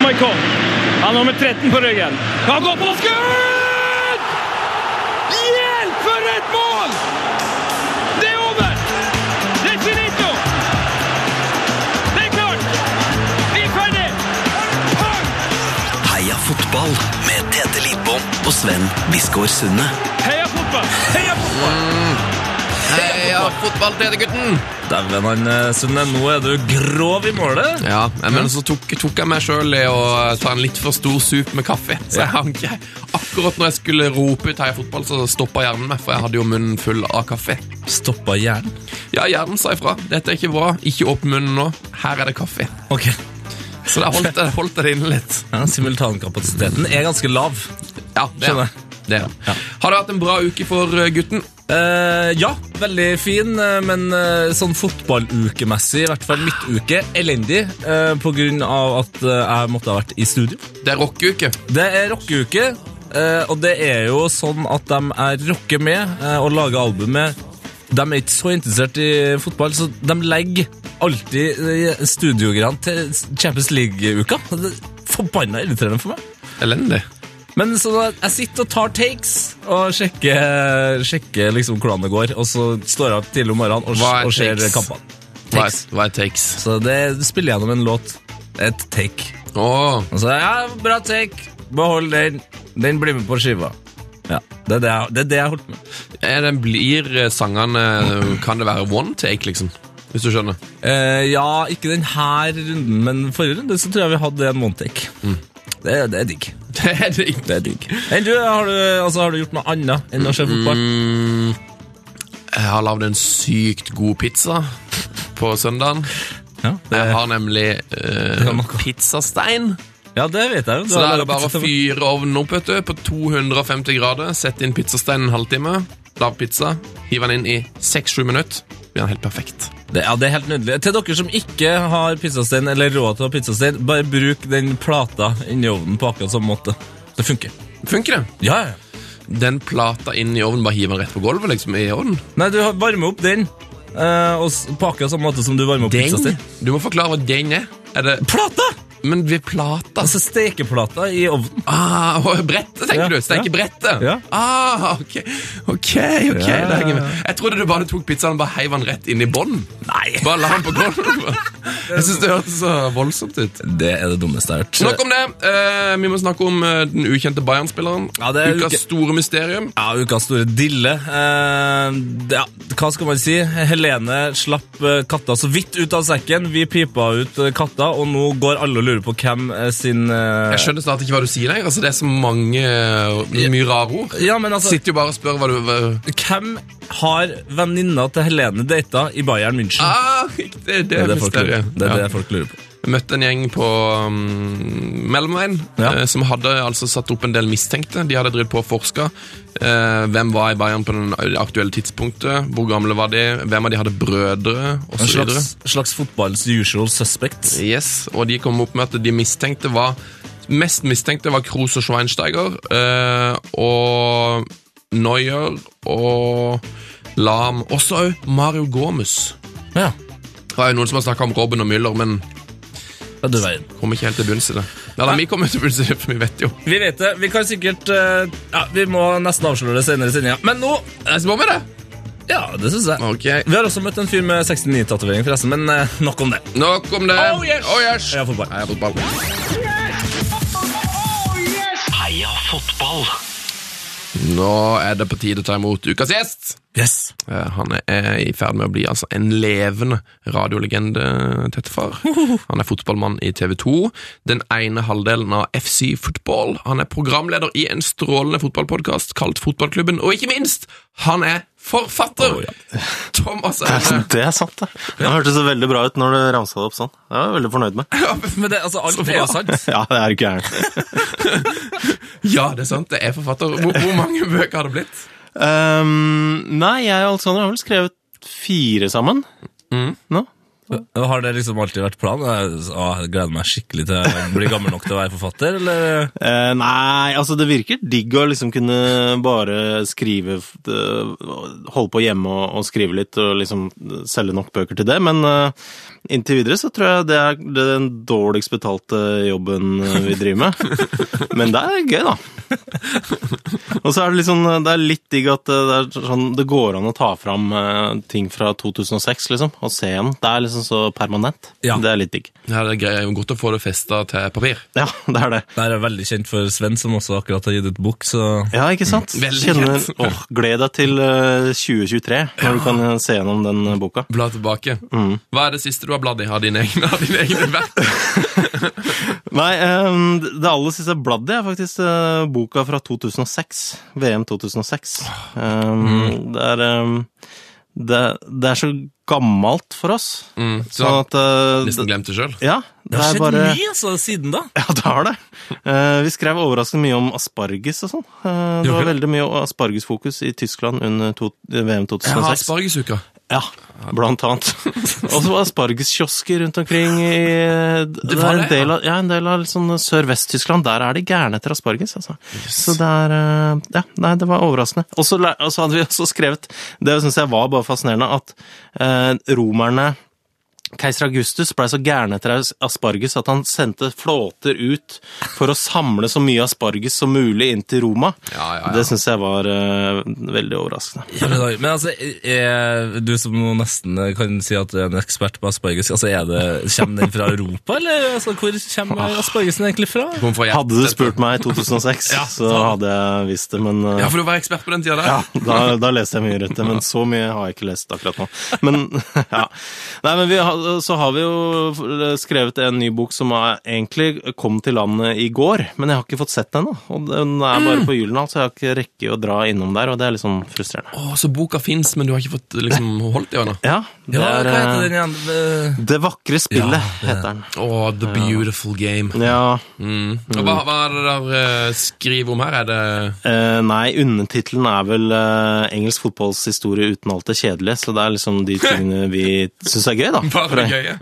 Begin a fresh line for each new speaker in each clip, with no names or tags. Berkholm. Han er nummer 13 på ryggen. Kan gå på skudd! Hjelp, for et mål! Det er over! Det er finito! Det er klart! Vi er ferdig!
Heia fotball med Tete Lidbom og Sven Biskår Sunde.
Heia fotball! Heia fotball!
Heia Eh, fotball, Tete-gutten!
Dæven, han eh, Sunde, nå er du grov i målet.
Ja, men så tok, tok jeg meg sjøl i å ta en litt for stor sup med kaffe. Så jeg hang ikke Akkurat når jeg skulle rope ut heia fotball, så stoppa hjernen meg, for jeg hadde jo munnen full av kaffe.
Stoppa hjernen.
Ja, hjernen sa ifra. Dette er ikke bra. Ikke åpne munnen nå. Her er det kaffe.
Ok.
Så da holdt jeg, holdt jeg det inne litt.
Ja, simultankapasiteten er ganske lav.
Ja, det er
Skjønner.
det. Det er. det. Har det vært en bra uke for eh, gutten?
Eh, ja, veldig fin, eh, men eh, sånn fotballukemessig, i hvert fall midtuke, elendig. eh, på grunn av at eh, jeg måtte ha vært i studio.
Det er rockeuke.
Det er rockeuke, eh, og det er jo sånn at de jeg rocker med eh, og lager album med, de er ikke så interessert i fotball, så de legger alltid eh, studiogreiene til Champions League-uka. Det er Forbanna irriterende for meg.
Elendig.
Men så da, jeg sitter og tar takes og sjekker, sjekker liksom hvordan det går, og så står jeg opp tidlig om morgenen og,
Hva er
og ser
takes?
kampene.
Hva
Takes.
er, hva er takes?
Så det spiller gjennom en låt. Et take.
Åh,
Og så ja, bra take. Behold den. Den blir med på skiva. Ja, Det er det jeg, det er det jeg har holdt med.
er det, blir eh, sangene Kan det være one take, liksom? Hvis du skjønner.
Eh, ja, ikke den her runden, men forrige runde så tror jeg vi hadde en one take.
Mm.
Det, det er digg.
Det er det ikke.
Det er digg. Enn du, har du, altså, har du gjort noe annet enn å se fotball?
Mm, jeg har lagd en sykt god pizza på søndagen.
Ja, det,
Jeg har nemlig eh,
kan man ikke.
pizzastein.
ja, det vet jeg jo. Du
Så
har
da
laget
er det bare
pizza
å
til meg.
fyre ovnen opp vet du, på 250 grader. Sette inn pizzasteinen en halvtime. Lag pizza. Hiv den inn i 6-7 minutter. Blir den helt perfekt.
Det, ja, det er helt nydelig. Til dere som ikke har pizzastein eller råd til å ha pizzastein, bare bruk den plata inni ovnen på akkurat samme måte. Det funker.
Funker det?
Ja, ja.
Den plata inn i ovnen, bare hiv den rett på gulvet liksom, i ovnen.
Nei, du har- varmer opp den eh, og s- på akkurat samme måte som du varmer opp pizzastein.
Du må forklare hva den er. er det,
Plata!
men ved plata
Altså stekeplata i ovnen.
Ah, og brettet,
Ja,
tenker du? Steke
ja.
brettet?
Ja.
Ah, ok, ok, ok
Ja.
det henger med. Jeg trodde du bare tok pizzaen og bare heiv den rett inn i bånden.
Nei!
Bare la den på gulvet. Jeg synes det hørtes så voldsomt ut.
Det er det dummeste jeg har hørt.
Nok om det. Eh, vi må snakke om eh, den ukjente Bayern-spilleren.
Ja, det er uke-
Ukas store mysterium.
Ja, Ukas store dille. Eh, det- ja, hva skal man si? Helene slapp eh, katta så vidt ut av sekken. Vi pipa ut eh, katta, og nå går alle og lurer på hvem eh, sin eh,
Jeg skjønner snart ikke hva du sier lenger. Altså, det er så mange eh, mye rare ord.
Ja, men altså,
Sitter jo bare og spør hva du hva-
Hvem har venninna til Helene data i Bayern München?
Ah, riktig, det,
det
er
er det folk lurer,
mysteriet.
det, er
Ja.
det folk lurer på.
Jeg møtte en gjeng på um, Mellomveien
Ja.
eh, som hadde altså satt opp en del mistenkte. De hadde drevet på og forska. Eh, hvem var i Bayern på den aktuelle tidspunktet? Hvor gamle var de? Hvem av de hadde brødre? Og
En
så videre.
slags, slags fotballens usual suspects.
Yes, og de kom opp med at de mistenkte var Mest mistenkte var Kroos og Schweinsteiger eh, Og Neuer Og Lam Også også Mario Gomes
Ja,
Det var jo noen som har snakket om Robben og Müller Men
ja du verden.
kom ikke helt til bunns i det Eller vi kommer til bunns i det, for vi vet jo
Vi vet det. Vi kan sikkert eh, Ja, vi må nesten avsløre det senere i sendinga. Men nå eh,
Jeg spør med det
Ja, det syns jeg.
Ok,
Vi har også møtt en fyr med 69-tatovering, forresten, men eh, nok om det.
nok om det
Oh, yes!
oh, yes.
Heia fotball.
Heia fotball
Heia fotball.
Nå er det på tide å ta imot ukas gjest
Yes.
Eh, Han er i ferd med å bli altså, en levende radiolegende, tettefar. Han er fotballmann i TV 2, den ene halvdelen av FC Football. Han er programleder i en strålende fotballpodkast kalt Fotballklubben, og ikke minst, han er
Oh,
forfatter! Thomas Aune.
Det er sant, det. Det hørtes så veldig bra ut når du ramsa det opp sånn. Det var jeg veldig fornøyd med.
Men det, altså, alt
Så
er jo
bra.
sant.
Ja, det er jo gærent.
Ja, det er sant, det er forfatter. Hvor, hvor mange bøker har det blitt?
Ehm, Um, nei, jeg og Alexander har vel skrevet fire sammen nå.
Har det liksom alltid vært planen? Jeg, å, jeg gleder meg skikkelig til å bli gammel nok til å være forfatter, eller?
Eh, nei, altså det virker digg å liksom kunne bare skrive f- det- Holde på hjemme og, og skrive litt og liksom selge nok bøker til det, men eh, inntil videre så tror jeg det er, det er den dårligst betalte jobben eh, vi driver med. Men det er gøy, da. Og så er det litt sånn, det er litt digg at det, er sånn, det går an å ta fram eh, ting fra 2006, liksom, og se den. Det er liksom så permanent.
Ja.
Det er litt digg.
Ja, det er greit. Det er jo godt å få det festa til papir.
Ja, det er det.
Det her er veldig kjent for Sven, som også akkurat har gitt ut bok, så
Ja, ikke sant?
Veldig
Kjenner,
kjent.
åh, gled deg til eh, 2023, når du kan eh, se gjennom den eh, boka.
Bla tilbake.
Mm.
Hva er det siste du har bladd i? Har dine egne, har dine egne verk?
Nei, eh, det aller siste bladdet er faktisk eh, boka fra 2006. VM 2006. Eh, Det er eh, det, det er så gammelt for oss.
Mm, så
Sånn
har
at eh,
nesten
det,
glemt det sjøl.
Ja, det
Det har
er
skjedd
bare
mye altså, siden da.
Ja, det har det. Eh, vi skrev overraskende mye om asparges og sånn. Eh, det
Gjorde
var
vi?
veldig mye aspargesfokus i Tyskland under to, VM 2006.
Jeg har aspargesuka.
Ja, blant annet. Og så var aspargeskiosker rundt omkring i Det
var det,
er en del av, ja, en del av litt sånn Sør-Vest-Tyskland. Der er de gærne etter asparges, altså. Så det er eh, Ja, nei, det var overraskende. Og så lær- og så hadde vi også skrevet Det syns jeg var bare fascinerende, at eh, romerne Keiser Augustus blei så gæren etter as- asparges at han sendte flåter ut for å samle så mye asparges som mulig inn til Roma.
Ja, ja, ja.
Det syns jeg var eh, veldig overraskende.
Hele dag. Men altså, er, du som nå nesten kan si at du er en ekspert på asparges, altså er det, kommer den fra Europa, eller altså, hvor kommer aspargesen egentlig fra?
Kom fra hjertet.
Hadde du spurt meg i 2006, så hadde jeg visst det, men uh,
Ja, for du var ekspert på den tida der.
ja, da, da leste jeg mye rundt det, men så mye har jeg ikke lest akkurat nå. Men ja. Nei, men vi har, så har vi jo skrevet en ny bok som er, egentlig kom til landet i går, men jeg har ikke fått sett den ennå. Og den er bare på Gyldendal, så jeg har ikke rekke å dra innom der, og det er litt sånn frustrerende.
Å, så boka fins, men du har ikke fått liksom, holdt i henne?
Ja, det
Ja,
er
hva heter den
eh,
igjen? Eh,
Det vakre spillet, heter den.
Å, the beautiful game.
Ja,
Mm. Og hva, hva er det der eh, skriver om her? Er det
Eh, nei, undertittelen er vel eh, 'Engelsk fotballs historie uten alt det kjedelige', så det er liksom de tingene vi syns er gøy, da. For
bare
det-
gøye?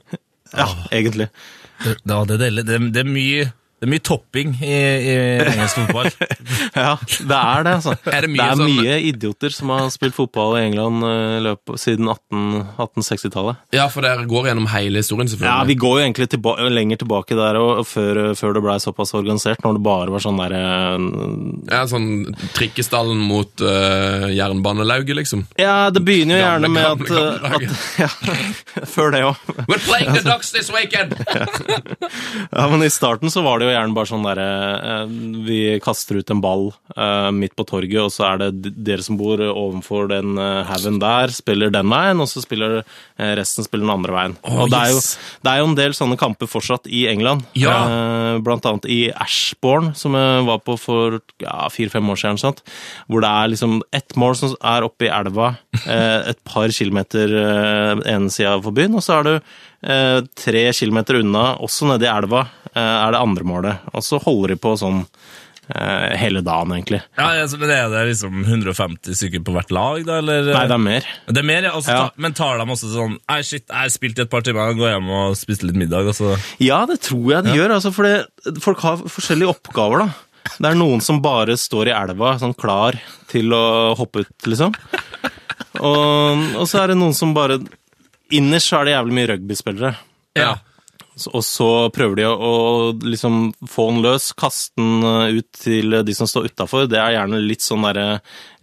Ja, egentlig.
Ja, det er deilig. Det, det, er mye, det er mye topping i, i engelsk fotball.
Ja, det er det, altså.
Er det mye
er
sånn-
mye idioter som har spilt fotball i England eh, i løpet, siden 18, 1860-tallet.
Ja, for dere går gjennom hele historien,
Ja,
selvfølgelig.
vi går jo egentlig tilba lenger tilbake der og, og før, før det blei såpass organisert, når det bare var sånn derre
Ja, sånn Trikkestallen mot eh, jernbanelauget, liksom.
Ja, det begynner jo
Gamle,
gjerne med at, eh,
gamle, gamle
at ja, Før det òg.
We're playing the ducks this weekend!
Ja, men I starten så var det jo gjerne bare sånn derre eh, Vi kaster ut en ball eh, midt på torget, og så er det d- dere som bor ovenfor den eh, haugen der, spiller den veien, og så spiller eh, resten spiller den andre veien.
Å,
og det er, jo,
yes.
det er jo en del sånne kamper fortsatt i England.
Ja.
Eh, blant annet i Ashbourne, som jeg var på for ja, fire-fem år siden, sant? hvor det er liksom ett mål som er oppe i elva eh, et par kilometer eh, ene sida for byen, og så er du eh, tre kilometer unna, også nede i elva, eh, er det andre målet. Og så holder de på sånn eh, hele dagen, egentlig.
Ja, altså, men Er det liksom 150 stykker på hvert lag, da? Eller?
Nei, det er mer.
Det er mer, ja. Altså,
Ja.
ta, men tar de også sånn Ei, shit, jeg har spilt i et par timer, jeg går hjem og spiser litt middag. Altså.
Ja, det tror jeg de gjør, altså, for det, folk har forskjellige oppgaver, da. Det er noen som bare står i elva, sånn klar til å hoppe ut, liksom. Og, og så er det noen som bare Innerst så er det jævlig mye rugbyspillere.
Ja.
Så- Og så prøver de å, å liksom få den løs, kaste den eh, ut til de som står utafor. Det er gjerne litt sånn derre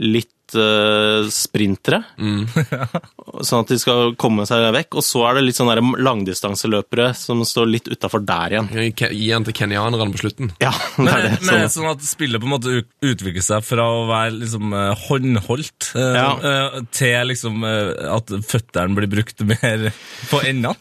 Litt eh, sprintere.
Mm.
sånn at de skal komme seg vekk. Og så er det litt sånn derre langdistanseløpere som står litt utafor der igjen.
Gi den til kenyanerne på slutten.
Ja, det
Men,
er det.
men er det
Sånn.
sånn at spillet på en måte ut- utvikler seg fra å være liksom eh, håndholdt eh,
Ja.
eh, til liksom eh, at føttene blir brukt mer på endene?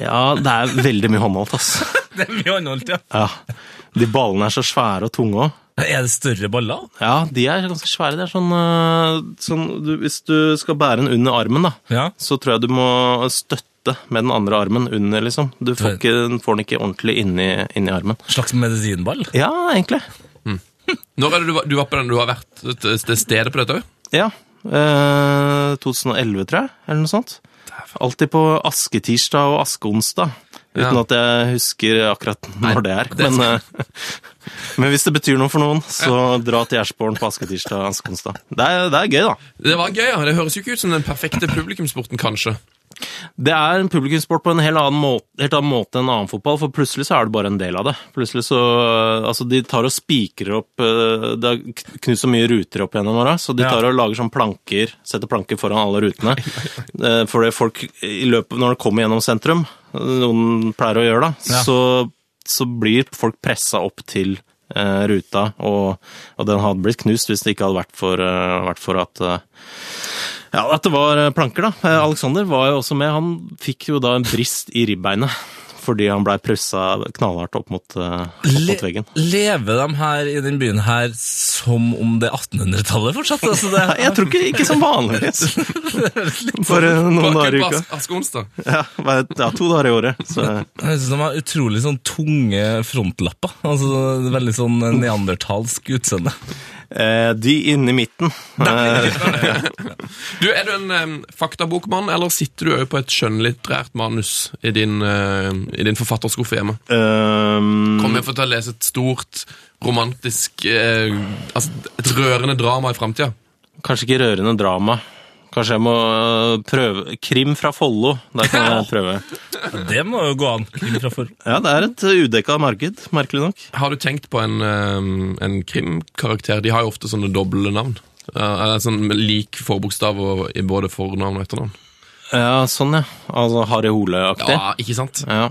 Ja, det er veldig mye håndholdt, ass.
Det er mye håndholdt, ja.
Ja. De ballene er så svære og tunge òg.
Er det større baller?
Ja, de er ganske svære. Det er sånn, eh, sånn du, Hvis du skal bære den under armen, da,
Ja.
så tror jeg du må støtte med den andre armen under, liksom. Du får, ikke, den får den ikke ordentlig inni, inni armen.
Slags medisinball?
Ja, egentlig.
Når er det du, var- du var på den du har vært til- til stedet på dette òg?
Ja. Eh, 2011, tror jeg, eller noe sånt. Alltid på asketirsdag og askeonsdag. Uten
Ja.
at jeg husker akkurat når det er.
det er
men, eh, men hvis det betyr noe for noen, så dra til Gjerdsborgen på asketirsdag og askeonsdag. Det er, det er gøy, da.
Det var gøy, ja. Det høres jo ikke ut som den perfekte publikumsporten, kanskje.
Det er en publikumssport på en helt annen, måte, helt annen måte enn annen fotball, for plutselig så er det bare en del av det. Plutselig så eh, Altså, de tar og spikrer opp eh, Det er kn- knust så mye ruter opp gjennom åra, så de
Ja.
tar og lager sånn planker, setter planker foran alle rutene. Eh, Fordi folk i løpet Når de kommer gjennom sentrum, eh, noen pleier å gjøre det,
Ja.
så, så blir folk pressa opp til eh, ruta, og, og den hadde blitt knust hvis det ikke hadde vært for, eh, vært for at eh, ja, at det var eh, planker, da. Eh, Alexander var jo også med. Han fikk jo da en brist i ribbeinet fordi han blei pressa knallhardt opp mot, eh, opp
Le-
mot veggen.
Lever de her i den byen her som om det er 1800-tallet fortsatt? Altså det,
Nei, Jeg tror ikke, ikke som vanligvis. Bare noen dager i uka.
Askeonsdag.
Ja, bare- ja, to dager i året. Så
Jeg synes de har utrolig sånn tunge frontlapper. Altså det er Veldig sånn neandertalsk utseende.
eh, de inne i midten. Eh,
Du, er du en em, faktabokmann, eller sitter du òg på et skjønnlitterært manus i din, eh, i din forfatterskuffe hjemme?
ehm,
Kommer jeg få til å lese et stort, romantisk eh, Altså, et rørende drama i framtida?
kanskje ikke rørende drama. Kanskje jeg må eh, prøve Krim fra Follo. Der kan jeg prøve.
Det må jo gå an. Krim fra for.
Ja, det er et udekka marked, merkelig nok.
Har du tenkt på en, em, en krimkarakter? De har jo ofte sånne doble navn. Eh, Eller sånn med lik forbokstav og- i både fornavn og etternavn.
Ja, sånn, ja. Altså Harry Hole-aktig.
Ja, ikke sant?
Ja.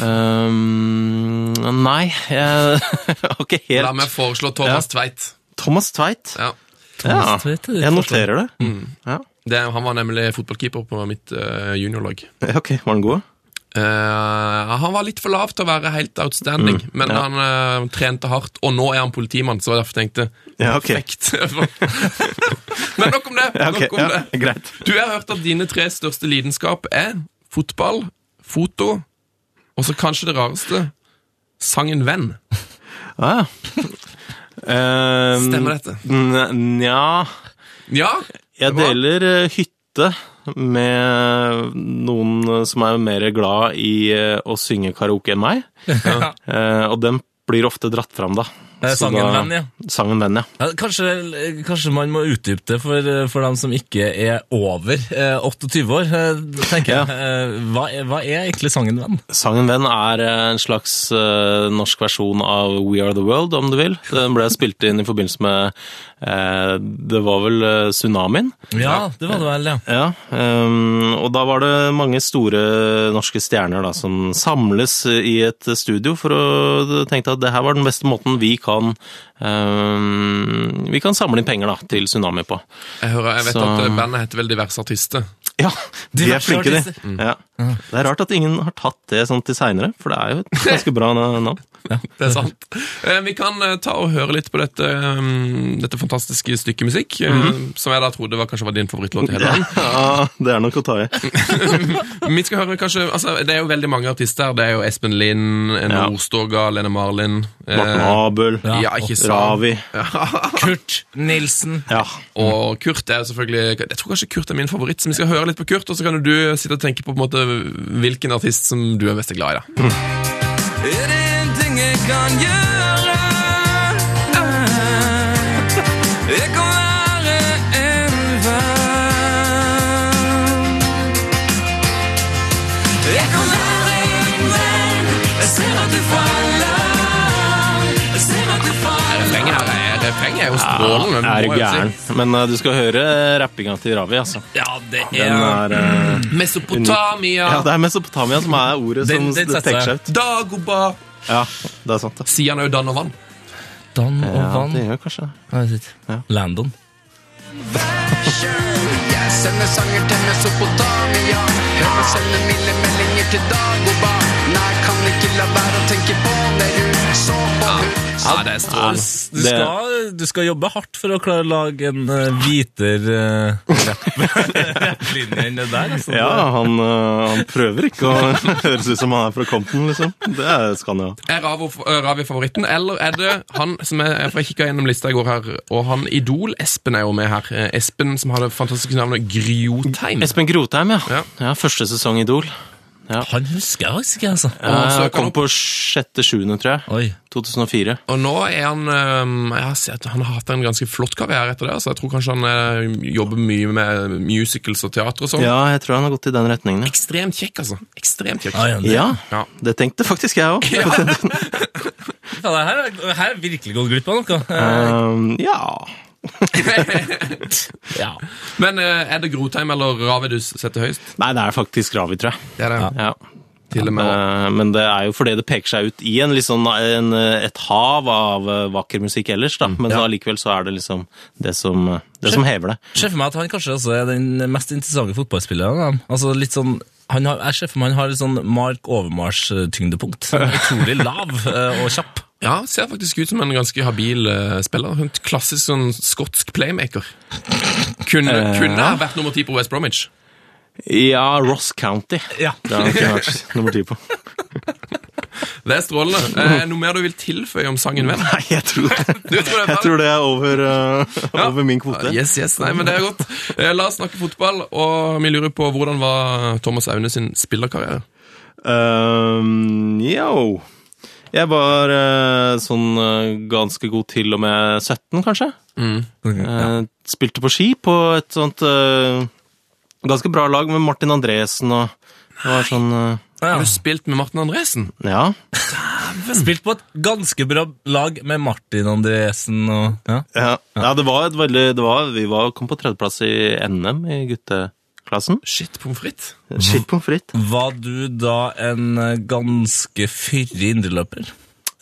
Ehm, nei, jeg har ikke helt
La meg foreslå Thomas Tveit.
Thomas Tveit.
Ja.
Ja,
Tveit er litt
jeg noterer det. Ja.
Det, han var nemlig fotballkeeper på mitt eh, juniorlag.
Ja, Ok, var den god?
Eh, han var litt for lav til å være helt outstanding, men
Mm. ja.
han eh, trente hardt, og nå er han politimann, så derfor tenkte jeg
Ja, ok.
perfekt. men nok om det.
Ja, ok,
nok om
ja,
det.
greit.
Du har hørt at dine tre største lidenskap er fotball, foto, og så kanskje det rareste sangen Venn.
Ja, ja. Ehm,
Stemmer dette?
n- Nja,
Ja,
jeg
Hva?
deler eh, hytte med noen eh, som er mer glad i eh, å synge karaoke enn meg. Eh, og den blir ofte dratt fram, da.
Det er
Så
sangen
da-
Venn, ja.
Sangen Venn, ja.
Ja, kanskje, kanskje man må utdype det for, for dem som ikke er over eh, 28 år, eh, tenker
Ja.
jeg. Eh, Hva er, hva er egentlig sangen Venn?
Sangen Venn er eh, en slags eh, norsk versjon av We Are The World, om du vil. Den ble spilt inn i forbindelse med eh, Det var vel eh, tsunamien?
Ja, det var det vel, ja.
Ja. ehm, og da var det mange store norske stjerner da, som samles i et studio for å tenke at det her var den beste måten vi kan ehm, Vi kan samle inn penger da, til tsunami på.
jeg, hører, jeg vet
Så-
at eh, bandet heter vel Diverse artister.
Ja, de er Mm.
Diverse
flinke, de.
artister.
Ja. Det er rart at ingen har tatt det sånn til seinere, for det er jo et ganske bra navn.
Det er sant. Eh, Vi kan eh, ta og høre litt på dette, um, dette fantastiske stykket musikk, eh, som jeg da trodde var, kanskje var din favorittlåt i hele verden.
Mhm. Ja, det er nok å ta i.
Vi skal høre kanskje, altså Det er jo veldig mange artister. her. Det er jo Espen Lind, eh,
Ja.
Nordstoga, Lene Marlin eh,
Morten Abel,
ja,
Ja,
ikke sant.
Ravi.
Kurt Nilsen.
Ja.
Og Kurt er jo selvfølgelig Jeg tror kanskje Kurt er min favoritt, så vi skal høre litt på Kurt, og så kan jo du sitte og tenke på, på en måte hvilken artist som du er mest glad i. da
Mm. Er det en ting jeg kan gjøre? Eh, Jeg kan være en venn. Jeg kan være en venn. Jeg ser at du faller. Jeg ser at du faller.
Refrenget her er, refrengen er jo strålende. må
Er
jeg
du
jo
gæren?
si.
Men eh, du skal høre rappinga til Ravi, altså.
Ja, det
Den
er...
er eh,
Mesopotamia,
Ja, det er Mesopotamia som er ordet som
Den- den setter
trekker
jeg.
seg ut.
Dagoba
Ja, det er sant, det.
Sier han òg Dan og Vann?
Dan og
Ja, det gjør kanskje det. Ja.
Landon.
Jeg sender sanger til Mesopotamia. Hører og sender milde meldinger til Dagoba. Nei, kan ikke la være å tenke på det du så på. hun.
Ja, det er strål.
Du skal, du skal jobbe hardt for å klare å lage en eh, hvitere uh, rapplinje enn det der. Altså.
Ja, han, øh, han prøver ikke å høres ut som han er fra Compton, liksom. Det er Scania.
Er Ravo, eh, Ravi favoritten, eller er det han som er For jeg kikka gjennom lista i går her, og han Idol-Espen er jo med her. Eh, Espen som har det fantastiske navnet Grjotheim.
Espen Grotheim, ja.
Ja.
ja. Første sesong Idol.
Han husker jeg faktisk ikke, altså.
Og så
Eh,
kan
kom på sjette-sjuende, tror jeg.
Oi.
2004.
Og nå er han eh, Jeg har sett Han har hatt en ganske flott karriere etter det. Så jeg tror kanskje han eh, jobber mye med musicals og teater og sånn.
Ja, jeg tror han har gått i den retningen. ja.
Ekstremt kjekk, altså. Ekstremt kjekk.
Ja, ja, det,
Ja,
Ja.
det tenkte faktisk jeg òg.
ja, det her, er- her er virkelig gått glipp av noe. Eh,
Um, ja
ja.
Men eh, er det Grotheim eller Ravi du setter høyest?
Nei, det er faktisk Ravi, tror jeg.
Det er det.
Ja.
Til og med.
Eh, Men det er jo fordi det peker seg ut i en, litt sånn- en, eh, et hav av eh, vakker musikk ellers, da. Men
Ja.
allikevel så er det liksom det som, eh, det som hever det.
ser for meg at han kanskje også er den mest interessante fotballspilleren. av dem. Altså litt sånn han har, jeg ser for meg han har litt sånn Mark Overmars-tyngdepunkt. Han er Utrolig lav eh, og kjapp.
Ja, ser faktisk ut som en ganske habil eh, spiller. En klassisk sånn skotsk playmaker. Kunne, kunne ha vært nummer ti på West Bromwich.
Ja, Ross County.
Ja.
Det har han ikke vært nummer ti på.
Det er strålende. Eh, noe mer du vil tilføye om sangen, venn?
Nei, jeg tror det,
Du tror det er
jeg tror det er over, eh, over min kvote.
Yes, yes, nei, men det er godt. Eh, la oss snakke fotball, og vi lurer på hvordan var Thomas Aune sin spillerkarriere?
Um, yo. Jeg var eh, sånn eh, ganske god til og med 17, kanskje. Eh, spilte på ski på et sånt eh, ganske bra lag med Martin Andresen og det var sånn eh,
Ja.
Har du spilt med Martin Andresen?
Ja.
Spilt på et ganske bra lag med Martin Andresen og ja.
Ja, ja det var et veldig det var, Vi var, kom på tredjeplass i NM i gutteklassen.
Shit, pommes frites.
Skitt pommes frites.
Var du da en eh, ganske fyrig indreløper?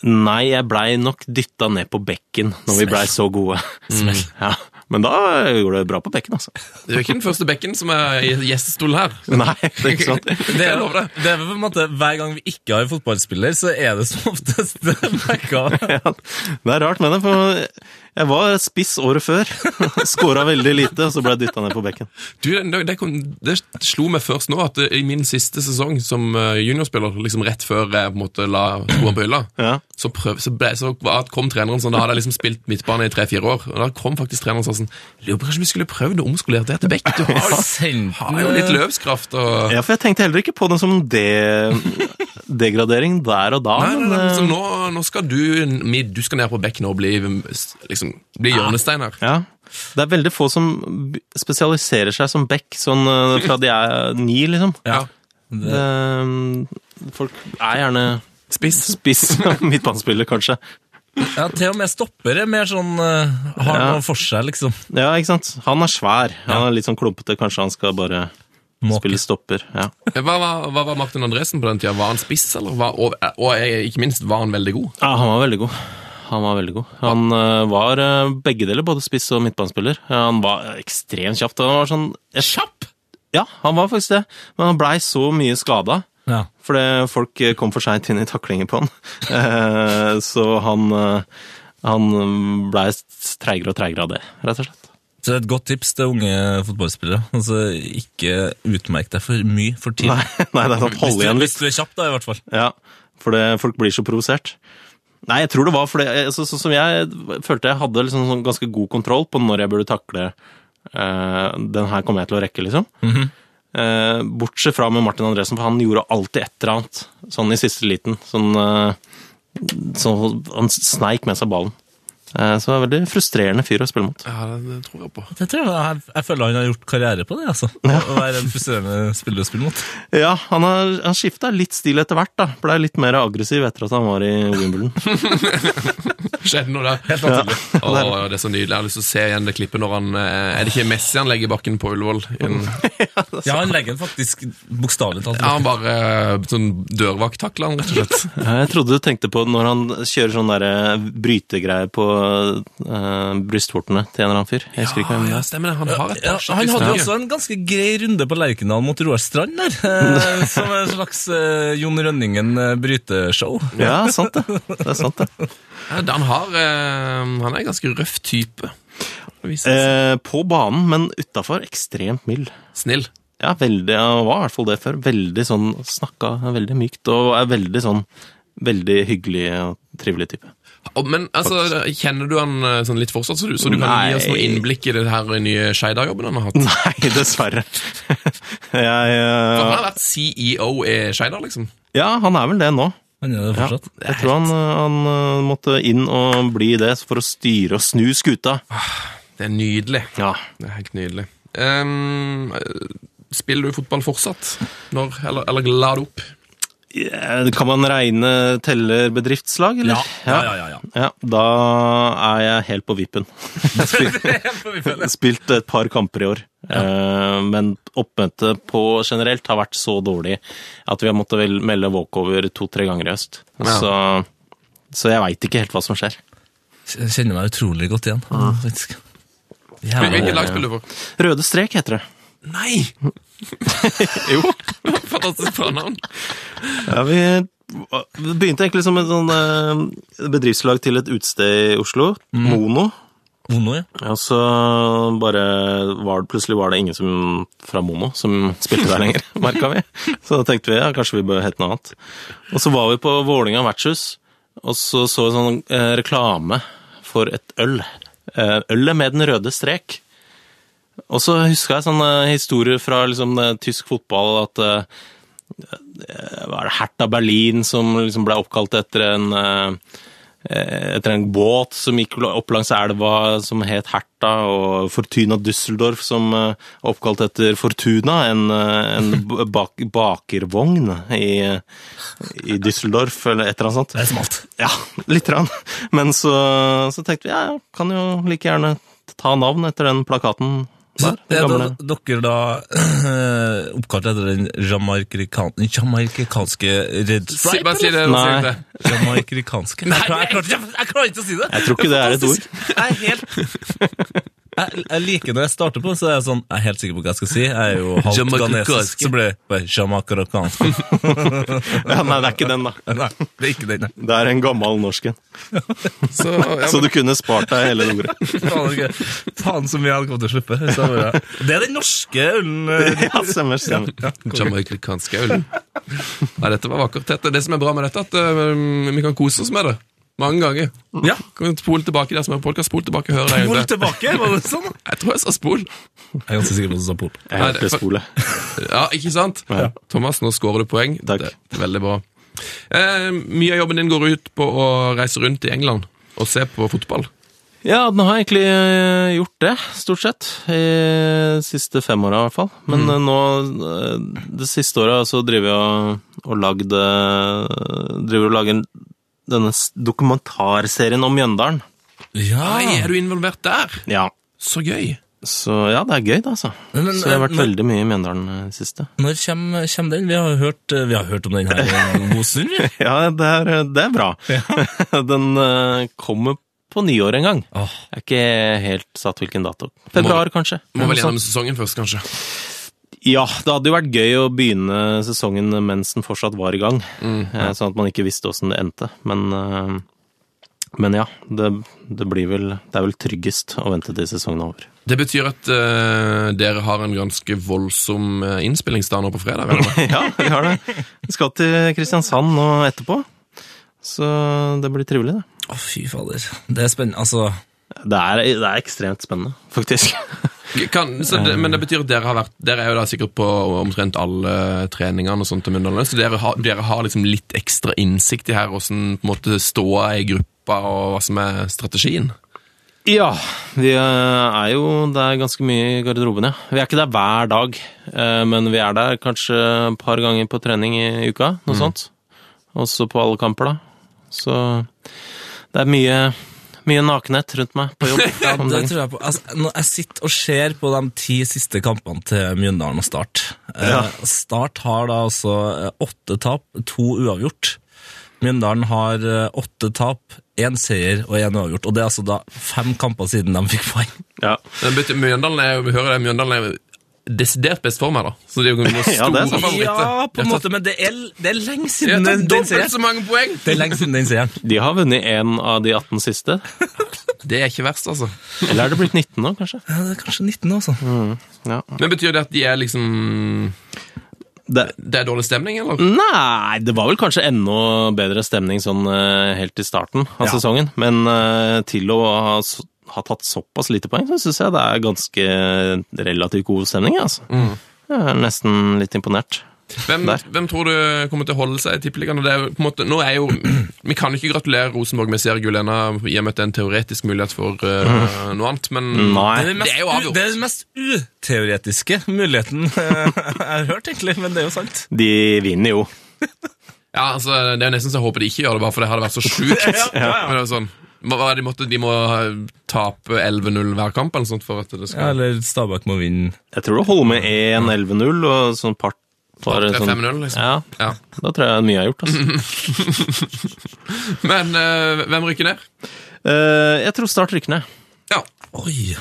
Nei, jeg blei nok dytta ned på bekken når vi blei så gode. Mm. Ja. Men da gjorde det bra på bekken, altså.
Du er ikke den første bekken som er i gjestestolen her.
Nei, det er ikke sant.
Det er,
Jeg lover det.
det er vel på en måte Hver gang vi ikke har en fotballspiller, så er det som oftest Becka.
Ja, det er rart med det, for jeg var spiss året før. Skåra veldig lite, og så ble jeg dytta ned på bekken.
Du, det, det, kom, det slo meg først nå at eh, i min siste sesong som eh, juniorspiller, liksom rett før jeg på en måte la skoene på hylla,
Ja.
så, prøv, så, ble, så var- kom treneren sånn, da hadde jeg liksom spilt midtbane i tre-fire år, og da kom faktisk treneren sånn sånn, lurer på kanskje vi skulle prøvd å omskolere det til Beck, du har,
Sendt
har jo litt løpskraft og...
Ja, for jeg tenkte heller ikke på det som de degradering der og da.
Nei, nei, nei,
men,
så nå, nå skal du, mid- du skal ned på Beck nå og bli, liksom, bli hjørnestein her.
eh, ja. Det er veldig få som b- spesialiserer seg som back sånn eh, fra de er ni, liksom.
Ja.
Eh, Folk er gjerne
Spiss.
spiss midtbanespiller, kanskje.
Ja, til og med stopper er mer sånn eh, Har
Ja.
noe for seg, liksom.
Ja, ikke sant? Han er svær. Han er litt sånn klumpete. Kanskje han skal bare
Måke.
spille stopper. Ja.
Hva var, hva var Martin Andresen på den tiden? Var han spiss, eller? Var, og, og eh, ikke minst, var han veldig god?
Ja, han var veldig god. Han var veldig god. Han eh, var eh, begge deler, både spiss og midtbanespiller. Eh, han var eh, ekstremt kjapt. Han var sånn Kjapp?! Ja, han var faktisk det. Men han blei så mye skada.
Ja.
Fordi folk eh, kom for seint inn i taklinger på han. Eh, så han, eh, han blei treigere og treigere av det, rett og slett.
Så det er et godt tips til unge fotballspillere. Altså, ikke utmerk deg for mye for tidlig.
Nei, nei det er sånn,
Hvis
hold
du,
igjen litt.
hvis du er kjapp, da, i hvert fall.
Ja, for det, folk blir så provosert. Nei, jeg tror det var fordi jeg- så, Sånn som jeg følte jeg hadde liksom sånn ganske god kontroll på når jeg burde takle eh, Den her kommer jeg til å rekke, liksom. Eh, bortsett fra med Martin Andresen, for han gjorde alltid et eller annet sånn i siste liten. Sånn, eh, sånn Han sneik med seg ballen. Eh, så det var en veldig frustrerende fyr å spille mot.
Ja, det, det tror jeg på.
Det tror jeg, jeg, jeg føler han har gjort karriere på det, altså. Å være en frustrerende spiller å spille mot.
Ja, han, har- han skifta litt stil etter hvert, da. Blei litt mer aggressiv etter at han var i Wimbledon.
Skjedde noe der. Helt naturlig. det er så nydelig. Jeg har lyst til å se igjen det klippet når han eh, Er det ikke Messi han legger i bakken på Ullevål? I en-
Ja, han legger den faktisk bokstavelig talt.
Ja, han bare eh, sånn dørvakttakler han, rett og slett.
Ja, Jeg trodde du tenkte på når han kjører sånn der eh, brytegreie på eh, brystvortene til en eller annen fyr. Jeg husker ikke hvem det
ja,
er.
stemmer det. Han har et
Ja, han
par
hadde jo
stykker.
også en ganske grei runde på Lerkendal mot Roar Strand der, eh, som en slags eh, Jon Rønningen-bryteshow.
Ja, sant det. Det er sant, det.
Ja, det- han, har, eh, han er en ganske røff type. Det viser seg.
Eh, på banen, men utafor ekstremt mild.
Snill.
Ja, veldig, han var i hvert fall det før. Veldig sånn snakka veldig mykt, og er veldig sånn veldig hyggelig og trivelig type.
Og- Men altså, kjenner du han eh, sånn litt fortsatt, så du, så du kan gi oss noe
Nei.
innblikk i det her nye Skeidar-jobben han har hatt?
Nei, dessverre. Jeg
For Han
eh,
har vært CEO i Skeidar, liksom.
Ja, han er vel det nå.
Han er det
Ja.
fortsatt.
Jeg tror han, eh, han eh, måtte inn og bli det for å styre og snu skuta.
Det er nydelig.
Ja.
Det er helt nydelig. Ehm, eh, spiller du fotball fortsatt? Når, eller, eller la det opp?
Eh, Kan man regne tellerbedriftslag, eller?
Ja, ja, ja, ja.
Ja, Da er jeg helt på vippen. Spilt et par kamper i år. Eh, Men oppmøtet på generelt har vært så dårlig at vi har måttet vel melde walkover to-tre ganger i høst.
Ja.
Så, så jeg veit ikke helt hva som skjer.
Jeg kjenner meg utrolig godt igjen, faktisk. Jævla-
Hvilket lag spiller du for?
Røde strek heter det.
Nei!
Jo.
Fantastisk fornavn.
Ja, vi det begynte egentlig som et sånn eh, bedriftslag til et utested i Oslo,
Mm.
Mono.
Ono, ja.
Ja, så bare var, plutselig var det ingen som, fra Mono som spilte der lenger, merka vi. Så da tenkte vi ja, kanskje vi bør hete noe annet. Og så var vi på Vålinga vertshus, og så så vi sånn eh, reklame for et øl. Eh, ølet med den røde strek. Og så huska jeg sånne historier fra liksom, eh, tysk fotball at eh, var det Hertha Berlin som liksom ble oppkalt etter en eh, etter en båt som gikk opp langs elva som het Hertha, og Fortuna Düsseldorf som eh, er oppkalt etter Fortuna, en, eh, en b- bak, bakervogn i, i Düsseldorf, eller et eller annet sånt.
Det er smalt.
Ja, litt. Rann. Men så, så tenkte vi ja, ja, kan jo like gjerne ta navn etter den plakaten.
Så
Der,
er da,
gamle.
dere da oppkalt etter den jamaikan- jamaikanske Red
Si,
Stripe?
bare si det.
Nei.
Si det.
eller? Jamaikanske Nei, jeg, klarer- jeg, klarer ikke- jeg klarer ikke å si det!
Jeg tror ikke det er et ord.
Jeg er helt jeg, jeg liker når jeg starter på, så er jeg sånn Jeg er helt sikker på hva jeg skal si. Jeg er jo halvt
Jamaicansk.
ghanesisk, så blir det bare jamaicansk.
Ja, nei, det er ikke den, da.
Nei, det er ikke den, nei.
Det er en gammel norsk en.
Så, ja,
Så du kunne spart deg hele det ordet.
Faen, det er ikke- Faen så mye jeg hadde kommet til å slippe. hvis jeg bare- Det er den norske ølen. eh,
Ja, stemmer, stemmer.
Jamaicansk øl. Nei, dette var vakkert. Dette. Det som er bra med dette, er at eh, vi kan kose oss med det. Mange ganger.
Ja.
Kan du Spol tilbake der som er podcast, spol tilbake og hør deg.
Må du
egentlig.
tilbake? Var det sånn?
Jeg tror jeg sa spol.
Jeg er ganske sikker på at du sa pol.
Jeg er helt i spolet.
Ja, ikke sant? Thomas, nå skårer du poeng.
Takk.
Det er veldig bra. Eh, mye av jobben din går ut på å reise rundt i England og se på fotball.
Ja, den har egentlig eh, gjort det, stort sett. I de siste fem åra, i hvert fall. Men eh, nå, eh, det siste året, så driver jeg og- og lagd eh, Driver og lager denne s- dokumentarserien om Mjøndalen.
Ja.
Nei, er du involvert der?
Ja.
Så gøy.
Så ja, det er gøy, det, altså.
Men- men-
så jeg har vært
men-
veldig mye i Mjøndalen eh, i det siste.
Når kommer, kommer den? Vi har, hørt, eh, vi har hørt om den her en god stund. vi.
Ja, det er, det er bra. den eh, kommer på nyår en gang.
Åh.
Jeg er ikke helt satt hvilken dato. Februar, kanskje.
Må vel
Eller noe sånt.
gjennom sesongen først, kanskje.
Ja, det hadde jo vært gøy å begynne sesongen mens den fortsatt var i gang.
Mm,
eh, Sånn at man ikke visste åssen det endte. Men, eh, men ja, det, det blir vel Det er vel tryggest å vente til sesongen er over.
Det betyr at eh, dere har en ganske voldsom eh, innspillingsdag nå på fredag. regner jeg med.
ja, vi har det. Vi skal til Kristiansand nå etterpå. Så det blir trivelig, det.
Å, fy fader. Det er spennende. Altså,
Det er, det er ekstremt spennende, faktisk.
Kan, så det, men det betyr at dere har vært Dere er jo da sikkert på omtrent alle treningene og sånt til Mjøndalen, så dere har, dere har liksom litt ekstra innsikt i her åssen på en måte ståa er i gruppa, og hva som er strategien.
Ja, vi eh, er jo Det er ganske mye i garderoben, ja. Vi er ikke der hver dag, eh, men vi er der kanskje et par ganger på trening i uka, noe sånt. Også på alle kamper, da. Så det er mye, mye nakenhet rundt meg på jobb.
ja,
om
det
dagen.
tror jeg på. Altså, når jeg sitter og ser på de ti siste kampene til Mjøndalen og Start eh, Start har da altså eh, åtte tap, to uavgjort. Mjøndalen har eh, åtte tap, én seier og én uavgjort. Og det er altså da fem kamper siden de fikk poeng.
Ja.
Men vet du, Mjøndalen er, vi hører det, Mjøndalen er desidert best for meg, da. Så det er jo noen
Ja,
store
det er sant.
favoritter.
Ja, på en måte, men det er, det er lenge siden den, den
dobbelt
seieren.
så mange poeng!
Det er lenge siden den seieren.
De har vunnet én av de 18 siste.
Det er ikke verst, altså.
Eller er det blitt 19 nå, kanskje?
Ja, det er kanskje 19 nå, altså.
Mm.
Ja.
Men Betyr det at de er liksom
Det,
Det er dårlig stemning, eller?
Mm. nei, det var vel kanskje enda bedre stemning sånn eh, helt i starten av
Ja.
sesongen. Men eh, til å ha, s- ha tatt såpass lite poeng, så syns jeg det er ganske relativt god stemning. ja, Altså. Jeg er nesten litt imponert.
Hvem,
Der.
hvem tror du kommer til å holde seg i Tippeligaen? Og det er jo på en måte- Nå er jo Vi kan jo ikke gratulere Rosenborg med seriegull ennå, i og med at det er en teoretisk mulighet for eh, noe annet, men
Det er
Mm. Nei.
den
Det er jo
mest,
avgjort.
u- det er den mest uteoretiske muligheten eh, jeg har hørt, egentlig. Men det er jo sant.
De vinner jo.
Ja, altså, Det er jo nesten så jeg håper de ikke gjør det, bare for det hadde vært så sjukt. Men det er jo sånn, hva hva er det de måtte, de må ha- tape 11-0 hver kamp eller sånt for at det
Ja,
skal
eller Stabæk må vinne.
Jeg tror det holder med 1-11-0 og sånn part
Part
bare
er
sånn-
5-0, liksom.
Ja,
Ja.
da tror jeg mye er gjort. Altså.
Men eh, hvem rykker ned?
Eh, jeg tror Start rykker ned.
Ja.
Oi!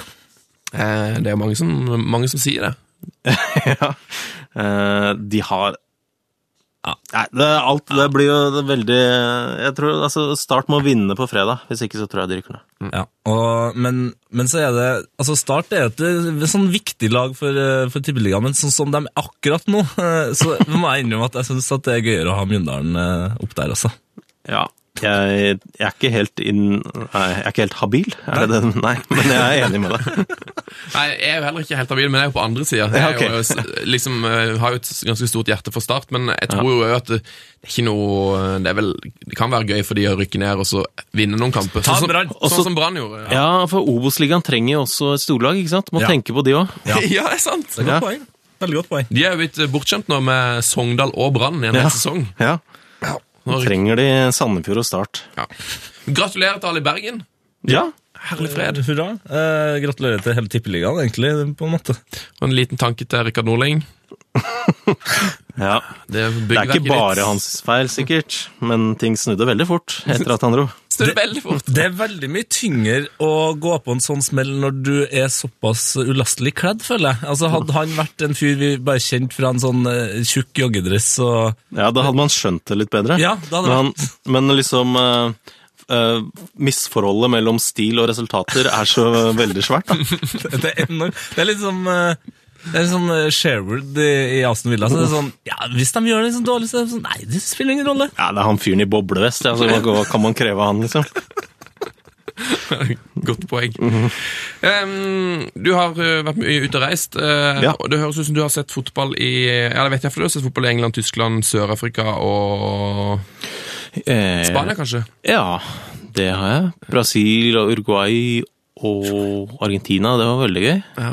Eh, det er jo mange som, mange som sier det.
ja. Eh, de har
Ja.
Nei, det, er alt, det blir jo veldig Jeg tror altså, Start må vinne på fredag. Hvis ikke så tror jeg de rykker ned.
Ja, og, men, men så er det altså Start er et eh, sånn viktig lag for, eh, for Tippeligaen, men sånn som de er akkurat nå, eh, så må jeg innrømme at jeg syns det er gøyere å ha Mjøndalen eh, opp der, altså.
Ja. Jeg, jeg er ikke helt inn Nei, jeg er ikke helt habil, er det det? Nei, men jeg er enig med deg.
Nei, Jeg er jo heller ikke helt habil, men jeg er jo på andre sida. Jeg er
Ja, ok.
jo, s- liksom, eh, har jo et s- ganske stort hjerte for Start, men jeg tror jo også at det det er ikke noe eh, Det, er vel, det kan være gøy for de å rykke ned og så vinne noen kamper. Sånn som,
Brann.
sånn som Brann gjorde.
Ja, for Obos-ligaen trenger jo også et storlag, ikke sant? Må
Ja.
tenke på de òg.
Ja. det er sant!
Det er
Ja.
godt poeng. Veldig godt poeng.
De er jo blitt eh, bortskjemt nå med Sogndal og Brann i en hel sesong.
Ja.
Nå rykker-
Trenger de Sandefjord og Start?
ja. Gratulerer til alle i Bergen.
Ja.
Herlig fred.
Hurra. Eh, gratulerer til hele Tippeligaen, egentlig, på en måte.
Og en liten tanke til Rikard Norling.
ja.
Det,
Det er ikke bare hans feil, sikkert, men ting snudde veldig fort etter at han dro.
Snur veldig fort.
Det er veldig mye tyngre å gå på en sånn smell når du er såpass ulastelig kledd, føler jeg. Altså, Hadde han vært en fyr vi bare kjente fra en sånn eh, tjukk joggedress og
Ja, da hadde man skjønt det litt bedre.
Ja, det hadde
men, men liksom eh, eh, Misforholdet mellom stil og resultater er så veldig svært, da.
Det er enormt. Det er litt som eh, det er litt som eh, Sherwood i i Aston Villa. Så det er sånn, ja, Hvis de gjør det sånn dårlig, så er det sånn Nei, det spiller ingen rolle.
Ja, det er han fyren i boblevest. ja, så hva hva kan man kreve av han, liksom?
Godt poeng.
Mhm.
Em, du har eh, vært mye ute og reist, eh,
Ja.
og det høres ut som du har sett fotball i Ja, det vet jeg, for du har sett fotball i England, Tyskland, Sør-Afrika og
Eh,
Spania, kanskje?
Ja, det har jeg. Brasil og Uruguay og Argentina, det var veldig gøy.
Ja.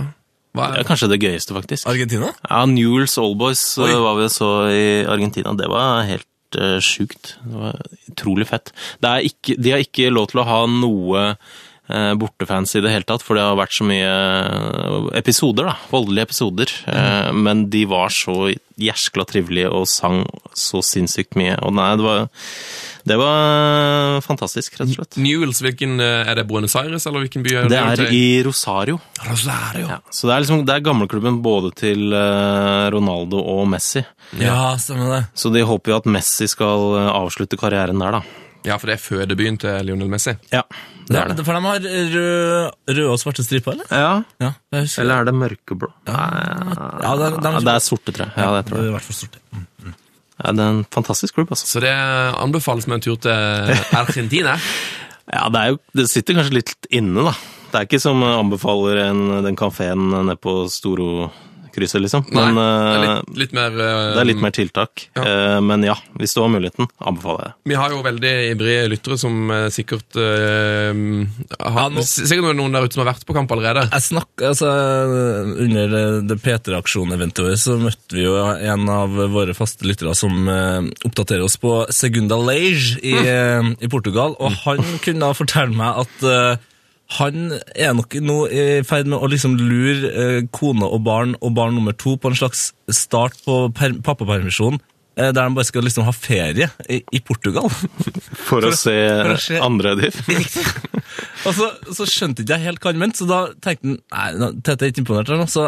Hva
Det er
er,
kanskje det gøyeste, faktisk.
Argentina?
Ja, Newells Oldboys
Oi.
eh, var vi og så i Argentina. Det var helt eh, sjukt. Det var utrolig fett. Det er ikke, de har ikke lov til å ha noe eh, bortefans i det hele tatt, for det har vært så mye eh, episoder, da. Voldelige episoder. Eh, men de var så gjerskla trivelige og sang så sinnssykt mye. Og nei, det var, det var fantastisk, rett og slett.
Newells, hvilken eh, Er det Buenos Aires, eller hvilken by?
Det er i Rosario.
Rosario.
Ja, så det er, liksom, det er gamleklubben både til eh, Ronaldo og Messi.
Ja, stemmer det.
Så de håper jo at Messi skal eh, avslutte karrieren der, da.
Ja, for det er fødebyen til Lionel Messi.
Ja, det er det.
For de har rød- røde og svarte striper, eller?
Ja,
Ja, jeg husker
Eller er det mørkeblå? Ja,
det er- det er-
det er sorte, tror jeg. Ja, det, tror jeg.
i hvert fall sorte.
Ja, det er en fantastisk klubb, altså.
Så det anbefales med en tur til Argentina.
Ja, det, er jo, det sitter kanskje litt inne, da. Det er ikke som eh, anbefaler en, den kafeen nede på Storo-krysset, liksom. Men
Nei, det er
eh,
litt, litt mer eh,
det er litt mer tiltak.
Ja.
Eh, Men ja, hvis du har muligheten, anbefaler jeg det.
Vi har jo veldig ivrige lyttere som eh, sikkert eh, har,
Ja, nå-
s- Sikkert noen der ute som har vært på kamp allerede.
Jeg snakk, altså, Under eh, det P3-aksjonen-eventet vårt så møtte vi jo en av våre faste lyttere som eh, oppdaterer oss på Segunda Lage i, eh, i Portugal, og han kunne da fortelle meg at eh, han er nok nå i ferd med å liksom lure eh, kone og barn og barn nummer to på en slags start på per- pappapermisjon eh, der de bare skal liksom ha ferie i, i Portugal.
For, å se
for å se-
andre diff.
Og så, så skjønte ikke jeg helt hva han mente, så da tenkte han Nei, nå- Tete er ikke imponert her nå, så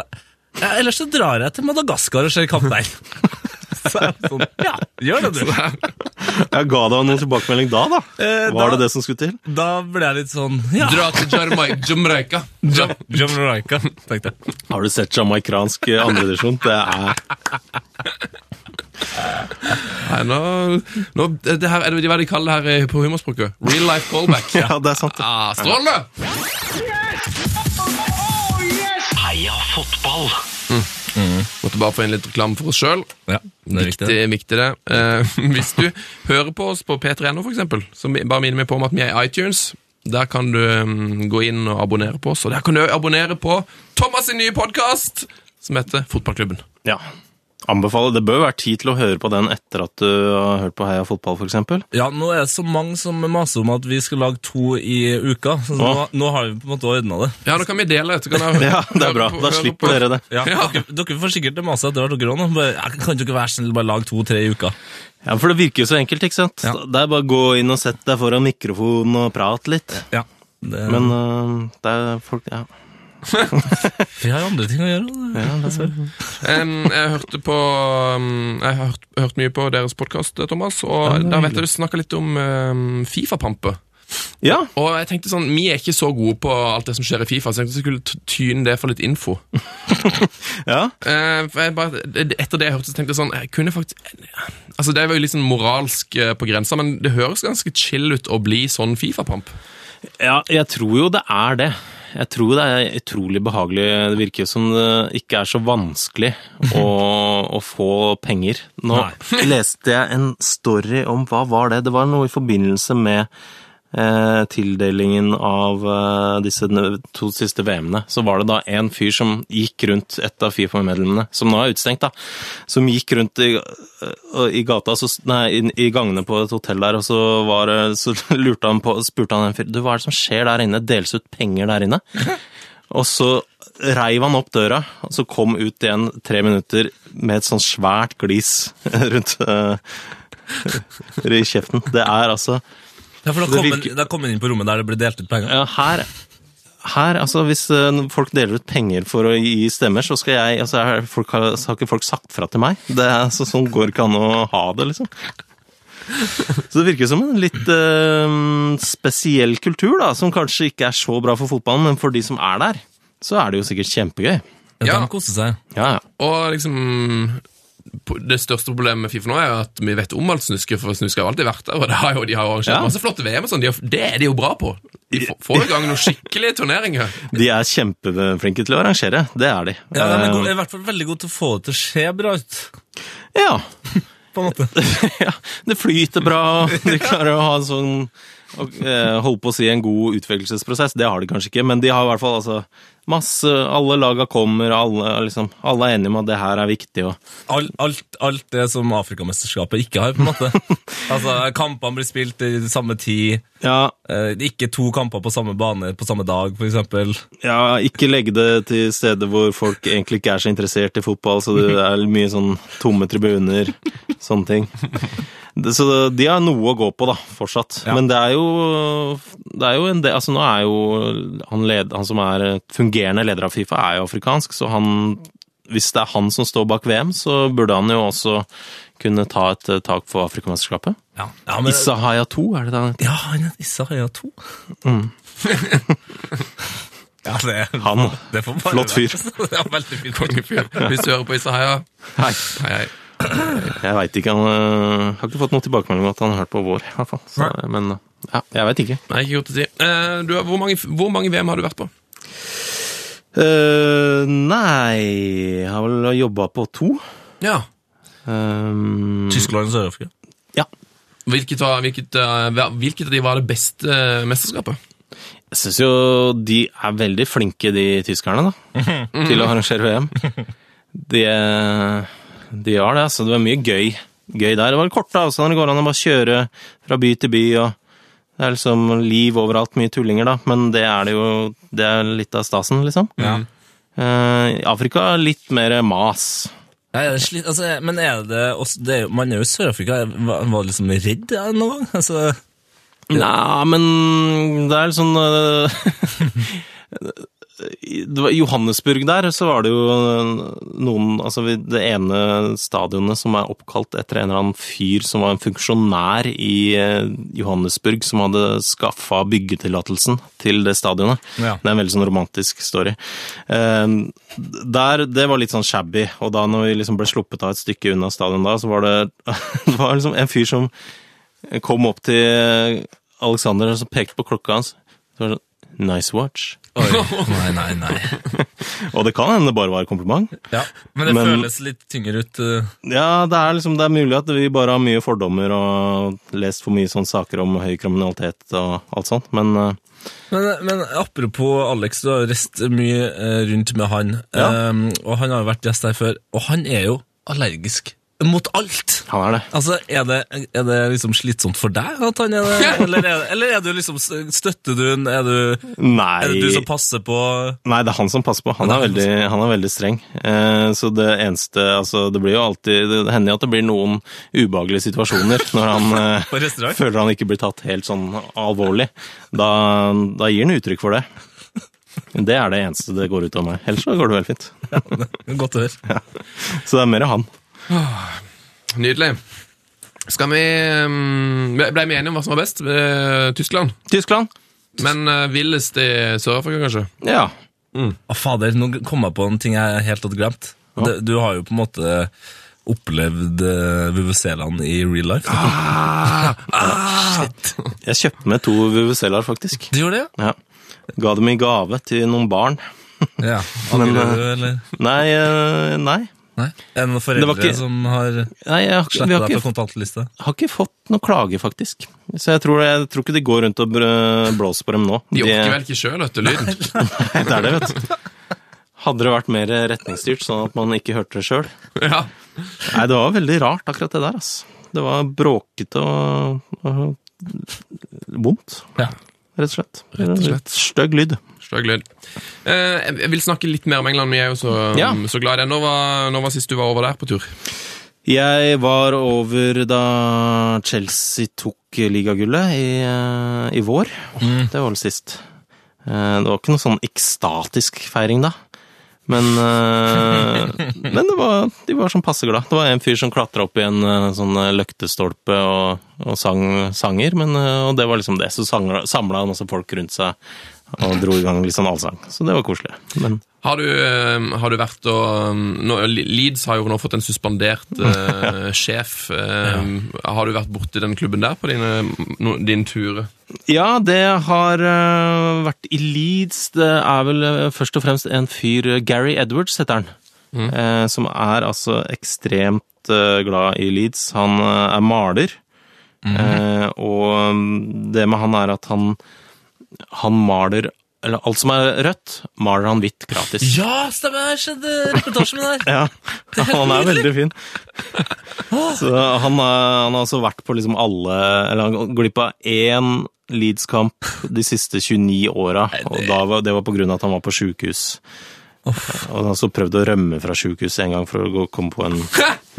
ja, Ellers så drar jeg til Madagaskar og ser kamp der. Så jeg var sånn, ja, gjør det, du.
Jeg ga deg noen tilbakemelding da, da.
Eh,
Var
da-
det det som skulle til?
Da ble jeg litt sånn Ja,
Dra til Jarmai- Jamaica. Ja.
Jamaica, tenkte jeg.
Har du sett jamaicansk andredivisjon? Det er
Nei, nå, nå det her, er det Hva er det de kaller det her på humorspråket? Real life callback.
Ja, det er sant. det.
Ah, Strålende!
Heia fotball!
Mm.
Måtte bare få inn litt reklame for oss sjøl.
Ja, det er
Det
riktig.
er viktig, det. Eh, hvis du hører på oss på P3NO, for eksempel, så mi- bare minner vi på om at vi er i iTunes. Der kan du mm, gå inn og abonnere på oss. Og der kan du også abonnere på Thomas' sin nye podkast, som heter Fotballklubben.
Ja. Anbefaler. Det bør være tid til å høre på den etter at du har hørt på Heia fotball, f.eks.
Ja, nå er det så mange som maser om at vi skal lage to i uka, så nå, nå har vi på en måte ordna det.
Ja, nå kan vi dele dette. Kan jeg,
Ja, det er bra. Da slipper dere det.
Ja,
Ja.
Dere, dere får sikkert mase etter hvert, dere òg. Kan ikke dere være snill og bare lage to-tre i uka?
Ja, For det virker jo så enkelt, ikke sant?
Ja.
Det er bare å gå inn og sette deg foran mikrofonen og prate litt.
Ja. Det,
Men øh, det er folk Ja.
vi har andre ting å gjøre. da.
Em, jeg hørte på em, Jeg har hørt, hørt mye på deres podkast, Thomas, og der vet jeg du snakka litt om em, Fifa-pampe.
ja.
Og jeg tenkte sånn, Vi er ikke så gode på alt det som skjer i Fifa, så jeg tenkte jeg skulle t- tyne det for litt info.
ja.
Eh, for jeg bare, etter det jeg hørte, så tenkte jeg sånn jeg kunne faktisk, Altså, Det var jo litt sånn moralsk eh, på grensa, men det høres ganske chill ut å bli sånn Fifa-pamp.
Ja, jeg tror jo det er det. Jeg tror det er utrolig behagelig. Det virker som det ikke er så vanskelig å, å få penger. Nå leste jeg en story om hva var det? Det var noe i forbindelse med eh, tildelingen av eh, disse n- to siste VM-ene. Så var det da en fyr som gikk rundt et av Fifa-medlemmene, som nå er utestengt, da, som gikk rundt i, eh, i gata, så, s- nei, i, i gangene på et hotell der, og så, var, det- så lurte han på, spurte han en fyr, du, hva er det som skjer der inne? Deles ut penger der inne? Og så reiv han opp døra, og så kom ut igjen tre minutter med et sånn svært glis rundt eh, i kjeften. Det er altså
Ja, for da
Det
kom,
virker-
en, da kom en inn på rommet der det ble delt ut penger.
ja, her, her, altså hvis eh, folk deler ut penger for å gi stemmer, så skal jeg, altså her, folk har, så har ikke folk sagt fra til meg. Det er, så, sånn går ikke an å ha det, liksom. Så det virker som en litt eh, spesiell kultur, da, som kanskje ikke er så bra for fotballen, men for de som er der, så er det jo sikkert kjempegøy.
Ja.
Ja.
De koser seg.
Ja, ja.
Og liksom po- det største problemet med Fifa nå er jo at vi vet om alt snusket, for snusket har jo alltid vært der. Og det har jo, de har jo arrangert
Ja.
masse flotte VM og sånn. De har, det er de jo bra på. De får- får i gang noen skikkelige turneringer.
De er kjempeflinke til å arrangere, det er de.
Ja, de er,
Eh,
gode, i hvert fall veldig gode til å få det til å se bra ut.
Eh, ja.
På en måte.
ja, det flyter bra, og de klarer å ha en sånn og, eh, Holdt på å si en god utvelgelsesprosess, det har de kanskje ikke, men de har i hvert fall altså masse Alle laga kommer, og alle, liksom, alle er enige om at det her er viktig, og
Alt, alt, alt det som Afrikamesterskapet ikke har, på en måte. Altså, Kampene blir spilt i samme tid.
ja,
eh, Ikke to kamper på samme bane på samme dag, for eksempel.
ja, ikke legg det til steder hvor folk egentlig ikke er så interessert i fotball, så det er mye sånn tomme tribuner, sånne ting. Det- Så det- de har noe å gå på, da, fortsatt. Men det er jo Det er jo en del Altså, nå er jo han, led, han som er fungerende leder av Fifa, er jo afrikansk, så han Hvis det er han som står bak VM, så burde han jo også kunne ta et eh, tak for Afrikamesterskapet.
Ja, ja men...
Issa Haya 2, er det det han heter?
Ja, han er Issa Haya 2.
Mm.
ja, det er...
Han.
Det får bare
Flott
være.
fyr.
ja, veldig fin
Kongefyr. Hvis du hører på Issa Heia.
Hei.
Hei, hei.
Jeg veit ikke. Han øh, har ikke fått noen tilbakemelding om at han har hørt på vår. I hvert fall. Så, men øh, ja, jeg veit ikke.
Nei, ikke godt å si. Eh, du, har- hvor, mange, hvor mange VM har du vært på?
Eh, nei Jeg har vel jobba på to.
Ja.
Ehm,
Tyskland og Sør-Afrika.
ja.
Hvilket, var, hvilket, eh, hver- hvilket av de var det beste eh, mesterskapet?
Jeg syns jo de er veldig flinke, de tyskerne, da. Til å arrangere VM. De, eh, de har det, altså. Det var mye gøy. Gøy der. Det var korte avstander. Det går an å bare kjøre fra by til by. og Det er liksom liv overalt. Mye tullinger, da. Men det er det jo Det er litt av stasen, liksom. Eh, I Afrika litt mer mas.
Nei, det er slitt, altså, men er det, også, det er, jo- Man er jo i Sør-Afrika. Var, var liksom redd ja, noen gang? Altså,
Nei, men det er litt sånn eh, i- det var- Johannesburg der, så var det jo noen Altså ved det ene stadionet som er oppkalt etter en eller annen fyr som var en funksjonær i eh, Johannesburg, som hadde skaffa byggetillatelsen til det stadionet.
Ja.
Det er en veldig sånn romantisk story. Eh, Der, det var litt sånn shabby, og da når vi liksom ble sluppet av et stykke unna stadion da, så var det, det var liksom en fyr som kom opp til Alexander og så pekte på klokka hans. Så var det sånn, nice watch.
oi, nei, nei, nei.
Og det kan hende det bare var kompliment.
Ja, men det
Men-
føles litt tyngre ut. eh.
Ja, det er liksom, det er mulig at vi bare har mye fordommer og lest for mye sånne saker om høy kriminalitet og alt sånt, men eh,
Men, men apropos Alex, du har reist mye eh, rundt med han.
Ja.
Ehm, og han har jo vært gjest her før, og han er jo allergisk mot alt.
han er det.
Altså, Er det, er det liksom slitsomt for deg at han er det? Eller, er, eller er du liksom, støtter du han? Er, du-
Nei.
er det du som passer på
Nei, det er han som passer på. Han er
Det er han
veldig, han er veldig streng. Eh, så det eneste altså, Det blir jo alltid Det hender jo at det blir noen ubehagelige situasjoner når han eh,
på restaurant?
føler han ikke blir tatt helt sånn alvorlig. Da, da gir han uttrykk for det. Det er det eneste det går ut av meg. Ellers så går det veldig fint.
Godt å høre.
Så det er mer han.
Nydelig. Skal vi um, Ble ble vi enige om hva som var best? Eh, Tyskland?
Tyskland?
Men uh, villest i Sør-Afrika, kanskje?
Ja.
Å, fader, nå kom jeg på en ting jeg helt hadde glemt. Det, du har jo på en måte opplevd eh, VVC-land i real life.
Ah. Jeg kjøpte med to VVC-er, faktisk.
Du gjorde det, ja?
Ja. Ga dem i gave til noen barn.
Ja,
Men,
Angrer
eh,
du, eller?
Nei, eh, nei.
Nei. Er det noen
Det
foreldre
var ikke-
som har
nei jeg har, ikke- vi
sletta
har
deg
ikke
på kontantlista?
har ikke fått noen klage, faktisk. Så jeg tror, jeg tror ikke de går rundt og brø- blåser på dem nå.
De orker vel ikke sjøl, vet du, lyden.
Nei, Det er det, vet du. Hadde det vært mer retningsstyrt, sånn at man ikke hørte det sjøl.
Ja.
Nei, det var veldig rart, akkurat det der, ass. Det var bråkete og, og vondt,
Ja.
rett og slett.
Rett og slett.
Litt Stygg lyd.
Stygg lyd. Eh, jeg- jeg vil snakke litt mer om England. Vi er jo så,
Ja.
så glad i det. Når var, når var sist du var over der på tur?
Jeg var over da Chelsea tok ligagullet i, eh, i vår. Det var vel sist. Eh, Det var ikke noe sånn ekstatisk feiring da. Men, eh, men det var, de var sånn passe glad. Det var en fyr som klatra opp i en eh, sånn eh, løktestolpe og, og sang sanger, men, eh, og det var liksom det. Så samla masse folk rundt seg og dro i gang litt sånn allsang. Så det var koselig. Men
Har du, eh, har du vært og ehm, nå, Leeds har jo nå fått en suspendert eh, sjef. Eh, Har du vært borti den klubben der på dine, no, din tur?
Ja, det har øh, vært i Leeds. Det er vel øh, først og fremst en fyr øh, Gary Edwards heter han. eh, som er altså ekstremt øh, glad i Leeds. Han øh, er maler. eh, og øhm, det med han er at han, han maler Eller alt som er rødt, maler han hvitt gratis.
Ja, stemmer! Jeg skjedde reportasjen min her!
Ja, han er veldig fin. Så han, er, han har altså vært på liksom alle Eller han går glipp av én Leeds-kamp de siste 29 åra. Og da var, det var på grunn av at han var på sjukehus. Og han har også prøvd å rømme fra sjukehuset en gang for å gå, komme på en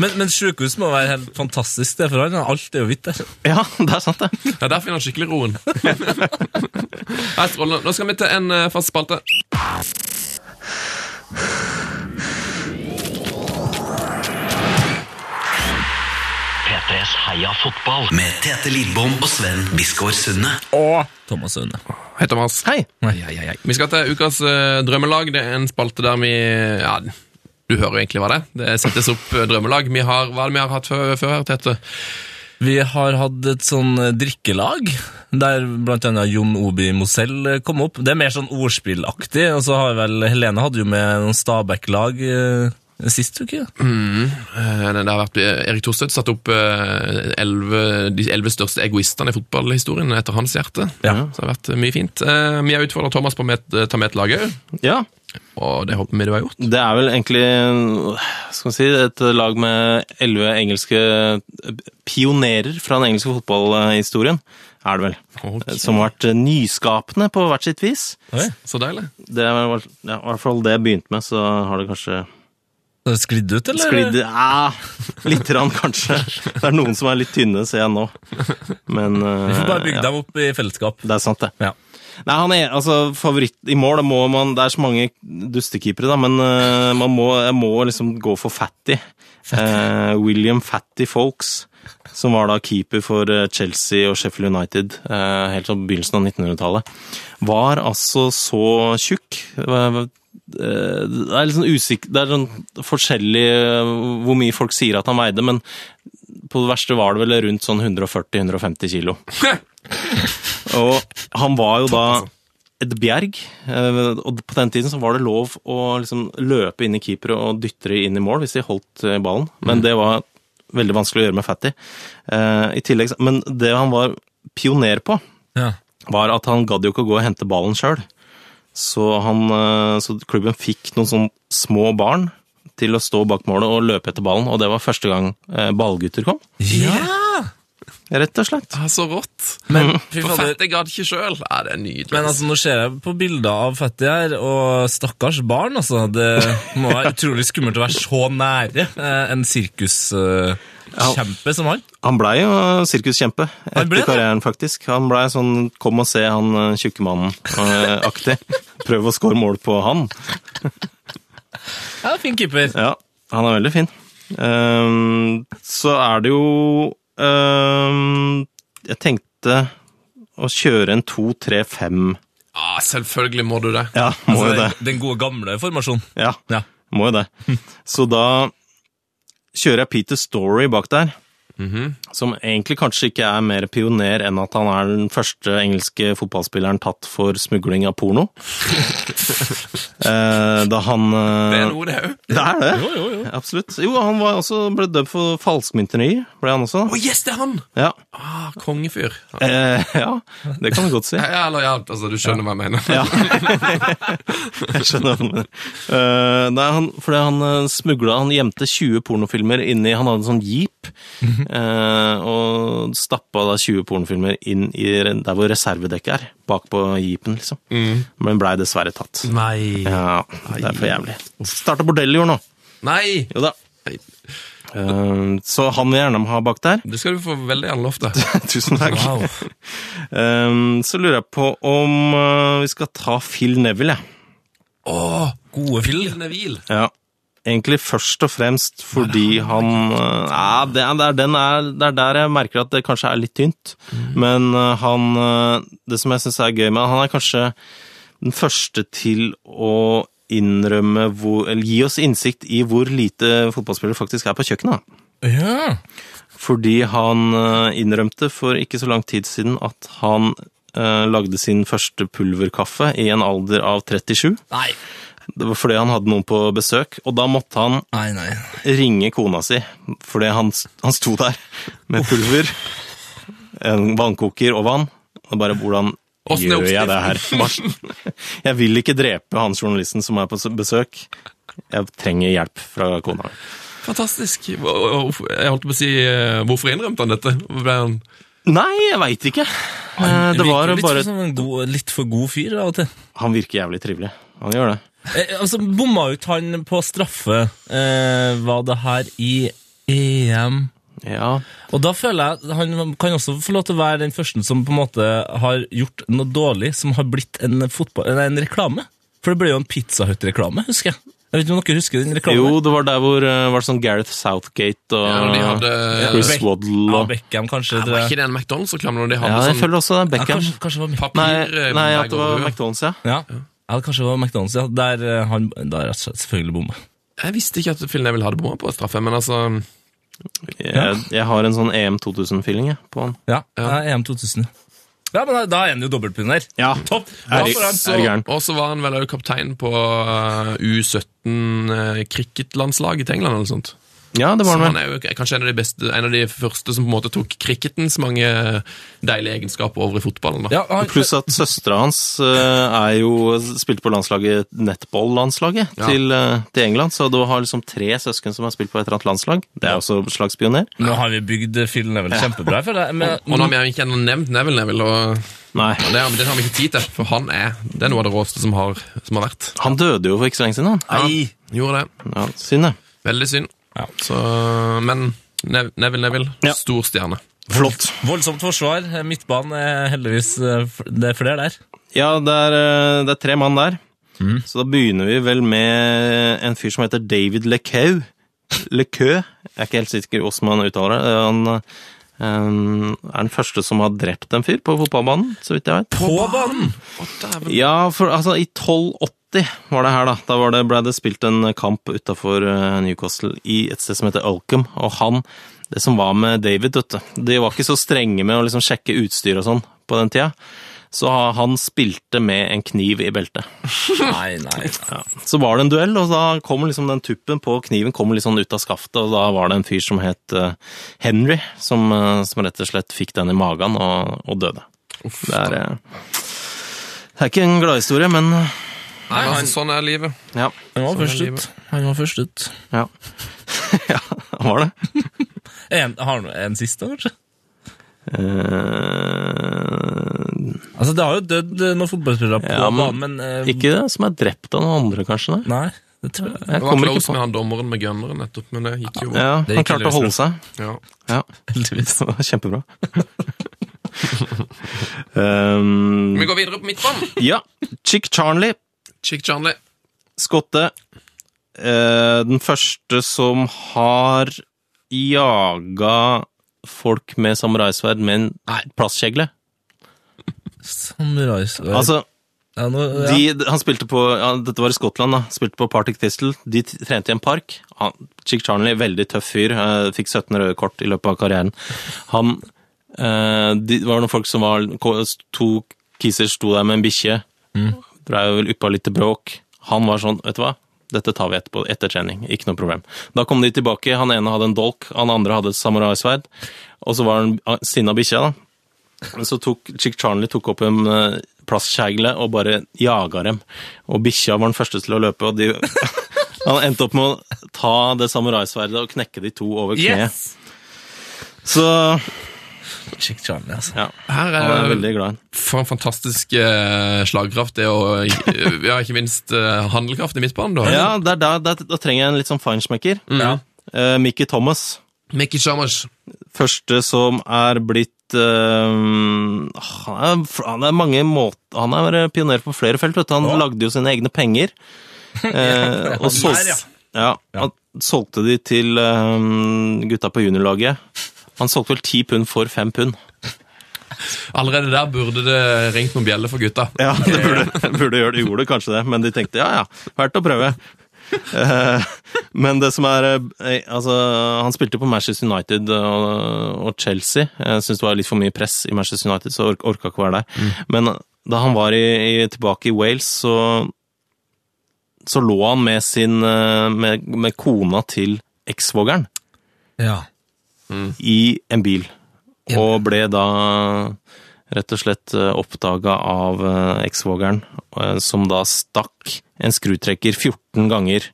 Men, men sjukehus må være helt fantastisk, det, for han har alt er jo hvitt der.
Ja, det er sant, det.
Ja, Der finner han skikkelig roen. Ja, strålende. Nå skal vi til en eh, fast spalte.
P3s Heia fotball med Tete Lidbom og Sven Biskår Sunne.
Thomas Aune.
Hei, Thomas.
Hei!
Vi skal til ukas eh, drømmelag. Det er en spalte der vi Ja, du hører jo egentlig hva det er. Det settes opp eh, drømmelag. Vi har, hva er det vi har hatt før, før her, Tete?
Vi har hatt et sånn eh, drikkelag, der blant annet Jon Obi Mosell eh, kom opp. Det er mer sånn ordspillaktig, og så har vel Helene hadde jo med noen Stabæk-lag eh, sist uke. ja.
Eh, Det har vært Erik Thorstvedt satt opp eh, 11 de elleve største egoistene i fotballhistorien etter hans hjerte.
Ja.
Så det har vært eh, mye fint. Eh, Vi har utfordret Thomas på å med- eh, ta med et lag òg,
Ja,
og det håper vi du har gjort.
det er vel egentlig skal man si, et lag med elleve engelske pionerer fra den engelske fotballhistorien, er det vel.
Ok.
Som har vært nyskapende på hvert sitt vis.
Oi.
Så deilig.
Det var ja, i hvert fall det jeg begynte med, så har det kanskje
Har det Sklidd ut, eller?
Sklidd ja, Litt rann, kanskje. Det er noen som er litt tynne, ser jeg nå. Men eh,
Vi får bare bygge
ja,
dem opp i fellesskap.
det er sant, det.
Ja.
Nei, han er altså favoritt i mål. Da må man, det er så mange dustekeepere, da, men eh, man må, jeg må liksom gå for Fatty. Eh, William Fatty Folks, som var da keeper for eh, Chelsea og Sheffield United eh, helt fra begynnelsen av 1900-tallet, var altså så tjukk. eh, eh, Det er litt sånn usik- Det er sånn forskjellig eh, hvor mye folk sier at han veide, men på det verste var det vel rundt sånn 140-150 kilo. Og han var jo da et bjerg, eh, og på den tiden så var det lov å liksom løpe inn i keepere og dytte de inn i mål hvis de holdt eh, ballen, men det var veldig vanskelig å gjøre med Fatty. Eh, I tillegg, så- men det han var pioner på,
Ja.
var at han gadd jo ikke å gå og hente ballen sjøl. Så, han, eh, så klubben fikk noen sånn små barn til å stå bak målet og løpe etter ballen, og det var første gang eh, ballgutter kom,
Ja!
rett og slett.
Ah, så rått.
Men, fy
For
fader,
fett, jeg gadd ikke sjøl. Ja, det er nydelig.
Men altså, nå ser jeg på bilder av Fatty her, og stakkars barn, altså. Det må være utrolig skummelt å være så nære eh, en sirkuskjempe som han.
Han blei jo sirkuskjempe
Han ble
etter
det?
karrieren, faktisk. Han blei sånn 'kom og se han eh, tjukke mannen'-aktig. Prøv å score mål på han.
Ja, fin keeper.
Ja, han er veldig fin. Ehm, så er det jo ehm, Jeg tenkte å kjøre en 2-3-5.
ah, selvfølgelig må du det.
Ja, må jo
Altså,
det.
Den gode gamle formasjonen.
Ja,
Ja.
må jo det. Så da kjører jeg Peter Story bak der.
Mhm.
Som egentlig kanskje ikke er mer pioner enn at han er den første engelske fotballspilleren tatt for smugling av porno. eh, da han
Det
eh,
er noe, det òg.
Det er det!
Jo, jo, jo.
Absolutt. Jo, han var også, ble dømt for falskmynteri, ble han også.
Å, yes, det er han!
Ja.
Ah, kongefyr. Ja.
Eh, ja, det kan du godt si.
Ja, eller, ja, altså, du skjønner hva jeg mener.
Ja. jeg skjønner hva du mener. Eh, nei, han, fordi han eh, smugla Han gjemte 20 pornofilmer inni Han hadde en sånn jeep, eh, og stappa da 20 pornofilmer inn i re- der hvor reservedekket er. Bak på jeepen, liksom. Men blei dessverre tatt.
Nei.
Ja, det er for jævlig. Starta bordell i år nå.
Nei!
Jo da. Eh, så han vil jeg gjerne ha bak der.
Det skal du få veldig gjerne lov til.
Tusen takk.
Wow.
Eh, så lurer jeg på om eh, vi skal ta Phil Neville, jeg.
Åh,
Gode film.
Neville.
Ja. Egentlig først og fremst fordi han eh, Ja, det er, det, er, den er, det er der jeg merker at det kanskje er litt tynt. Men eh, han eh, Det som jeg syns er gøy med han, han er kanskje den første til å innrømme hvor, Eller gi oss innsikt i hvor lite fotballspillere faktisk er på kjøkkenet. da.
Ja.
Fordi han eh, innrømte for ikke så lang tid siden at han eh, lagde sin første pulverkaffe i en alder av 37.
Nei.
Det var fordi han hadde noen på besøk, og da måtte han
Nei, nei.
ringe kona si, fordi han, han sto der med pulver, en vannkoker og vann, og bare hvordan
Åssen er
gjør jeg det her?
oppskriften?
Hva- Jeg vil ikke drepe han journalisten som er på s- besøk. Jeg trenger hjelp fra kona.
Fantastisk. Og- og- og- Jeg holdt på å si eh, Hvorfor innrømte han dette? Hvorfor ble han
Nei, jeg veit ikke. Eh, Det
Virker
var
litt
bare
som en god, litt for god fyr av og til.
Han virker jævlig trivelig. Han gjør det.
Eh, altså, bomma ut han på straffe, eh, var det her i E EM
Ja,
Og da føler jeg Han kan også få lov til å være den første som på en måte har gjort noe dårlig, som har blitt en, fotball, nei, en reklame. For det ble jo en Pizza Hut-reklame, husker jeg. Jeg vet ikke om dere husker den reklamen?
jo, det var der hvor eh, var det sånn Gareth Southgate og
Ja, når de hadde eh,
Chris
Beck-
Waddle
Ja,
og
Beckham, kanskje.
Ja,
tror
Var
jeg.
ikke det en McDonald's-reklame når de hadde
Ja, jeg
sånn
føler også det er
Ja,
Beckham.
kanskje, kanskje det var Mc-
papir
Nei,
eh,
nei, at det var
bagger?
McDonald's, ja.
ja. ja, kanskje det var McDonald's, ja. Der eh, han der er selvfølgelig bomma.
Jeg visste ikke at Phil Neville hadde bomma på straffe, men altså
Jeg, jeg har en sånn EM 2000-feeling jeg, på han.
Ja, det er EM 2000. Ja, men da, da er han jo dobbeltpinner.
Ja.
Topp!
Er
Bra
det-
for han.
er det gæren?
Og så var han vel òg kaptein på eh, U17-cricketlandslaget til England. eller noe sånt.
Ja, det
Så
var han
han
vel.
er jo kanskje en av, de beste, en av de første som på en måte tok cricketens mange deilige egenskaper over i fotballen. da.
Ja, han,
Pluss at søstera hans eh, er jo spilte på landslaget, nettball-landslaget
Ja.
til, eh, til England, så du har liksom tre søsken som har spilt på et eller annet landslag. Det er også en slags pioner.
nå har vi bygd Phil Neville kjempebra, føler jeg. Men,
Og nå har vi jo ikke ennå nevnt Neville Neville, og
Nei.
det har, det har vi ikke tid til, for han er det er noe av det råeste som har, som har vært.
Han døde jo for ikke så lenge siden, han.
Gjorde det.
Ja, synd det.
Veldig synd.
Ja.
Så, men Nev- Neville Neville,
Ja.
stor stjerne.
Flott.
Voldsomt forsvar. eh, Midtbanen er heldigvis eh, f- Det er flere der.
Ja, det er, eh, det er tre mann der.
Mm.
Så da begynner vi vel med en fyr som heter David Lecau. Lecau. Jeg er ikke helt sikker hvordan man uttaler det. Eh, Han eh, er den første som har drept en fyr på fotballbanen, så vidt jeg vet.
På banen!
Ja, for altså, i 1280 var det her, da. Da var det, ble det spilt en kamp utafor Newcastle i et sted som heter Olcum, og han Det som var med David, vet du De var ikke så strenge med å liksom sjekke utstyr og sånn på den tida. Så han spilte med en kniv i beltet.
Nei, nei. nei.
Så var det en duell, og da kom liksom den tuppen på kniven kom litt sånn ut av skaftet, og da var det en fyr som het eh, Henry, som, eh, som rett og slett fikk den i magen og, og døde. det, er, eh, det er ikke en gladhistorie, men
Nei, altså, sånn er livet.
ja.
Han var først
er
ut. Han var først ut.
Ja, ja var det?
En, har han en siste, kanskje?
Eh,
Altså, det har jo dødd eh, noen fotballspillere på
Ja, men-
banen, men eh,
ikke det som er drept av noen andre, kanskje? Nei.
Nei, det tror jeg.
Jeg
Det var
kommer ikke
close
på.
med han dommeren med gunneren nettopp, men det gikk jo bra.
Ja,
Det
han
gikk
klarte å
heldigvis
holde seg.
Ja.
Ja,
Heldigvis.
det var kjempebra. um,
Vi går videre på midtbanen.
ja, Chick Charnley
Chick Charnley.
Skotte. Eh, den første som har jaga folk med samuraisverd med en plastkjegle.
Samuraisverd
Altså,
ja, nå, ja.
de, han spilte på ja, Dette var i Skottland, da. Spilte på Partick Thistle. De t- trente i en park. Han, Chick Charnley, veldig tøff fyr. eh, fikk 17 røde kort i løpet av karrieren. Han eh, de, Det var noen folk som var ko- To kisser sto der med en bikkje. Dreiv og vel yppa litt til bråk. Han var sånn, vet du hva? Dette tar vi etterpå, etter trening. Ikke noe problem. Da kom de tilbake. Han ene hadde en dolk, han andre hadde et samuraisverd. Og så var han ah, sinna bikkja, da. Så tok Chick Charnley tok opp en eh, plastkjegle og bare jaga dem. Og bikkja var den første til å løpe, og de Han endte opp med å ta det samuraisverdet og knekke de to over kneet.
Yes!
Så
Chick Charlie, altså.
ja,
Her
han var
er
jeg
det
veldig glad i.
for en fantastisk eh, slagkraft, det og eh, ja, ikke minst eh, handelkraft i midtbanen. Da.
Ja, der, der, der, da trenger jeg en litt sånn feinschmecker.
Ja.
Eh, Mickey Thomas.
Mickey Chalmers.
Første som er blitt eh, han, er, han er mange måter Han er eh, pioner på flere felt, vet du. Han lagde jo sine egne penger. eh, og sol
Der, ja.
ja, han solgte de til eh, gutta på juniorlaget. Han solgte vel ti pund for fem pund.
Allerede der burde det ringt noen bjeller for gutta.
Ja, det burde, burde gjøre det. De Gjorde kanskje det, men de tenkte ja, ja, verdt å prøve. Eh, Men det som er eh, altså, Han spilte på Manchester United og, og Chelsea. Jeg syns det var litt for mye press i Manchester United, så ork orka ikke å være der. Men da han var i, i, tilbake i Wales, så, så lå han med, sin, eh, med, med kona til eksvogeren
Ja.
i en bil. Og ble da rett og slett oppdaga av eh, eksvogeren, eh, som da stakk en skrutrekker 14 ganger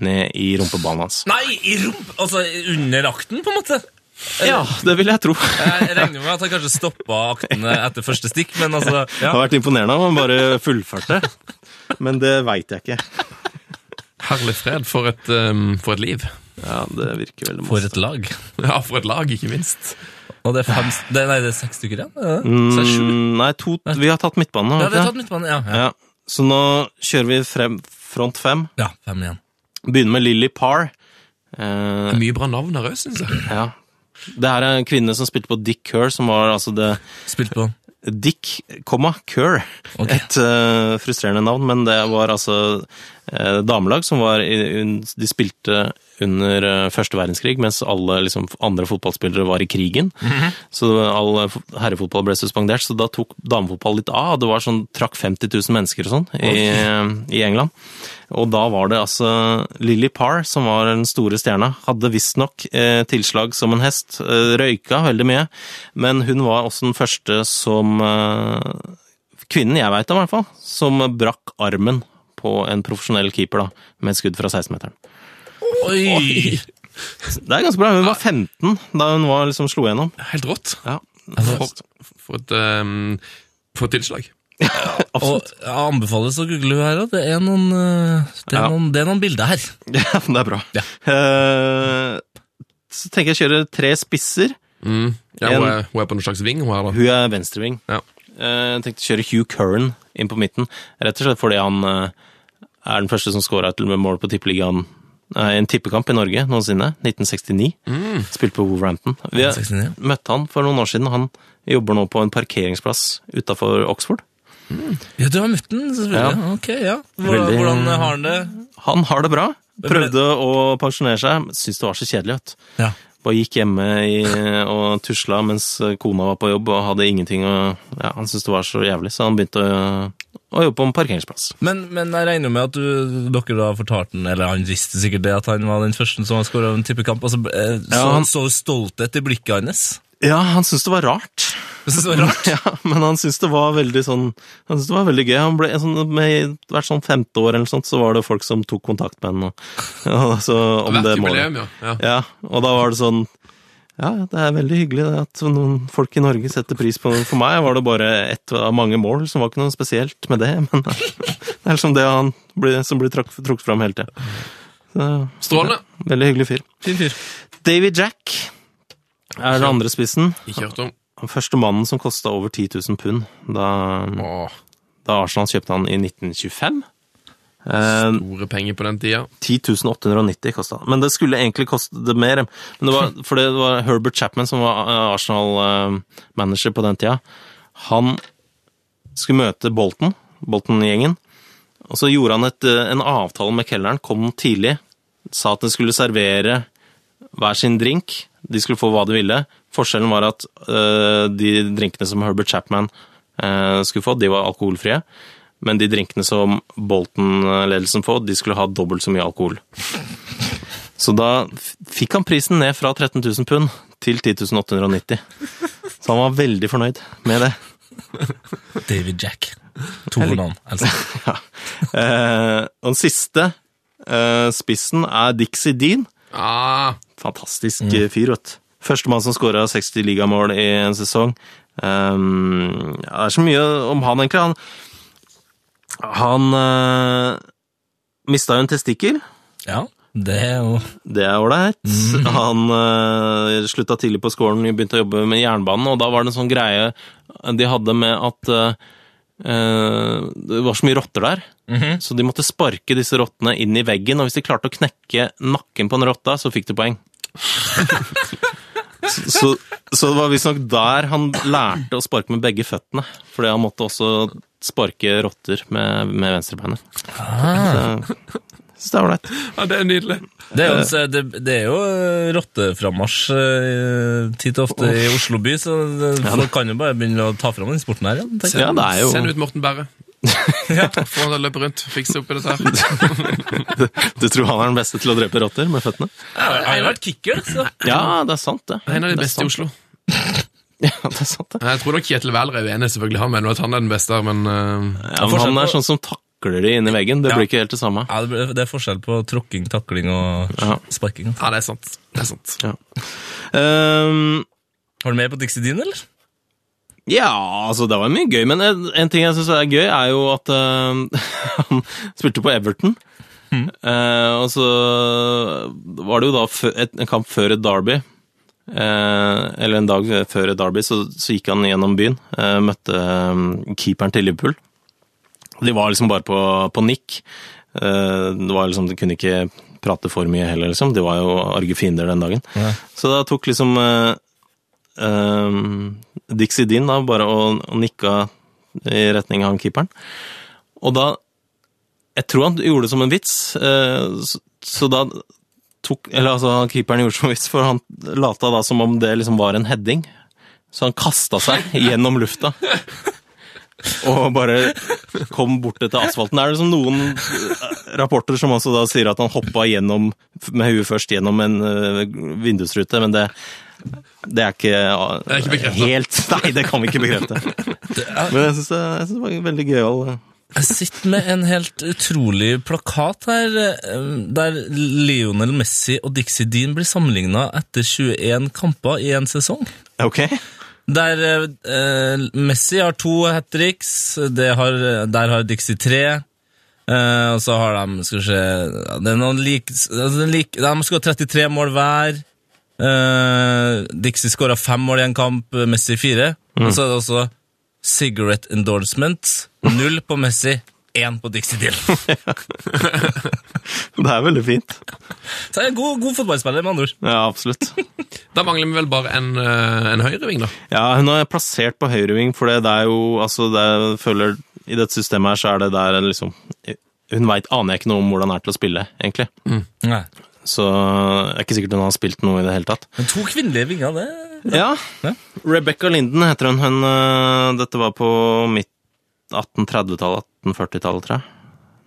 ned i rumpeballen hans.
Nei, i rump... Altså, under akten, på en måte. Eh,
Ja, det vil jeg tro. Det
Jeg regner med at han kanskje stoppa akten eh, etter første stikk, men altså ja.
har vært imponerende om han bare fullførte. Men det veit jeg ikke.
Herlig fred for et, eh, for et liv.
Ja, det virker veldig
For et lag.
Ja, for et lag, ikke minst.
Og det er, fem, s- det, nei, det er seks stykker igjen? er det? Så er det sju.
Mm, Nei, to, vi har tatt midtbanen nå.
Ja,
har
det
vi
er
ikke
tatt midtbanen. Ja, ja.
Ja, så nå kjører vi frem front fem.
ja, fem igjen.
Begynner med Lilly Parr. Eh,
Mye bra navn her òg, syns jeg.
Ja. Det her er en kvinne som spilte på Dick Kerr, som var altså det
Spilt på.
Dick, komma, Kerr.
Ok.
Et eh, frustrerende navn, men det var altså eh, damelag som var i, un, De spilte under eh, første verdenskrig, mens alle liksom, andre fotballspillere var i krigen. Så all fo- herrefotball ble suspendert, så da tok damefotball litt av. og Det var sånn, trakk 50 000 mennesker og sånn i, i England. Og da var det altså Lily Parr som var den store stjerna. Hadde visstnok eh, tilslag som en hest. Eh, røyka veldig mye. Men hun var også den første som eh, Kvinnen jeg veit om, i hvert fall. Som brakk armen på en profesjonell keeper da, med et skudd fra 16-meteren.
Oi!
Det er ganske bra. Hun var 15 da hun var, liksom, slo gjennom.
Helt rått.
Ja.
For, for, et, eh, for et tilslag.
Og jeg anbefales å google hun her òg. Det, er noen, eh, det, er
Ja.
noen- det er noen bilder her.
Ja, men det er bra. Eh, så tenker jeg å kjøre tre spisser.
Mm. Ja, hun,
En-
er, hun er på noen slags ving, hun her, da.
Hun er venstreving.
Ja.
Eh, jeg tenkte å kjøre Hugh Curran inn på midten, rett og slett fordi han eh, er den første som scora til og med mål på tippeligaen eh, i en tippekamp i Norge noensinne. 1969. Spilte på Wolverhampton. Vi har
69, Mm. ja.
møtte han for noen år siden. og Han jobber nå på en parkeringsplass utafor Oxford.
Ja, du har møtt den, selvfølgelig. Ja. Ok, ja. Hvordan,
Veldig-
hvordan har han det?
Han har det bra.
Men-
Prøvde å pensjonere seg, syntes det var så kjedelig. Vet. du.
Ja.
Bare gikk hjemme i, og tusla mens kona var på jobb og hadde ingenting. Og, ja, han syntes det var så jævlig, så han begynte å, å jobbe på en parkeringsplass.
Men, men jeg regner med at du, dere da fortalte den, eller han visste sikkert det, at han var den første som har skåra en tippekamp. Altså, eh, så,
Ja, han-
så stolthet i blikket hans.
Ja, han syntes det var rart.
Jeg synes det var rart.
Ja, men han syntes det var veldig sånn Han syntes det var veldig gøy. Han ble, sånn, med, hvert sånn femte år eller sånt, så var det folk som tok kontakt med ham. Ja, så om
Hvert
det målet.
jubileum, ja. ja.
Ja, og da var det sånn Ja, det er veldig hyggelig det at noen folk i Norge setter pris på det. For meg var det bare ett av mange mål, som var ikke noe spesielt med det. Men det er liksom det han blir, som blir trakk- trukket fram hele tida.
Strålende.
Veldig hyggelig fyr.
Fin fyr.
Davy Jack er den andre spissen.
Ikke hørt om.
Den første mannen som kosta over 10 000 pund da,
Åh,
da Arsenal kjøpte han i 1925. Eh,
store penger på den tida.
10.890 kosta Men det skulle egentlig koste det mer. Men det var, for det var Herbert Chapman som var eh, Arsenal-manager på den tida. Han skulle møte Bolton, Bolton-gjengen. Og så gjorde han et, eh, en avtale med kelneren, kom tidlig, sa at den skulle servere hver sin drink. De skulle få hva de ville. Forskjellen var at eh, de drinkene som Herbert Chapman eh, skulle få, de var alkoholfrie. Men de drinkene som Bolton-ledelsen får, de skulle ha dobbelt så mye alkohol. Så da f- fikk han prisen ned fra 13 000 pund til 10 890. Så han var veldig fornøyd med det.
David Jack. To navn. Altså.
Eh, og den siste eh, spissen er Dixie Dean.
Ah,
Fantastisk eh, fyr, vet du. Førstemann som skåra 60 ligamål i en sesong. Ehm, ja, det er så mye om han, egentlig. Han, han eh, mista jo en testikkel.
Ja, det er jo
Det er ålreit. Han eh, slutta tidlig på skolen, begynte å jobbe med jernbanen, og da var det en sånn greie de hadde med at eh, eh, det var så mye rotter der, så de måtte sparke disse rottene inn i veggen, og hvis de klarte å knekke nakken på en rotta, så fikk de poeng. så, så, så det var visstnok der han lærte å sparke med begge føttene, fordi han måtte også sparke rotter med, med venstrebeinet. Så, jeg synes det er ålreit.
ja, det er nydelig.
Det er jo, så det, det er jo eh, rotteframmarsj eh, titt og ofte i Oslo by, så det, folk kan jo bare begynne å ta fram den sporten her. Ja, tenker jeg.
Ja, det er jo
Send ut Morten Berre. Få han til å løpe rundt, fikse opp i dette her.
Du tror han er den beste til å drepe rotter med føttene?
Jeg har jo vært kicker, altså. så
Ja, det er sant, det.
En av de
Det er
beste i
sant.
Oslo.
Ja, det er sant, det.
Jeg tror nok Kjetil Wæler er uenig, selvfølgelig. Han mener at han er den beste, men eh,
Ja, men han er sånn som takler de inni veggen. Det blir ikke helt det samme.
ja, det ble- det er forskjell på tråkking, takling og
Ja.
sparking. altså.
ja, det er sant. Det er sant.
Ehm,
Har du mer på Dixie Dean, eller?
ja, altså, det var mye gøy, men en, en ting jeg syns er gøy, er jo at ehm, han spilte på Everton. Eh, og så var det jo da fø- et, en kamp før et derby. Eh, eller en dag før et derby, så, så gikk han gjennom byen. eh, møtte eh, keeperen til Liverpool. De var liksom bare på, på nikk. Eh, det var liksom, De kunne ikke prate for mye heller, liksom. De var jo arge fiender den dagen. Så da tok liksom eh, eh, Dixie Dean da, bare og, og nikka i retning av han keeperen. Og da Jeg tror han gjorde det som en vits, eh, så, så da tok Eller altså, han keeperen gjorde det som en vits, for han lata da som om det liksom var en heading. Så han kasta seg gjennom lufta. Og bare kom bort til asfalten. Det er liksom noen eh, rapporter som også da sier at han hoppa gjennom, med huet først gjennom en eh, vindusrute, men det, det er ikke, eh,
Det er ikke bekreftet.
helt Nei, det kan vi ikke bekrefte. Men jeg syns det, jeg synes det var en veldig gøyal eh,
Jeg sitter med en helt utrolig plakat her, eh, der Lionel Messi og Dixie Dean blir sammenligna etter 21 kamper i en sesong.
eh, Ok?
Der eh, Messi har to hat tricks, det har, der har Dixie tre. Eh, og så har de Skal vi se ja, det er noen lik, altså, den lik, De skal ha 33 mål hver. Eh, Dixie skåra fem mål i en kamp, Messi fire.
Mm.
Og så er det også cigarette endorsements. Null på Messi, én på Dixie Dill. Så
Det er veldig fint.
det er en god, god fotballspiller, med andre ord.
Ja, absolutt.
Da mangler vi vel bare en, eh, en høyreving, da.
Ja, hun er plassert på høyreving, for det er jo altså, det er, jeg føler, I dette systemet her så er det der liksom Hun veit aner jeg ikke noe om hvordan det er til å spille, egentlig.
Nei.
Så det er ikke sikkert hun har spilt noe i det hele tatt.
Men to kvinnelige vinger, det
Ja.
Ja.
Rebecca Linden heter hun. hun øh, dette var på midt 1830-tallet, 1840-tallet, tror jeg.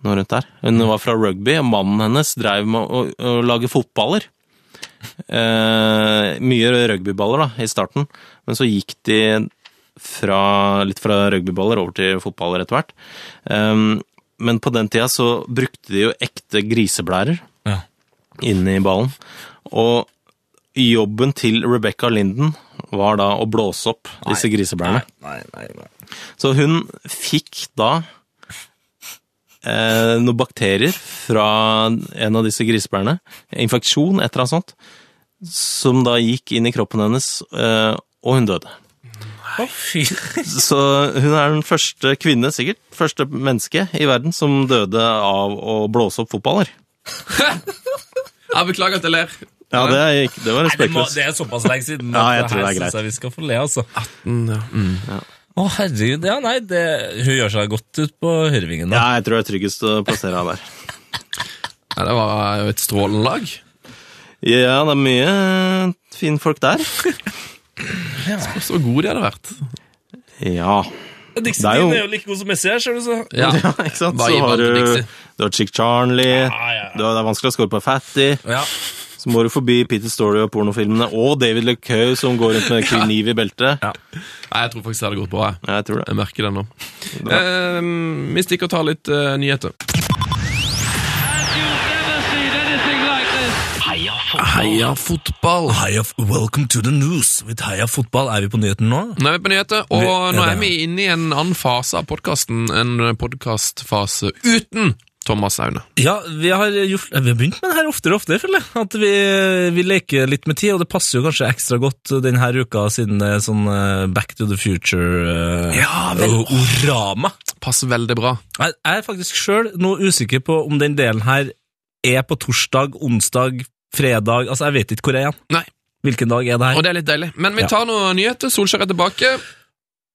Noe rundt der. Hun var fra rugby, og mannen hennes drev med å, å, å lage fotballer. Eh, mye rugbyballer da, i starten, men så gikk de fra, litt fra rugbyballer over til fotballer etter hvert. Ehm, men på den tida så brukte de jo ekte griseblærer
Ja.
inn i ballen. Og jobben til Rebecca Linden var da å blåse opp disse griseblærene.
Nei, nei, nei.
Så hun fikk da eh, noen bakterier fra en av disse griseblærene, infeksjon, et eller annet sånt, som da gikk inn i kroppen hennes, eh, og hun døde.
Å, fy.
Så hun er den første kvinne, sikkert, første menneske i verden som døde av å blåse opp fotballer.
Ja, beklager at jeg ler.
Ja, det, er ikke, det var
Nei, det, må,
respektløst.
det er såpass lenge siden.
Ja, jeg
at
tror det er
her synes
greit.
Jeg vi skal få le, altså.
Mm, ja. Mm.
Å, herregud. Ja, nei, det, hun gjør seg godt ut på høyrevingen. da.
Ja, jeg tror det er tryggest å plassere henne der.
ja, Det var jo et strålende lag.
Ja, det er mye finfolk der.
Så god de hadde vært.
Ja.
Dixie
det er
Dean
jo-
er jo like god som Messi her, ser du så.
Ja.
Ja, ikke sant?
Hva
Så
gir man
har
til
du,
Dixie?
du har Chick Charlie,
Ja, ja, ja.
Du har, det er vanskelig å score på Fatty,
Ja.
så må du forbi Peter Story og pornofilmene, og David LeCoe som går rundt med kniv i beltet.
Nei, jeg tror faktisk det hadde gått bra. Jeg,
Ja, jeg tror det.
jeg merker det nå. Eh, vi stikker og tar litt eh, nyheter.
Heia fotball.
Heia fotball!
Heia, welcome to the news with Heia Fotball. Er vi på nyheten nå?
Nå er vi på nyheter, og
Vi-
nå
ja, det
er vi inne i en annen fase av podkasten. En podkastfase uten Thomas Aune.
Ja, vi har, gjort, vi har begynt med det her oftere og oftere, føler jeg. At vi, vi leker litt med tid, og det passer jo kanskje ekstra godt denne uka, siden det er sånn eh, Back to the Future eh,
Ja,
og Orama.
Passer veldig bra.
Jeg jeg er faktisk sjøl noe usikker på om den delen her er på torsdag, onsdag, fredag Altså, jeg vet ikke hvor jeg er.
Nei.
Hvilken dag er det
Og
her?
det er litt deilig. Men vi
Ja.
tar noen nyheter. Solskjær er tilbake.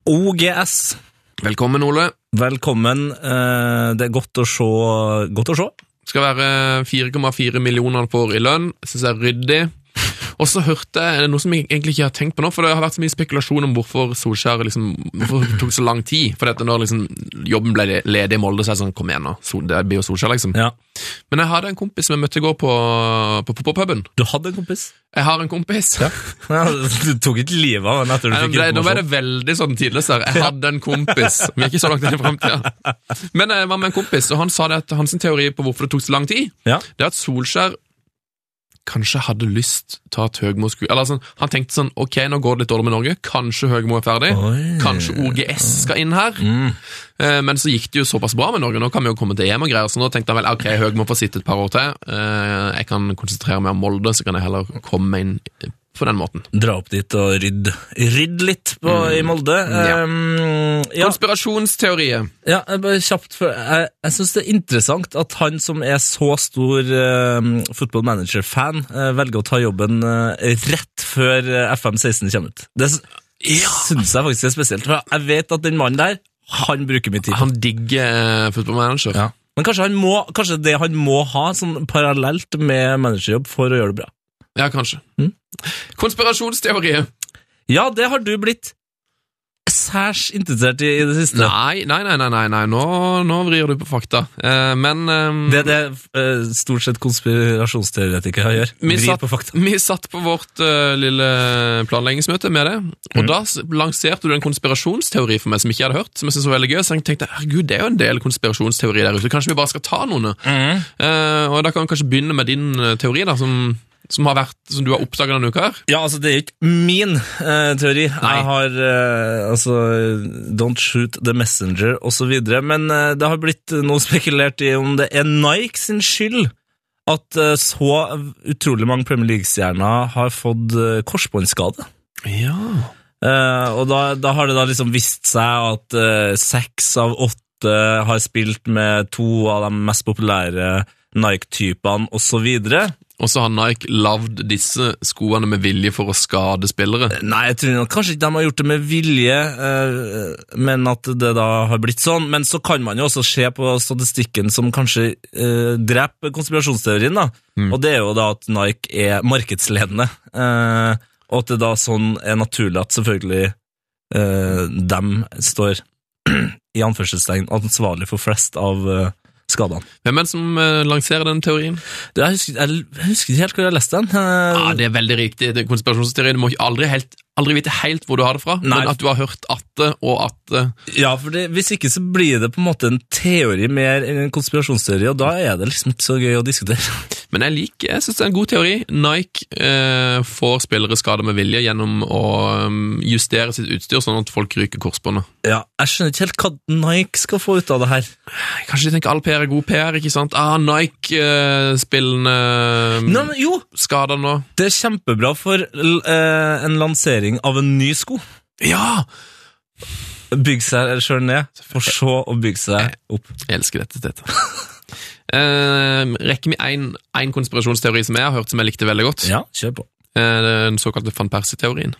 OGS.
Velkommen, Ole.
Velkommen. Eh, Det er godt å se. Godt å se.
Skal være 4,4 millioner for i lønn. Syns jeg er ryddig. Og så hørte jeg noe som jeg egentlig ikke har tenkt på nå, for det har vært så mye spekulasjon om hvorfor Solskjær liksom, hvorfor det tok så lang tid. For dette når liksom, jobben ble le- ledig i Molde, så er det sånn Kom igjen, nå. Sol- Det blir jo Solskjær, liksom.
Ja.
Men jeg hadde en kompis som jeg møtte i går på, på fotballpuben.
Du hadde en kompis?
Jeg har en kompis.
Ja, Du tok ikke livet av henne etter du
Nei,
fikk
ble, nå ble det
informasjon?
veldig sånn tidløst her. Jeg hadde en kompis. Vi er ikke så langt inn i fremtiden. Men jeg var med en kompis, og han sa det at hans teori på hvorfor det tok så lang tid,
Ja.
det er at Solskjær kanskje hadde lyst til at Høgmo skulle Eller sånn, han tenkte sånn Ok, nå går det litt dårlig med Norge. Kanskje Høgmo er ferdig.
Oi. Mm.
Kanskje OGS skal inn her. Eh, Men så gikk det jo såpass bra med Norge. Nå kan vi jo komme til EM og greier, så nå tenkte han vel ok, Høgmo får sitte et par år til. Eh, Jeg kan konsentrere meg om Molde, så kan jeg heller komme inn på den måten.
Dra opp dit og rydde Rydd litt på, i Molde.
Mm. Ja.
Um, ja.
Konspirasjonsteorier.
Ja, jeg bare kjapt før. Jeg, jeg syns det er interessant at han som er så stor uh, football manager-fan, eh, velger å ta jobben eh, rett før eh, FM16 kommer ut. Det s- syns jeg faktisk er spesielt. For jeg vet at den mannen der, han bruker mye tid. på det.
Han digger eh, fotballmanager.
Ja. Men kanskje, han må, kanskje det han må ha sånn parallelt med managerjobb for å gjøre det bra.
Ja, kanskje.
Mm.
Konspirasjonsteorier.
Ja, det har du blitt særs interessert i i det siste.
Nei, nei, nei, nei, nei, nei. Nå, nå vrir du på fakta. Eh, men eh,
Det er det eh, stort sett konspirasjonsteoretikere gjør.
vi,
Vrir
satt,
på fakta.
vi satt på vårt eh, lille planleggingsmøte med det, og
Mm.
da s- lanserte du en konspirasjonsteori for meg som ikke jeg hadde hørt, som jeg syntes var veldig gøy. Så jeg tenkte herregud, det er jo en del
Mm.
konspirasjonsteorier der ute, kanskje vi bare skal ta noen? nå?» Eh, og da kan vi kanskje begynne med din eh, teori, da, som som, har vært, som du har oppdaga denne uka? her?
Ja, altså, det er ikke min eh, teori. Jeg har eh, altså Don't shoot the messenger, osv. Men eh, det har blitt noe spekulert i om det er Nike sin skyld at eh, så utrolig mange Premier League-stjerner har fått eh, korsbåndskade.
Ja.
Eh, og da, da har det da liksom vist seg at eh, seks av åtte har spilt med to av de mest populære Nike-typene, osv.
Og så har Nike lagd disse skoene med vilje for å skade spillere.
Nei, jeg tror nok kanskje ikke de har gjort det med vilje, eh, men at det da har blitt sånn. Men så kan man jo også se på statistikken som kanskje eh, dreper konspirasjonsteorien, da. Og det er jo da at Nike er markedsledende, eh, og at det da sånn er naturlig at selvfølgelig eh, dem står i anførselstegn ansvarlig for flest av eh, skadene.
Hvem er det som eh, lanserer den teorien?
Du, Jeg husker, jeg husker ikke helt hvor jeg leste den. eh,
Ja, Det er veldig riktig. Det er Konspirasjonsteorien. Du må ikke aldri, helt, aldri vite helt hvor du har det fra,
Nei.
men at du har hørt at det, og at det
Ja, for det, hvis ikke så blir det på en måte en teori mer enn en konspirasjonsteori, og da er det liksom ikke så gøy å diskutere.
Men jeg liker, jeg synes det er en god teori. Nike eh, får spillere skade med vilje gjennom å um, justere sitt utstyr sånn at folk ryker korsbåndet.
Ja, Jeg skjønner ikke helt hva Nike skal få ut av det her.
Kanskje de tenker all PR er god PR, ikke sant? Ah, Nike-spillene
Nei, men Jo,
um, skader nå.
det er kjempebra for l- eh, en lansering av en ny sko.
Ja!
Bygg seg sjøl ned, for så å bygge seg opp.
Jeg elsker dette, Tete. Eh, rekker vi én konspirasjonsteori som jeg har hørt som jeg likte veldig godt?
Ja, kjør på.
Eh, den såkalte van Persie-teorien.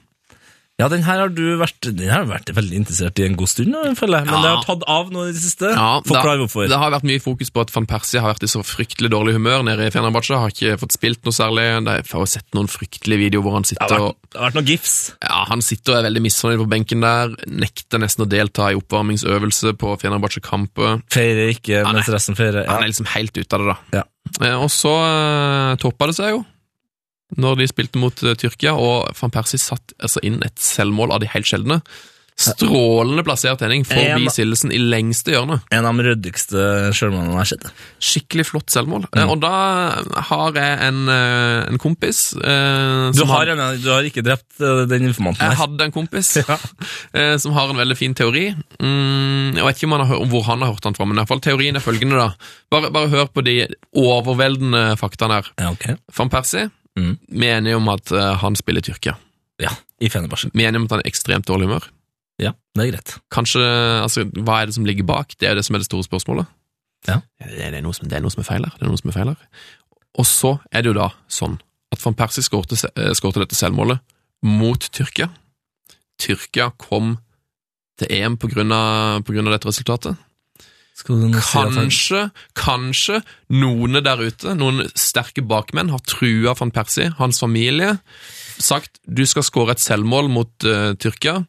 Ja, den her har du vært, den her har du vært veldig interessert i en god stund, nå, føler jeg. Men
Ja.
det har tatt av nå i det siste.
Ja,
Forklar
det-
hvorfor.
Det har vært mye fokus på at van Persie har vært i så fryktelig dårlig humør nede i Fenerbahçe. Har ikke fått spilt noe særlig. Det er- Jeg har sett noen fryktelige videoer hvor han
Det
sitter
har
og
vært, det har vært noen gifs.
ja, han sitter og er veldig misfornøyd på benken der. Nekter nesten å delta i oppvarmingsøvelse på Fenerbahçe-kampet.
Feirer ikke, mens resten feirer. Ja.
Han er liksom helt ute av det, da.
Ja.
Eh, Og så eh, toppa det seg jo, når de spilte mot eh, Tyrkia, og van Persie satt altså inn et selvmål av de helt sjeldne. Strålende plassert henning forbi
En-
Sillesen i lengste hjørne.
En av de ryddigste sjølmannene jeg har sett.
Skikkelig flott selvmål.
Mm.
Eh, Og da har jeg en, eh, en kompis eh,
Du
som
har, en, du har ikke drept eh, den informanten
Jeg
her.
hadde en kompis eh, som har en veldig fin teori. Mm, jeg vet ikke om, han har, hø- om hvor han har hørt den fra, men i hvert fall teorien er følgende. da. Bare, bare hør på de overveldende faktaene her.
Ja, ok.
Van Persie,
Mm.
vi er enige om at eh, han spiller i Tyrkia.
Ja, I Fenerbahçe.
Vi er enige om at han er i ekstremt dårlig humør.
Ja, det er greit.
Kanskje, altså, Hva er det som ligger bak? Det er jo det som er det store spørsmålet.
Ja.
Det, det, er noe som, det er noe som er feil her. Det er noe som er feil her. Og så er det jo da sånn at van Persie skårte, se- eh, skårte dette selvmålet mot Tyrkia. Tyrkia kom til EM på grunn av, på grunn av dette resultatet.
Skal du nå si at han-
Kanskje, kanskje noen der ute, noen sterke bakmenn, har trua van Persie, hans familie, sagt du skal skåre et selvmål mot eh, Tyrkia,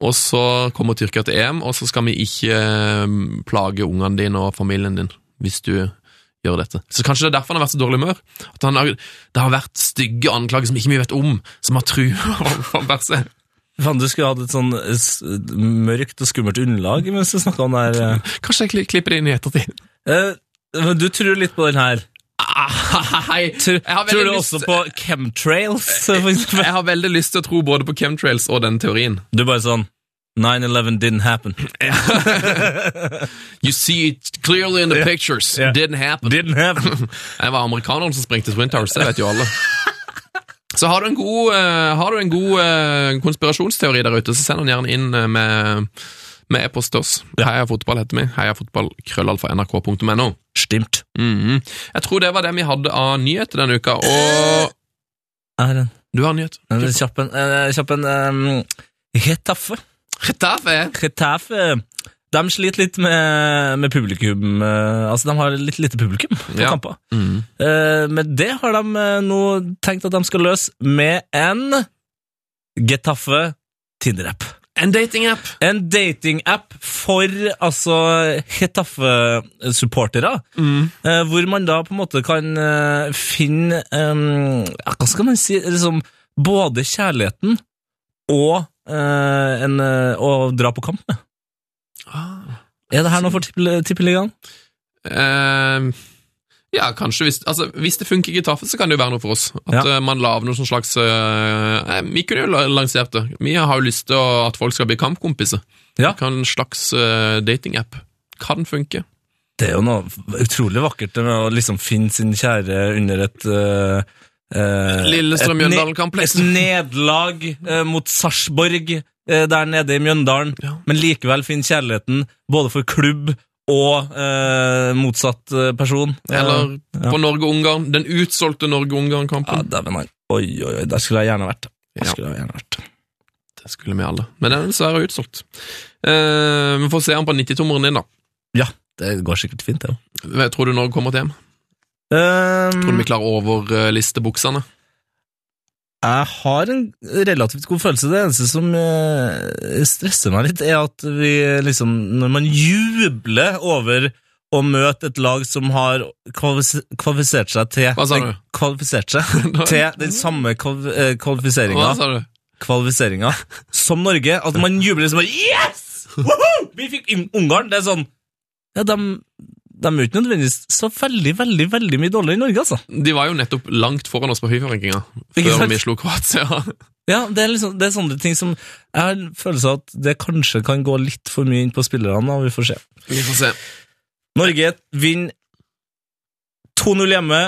og så kommer Tyrkia til EM, og så skal vi ikke eh, plage ungene dine og familien din hvis du gjør dette. Så kanskje det er derfor han har vært så dårlig humør. At han har, det har vært stygge anklager som ikke vi vet om, som har trua van Persie.
Faen, du skulle hatt et sånn eh, s- mørkt og skummelt underlag mens du snakka om det her. eh.
Kanskje jeg kli- klipper det inn i ettertid.
Eh, men du tror litt på den her.
Hei,
Tror,
jeg har veldig
tror du
lyst-
også på chemtrails? eh, for eksempel?
Jeg har veldig lyst til å tro både på chemtrails og den teorien.
Du bare sånn 9-11 didn't happen.
You see it clearly in the pictures.
Ja.
Didn't happen.
Didn't happen.
Jeg var amerikaneren som sprengte Twin Towers, det vet jo alle. Så har du en god, eh, har du en god eh, konspirasjonsteori der ute, så send den gjerne inn eh, med med e-post til oss. Heia fotball heter vi. Heia fotball krøllalfa nrk.no.
Stimt.
Mhm. Jeg tror det var det vi hadde av nyheter denne uka, og
Er en.
Du har en nyhet.
En Kjapp en. eh, Kjapp en. eh, Getafe.
Retafe!
Retafe de sliter litt med, med publikum. eh, Altså, De har litt lite publikum på
Ja.
kamper. Eh, Men det har de eh, nå tenkt at de skal løse med en Getafe Tinder-app.
En datingapp!
En dating-app for altså Getafe-supportere, eh, hvor man da på en måte kan eh, finne eh, ja, Hva skal man si? Liksom, både kjærligheten og, eh, en, eh, å dra på kamp med.
Ah.
Er det her noe for tippel- Tippeligaen?
Eh, Ja, kanskje. Hvis, altså, hvis det funker gitarfett, så kan det jo være noe for oss. At
Ja.
eh, man lager noe sånn slags eh, eh, Vi kunne jo la- lansert det. Vi har jo lyst til å, at folk skal bli kampkompiser.
Ja.
Kan En slags eh, datingapp. Kan funke.
Det er jo noe utrolig vakkert det med å liksom finne sin kjære under et eh, eh,
Lillestrøm
et ne-
Mjøndalen-kompleks.
Et nederlag eh, mot Sarpsborg eh, der nede i Mjøndalen,
Ja.
men likevel finne kjærligheten både for klubb og eh, motsatt eh, person.
Eller
ja.
på Norge-Ungarn. Den utsolgte
Ja,
Norge-Ungarn-kampen.
dæven nei. Oi, oi, oi, der skulle jeg gjerne vært. Der
Ja.
skulle jeg gjerne vært.
Det skulle vi alle. Men den er dessverre utsolgt. Eh, vi får se den på 90-tommeren din, da.
Ja, det går sikkert fint, det òg.
Hva Tror du Norge kommer til hjem?
Ehm,
Tror
Mm.
du vi klarer å overliste buksene?
Jeg har en relativt god følelse. Det eneste som eh, stresser meg litt, er at vi liksom Når man jubler over å møte et lag som har kvalifis- kvalifisert seg til
Hva sa du?
Kvalifisert seg til den samme kvalif eh,
Hva
kvalifiseringa
sa du?
kvalifiseringa som Norge. At man jubler som bare Yes! Woho! Vi fikk inn Ungarn! Det er sånn Ja, de, de er jo ikke nødvendigvis så veldig, veldig, veldig mye dårligere enn Norge, altså.
De var jo nettopp langt foran oss på fifa
Ikke
før
sant?
vi slo Kroatia.
Ja, det er, liksom, det er sånne ting som Jeg har en følelse av at det kanskje kan gå litt for mye inn på spillerne, og vi får se.
Vi får se.
Norge vinner 2-0 hjemme.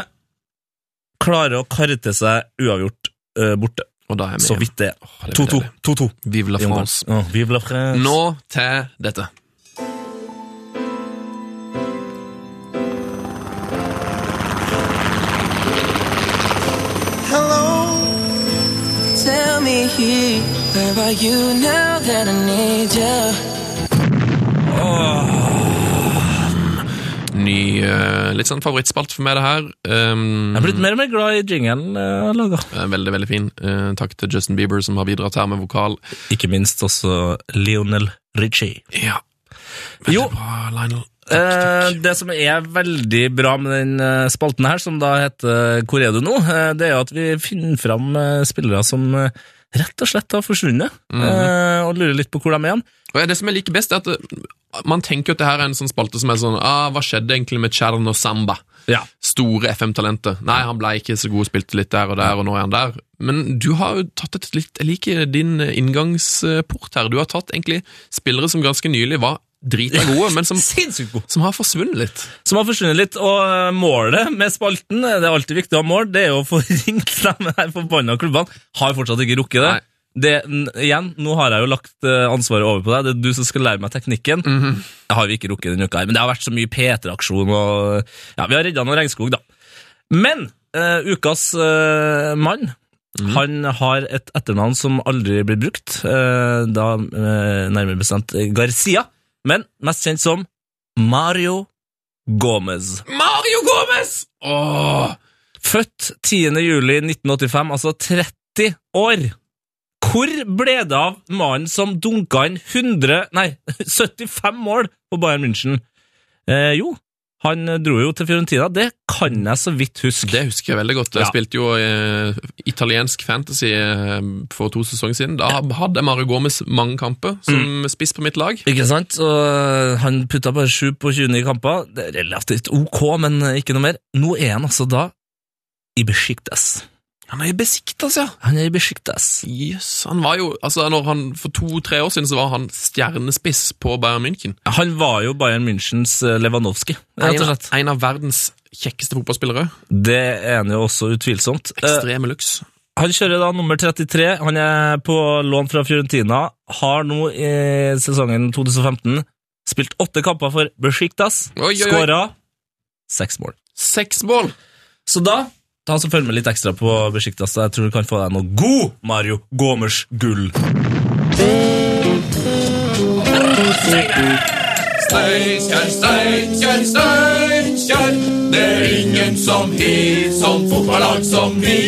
Klarer å kare til seg uavgjort eh, borte.
Og da er vi
Så
hjemme.
vidt det. er.
Åh, det blir
2-2.
deilig.
2-2.
Vive la
i Ungarn.
France.
Ja, Vive la France.
Nå til dette.
Hello, tell me here, where are you now that I need you?
Ny eh, litt sånn favorittspalt for meg, det her. Um,
Jeg er blitt mer og mer glad i jingelen eh, jeg har laga.
eh, Veldig, veldig fin. Eh, takk til Justin Bieber, som har bidratt her med vokal.
Ikke minst også Lionel Richie.
Ja. Veldig
Jo.
bra, Lionel.
Eh, det som er veldig bra med den eh, spalten her, som da heter Hvor er du nå?, eh, det er jo at vi finner fram eh, spillere som eh, rett og slett har forsvunnet, eh, og lurer litt på hvor de er igjen.
Og Det som jeg liker best, er at eh, man tenker jo at det her er en sånn spalte som er sånn ah, Hva skjedde egentlig med Chern og Samba?
Ja.
Store FM-talentet. Nei, han ble ikke så god, spilte litt der og der, og nå er han der. Men du har jo tatt et litt Jeg liker din eh, inngangsport her. Du har tatt egentlig spillere som ganske nylig var drita gode, men som,
Sinnssykt god!
som har forsvunnet litt.
Som har forsvunnet litt, og eh, målet med spalten, eh, det er alltid viktig å ha mål, det er jo å få ringt de her forbanna klubbene. Har fortsatt ikke rukket det.
Nei.
det. n- Igjen, nå har jeg jo lagt eh, ansvaret over på deg, det er du som skal lære meg teknikken. Jeg har vi ikke rukket denne uka her, men det har vært så mye P3-aksjon, og ja, vi har redda noen regnskog, da. Men eh, ukas eh, mann Han har et etternavn som aldri blir brukt, eh, da eh, nærmere bestemt Garcia, men mest kjent som Mario Gomez.
Mario Gomez! Åh,
Født 10. juli 1985, altså 30 år. Hvor ble det av mannen som dunka inn 100, nei, 75 mål på Bayern München? Eh, jo, han dro jo til Fiorentina. Det kan jeg så vidt huske.
det husker jeg veldig godt. Jeg
Ja.
spilte jo eh, italiensk fantasy eh, for to sesonger siden. Da hadde jeg Mario Gomez mange kamper som spiss på mitt lag.
Ikke sant? Og han putta bare 7 på 29 kamper. Det er relativt ok, men ikke noe mer. Nå er han altså da i Besiktas.
Han er i Besiktas, ja.
Han er i Besiktas.
Yes, han var jo, altså når han, For to-tre år siden så var han stjernespiss på Bayern München.
Han var jo Bayern Münchens eh, Lewandowski, rett og
En,
slett.
en av verdens kjekkeste fotballspillere.
Det er han jo også utvilsomt. Eh,
Ekstreme luks.
Han kjører da nummer 33. Han er på lån fra Fiorentina. Har nå i sesongen 2015 spilt åtte kamper for Besiktas.
Oi, oi, oi.
Skåra seks mål.
Seks mål!
Så da Ta så Følg med litt ekstra på Besiktas. da. Jeg tror du kan få deg noe god Mario Gomers gull.
Steinkjer, Steinkjer, Steinkjer. Det er ingen som har sånn fotballag som vi.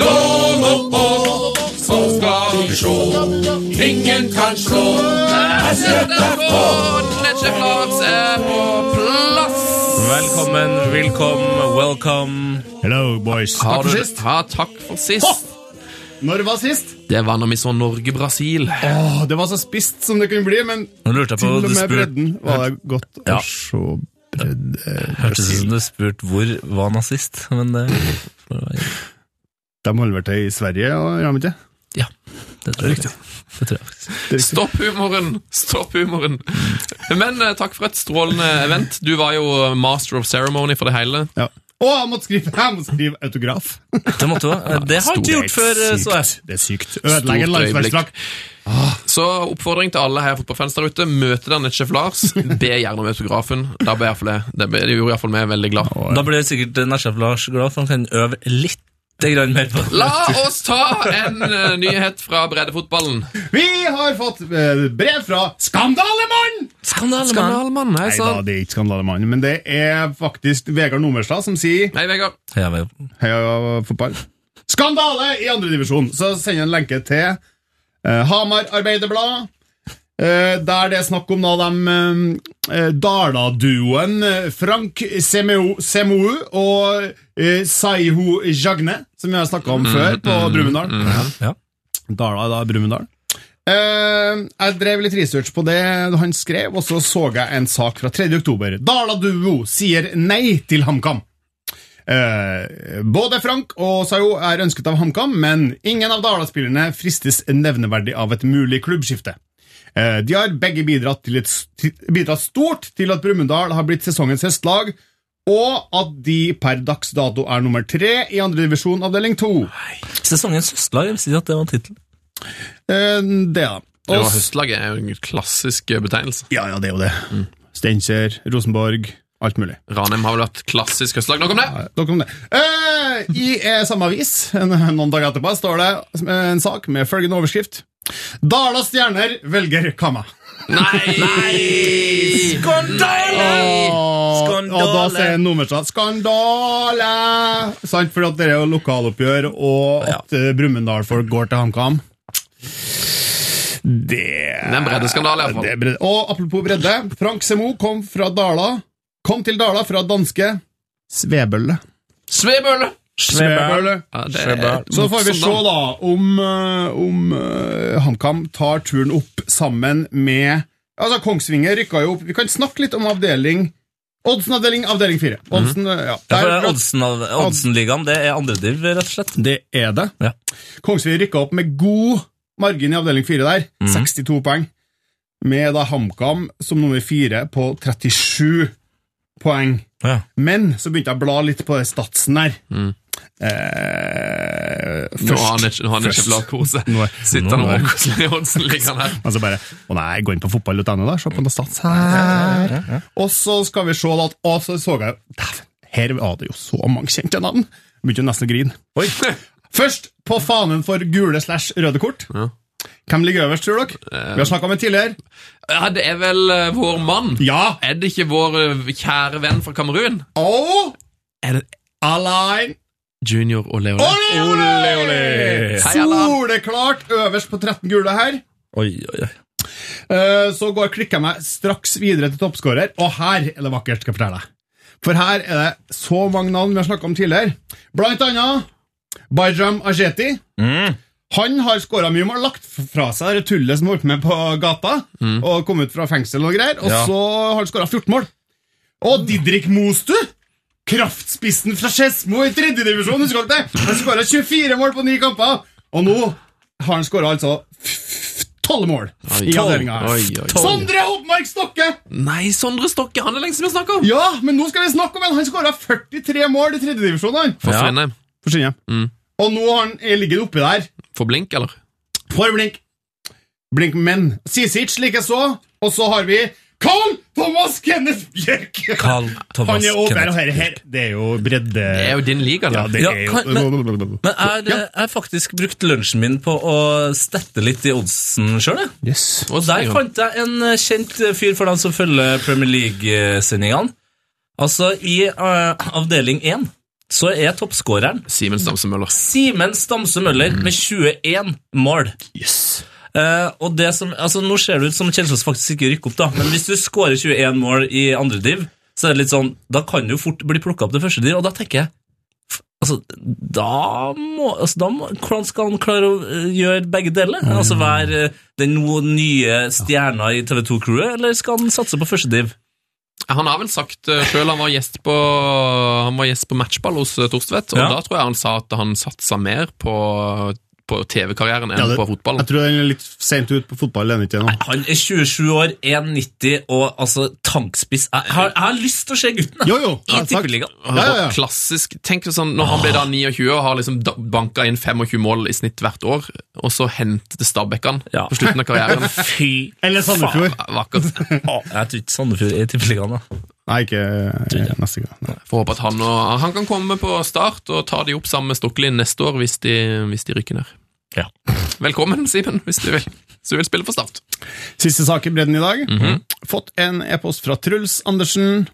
Da må på, så skal vi sjå. Ingen kan slå. Netchef Lars er på plass.
Velkommen, velkommen, welcome.
Hello, boys.
Har
Takk for
du-
sist.
Ja, takk for sist.
Når var sist?
Det var når vi så sånn Norge-Brasil.
Åh, det var så spisst som det kunne bli, men
Nå lurte jeg på
til og
du
med
spurte
bredden var det godt
Ja.
å se eh,
Hørtes ut
Brasil.
som du spurte hvor var nazist, men det, det
De holder vel til i Sverige, og gjør de ikke?
tror jeg. Det tror jeg faktisk.
Det er riktig.
Stopp humoren! Stopp humoren! Men eh, takk for et strålende event. Du var jo master of ceremony for det hele.
Ja. Å, jeg måtte skrive, jeg måtte skrive autograf!
Det måtte du ha. Det har jeg ikke gjort før, eh, så jeg.
Det er sykt. Ødelegger
Stort øyeblikk.
landsverksdrakt.
Så oppfordring til alle her fotballfans der ute. Møte denne Chef Lars. Be gjerne om autografen. Da ble jeg for det. Det ble- det gjorde iallfall meg veldig glad.
Da blir sikkert Nesjef Lars glad, for han kan øve litt grann mer på det.
La oss ta en eh, nyhet fra breddefotballen.
Vi har fått eh, brev fra Skandalemann!
Skandalemann!
Hei
Nei da,
sann.
det er ikke Skandalemann, men det er faktisk Vegard Nomerstad som sier
Hei, Vegard.
Ja, vel.
Heia fotball. Skandale i andredivisjon! Så sender jeg en lenke til eh, Hamar Arbeiderblad. eh, der det er snakk om da de eh, Dala-duoen eh, Frank Semeu Semou og eh, Saiho Jagne, som vi har snakka om før på Brumunddal.
ja.
Dala er da Brumunddal. Eh, jeg drev litt research på det han skrev, og så så jeg en sak fra 3. oktober. Dala Duo sier nei til HamKam. Eh, både Frank og Sayo er ønsket av HamKam, men ingen av Dala-spillerne fristes nevneverdig av et mulig klubbskifte. Eh, de har begge bidratt, til et, til- bidratt stort til at Brumunddal har blitt sesongens høstlag, og at de per dags dato er nummer tre i andredivisjon avdeling to.
Sesongens høstlag, jeg vil si at det var tittelen.
Eh, det, da.
Det var
Og-
høstlaget er jo en klassisk eh, betegnelse.
Ja, ja, det er jo det. Steinkjer, Rosenborg, alt mulig.
Ranheim har vel hatt klassisk høstlag. Nok om det!
Nok om det. Eh, I eh, samme avis en, noen dager etterpå står det eh, en sak med følgende overskrift. Dala Stjerner velger Kamma.
Nei!
Og, og da
Skandale!
sier nummerstad skandale! Sant, for at det er jo lokaloppgjør, og
Ja.
at eh, Brumunddal-folk går til HamKam. Det
Det er en breddeskandale, i hvert fall.
Det er bredde. Og apropos bredde, Frank Semo kom fra Dala Kom til Dala fra danske Svebølle.
Svebøle!
Svebølle.
Ja, det er
Så får vi se
motstanderen.
da om, eh, om eh, HamKam tar turen opp sammen med Altså, Kongsvinger rykka jo opp. Vi kan snakke litt om avdeling Oddsen avdeling avdeling 4. Oddsen, eh, ja.
Ja, for det er
Der-
Oddsen- Oddsen-ligaen, det er andrediv, rett og slett.
det er det.
Ja.
Kongsvinger rykka opp med god margin i avdeling 4 der. 62 poeng. Med da HamKam som nummer 4 på 37 poeng.
Ja.
Men så begynte jeg å bla litt på den statsen der. Eh,
Nå har han ikke, nå har han ikke
Først.
bladd kose.
Nå er-
Sitter han
nå er-
og koser i Oddsen-ligaen her.
Men så bare Å nei, gå inn på fotball.no, da. Se på noe stats her. Og så skal vi se da at Og så så jeg Dæven, her var det jo så mange kjente navn. Begynte jo nesten å grine. Oi. Først på fanen for gule slash røde kort.
Ja.
Hvem ligger øverst, tror dere? Vi har snakka med tidligere.
Ja, det er vel eh, vår mann.
Ja!
Er det ikke vår eh, kjære venn fra Kamerun?
Og
Er det
Alain
Junior og Leonie?
Ole, ole!
Hei, Alain.
Soleklart øverst på 13 gule her.
Oi, oi, oi.
Eh, Så går klikker jeg meg straks videre til toppskårer, og her er det vakkert, skal jeg fortelle deg. For her er det så mange navn vi har snakka om tidligere. Blant annet Bajram Ajeti.
Mm.
Han har skåra mye mål, lagt fra seg det tullet som holdt på med på gata,
Mm.
og kom ut fra fengsel og greier, og så har han skåra 14 mål. Og Didrik Mostu, kraftspissen fra Skedsmo i tredjedivisjon, husker dere det? Han skåra 24 mål på ni kamper, og nå har han skåra altså f- f- 12 mål i
Oi,
avdelinga. her.
oi, oi.
Sondre Oppmark Stokke!
Nei, Sondre Stokke, han er lengst vi har snakket om!
Ja, men nå skal vi snakke om en. Han skåra 43 mål i tredjedivisjonen.
For
Ja.
Frinheim.
Ja.
Mm.
Og nå har han, eh, ligger han oppi der.
For Blink, eller?
For blink. Blink menn. Sisic likeså. Og så har vi Carl Thomas Kenneth Bjørk!
Carl Thomas
han er over
Kenneth
og her, her. Det er jo bredde
Det er jo din liga, da.
Ja, det
Ja,
er
kan-
jo
Men jeg jeg har faktisk brukt lunsjen min på å stette litt i oddsen sjøl.
Yes.
Og der fant jeg en eh, kjent eh, fyr for dem som følger Premier League-sendingene. Altså, i eh, avdeling 1 så er toppskåreren
Simen Stamse Møller.
Simen Stamse Møller med 21 mål. Eh, og det som, altså Nå ser det ut som Kjelsås faktisk ikke rykker opp, da men hvis du skårer 21 mål i andre div, så er det litt sånn, da kan du jo fort bli plukka opp til første div, og da tenker jeg f- Altså, da må, altså, da må Hvordan skal han klare å eh, gjøre begge deler? Altså Være eh, den no- nye stjerna i TV2-crewet, eller skal han satse på første div?
Han har vel sagt uh, sjøl han var gjest på Han var gjest på matchball hos eh, Torstvedt, og
Ja.
da tror jeg han sa at han satsa mer på, på TV-karrieren enn
Ja, det-
på fotballen.
Jeg tror den er litt sent ut på fotball. Den er ikke ennå.
Han er 27 år, 1,90 og altså tankspiss. Jeg har, jeg har lyst til å se gutten jeg.
Jo, jo!
i
ja, takk.
Tippeligaen.
Ja, ja, ja.
Og klassisk, tenk sånn, Når han ble da 29 og har liksom da- banka inn 25 mål i snitt hvert år, og så hentet Stabæk han
Ja.
på slutten av karrieren.
Fy
Eller Sandefjord.
Ja, Vakkert.
faen. Jeg tror ikke Sandefjord er i Tippeligaen. da.
Nei, ikke eh, neste gang. Nei.
Får håpe at han, og, han kan komme på start og ta de opp sammen med Stokkelin neste år hvis de, hvis de rykker ned.
Ja.
Velkommen, Simen, hvis du vil. Hvis du vil spille for Start.
Siste sak i bredden i dag.
Mhm.
Fått en e-post fra Truls Andersen.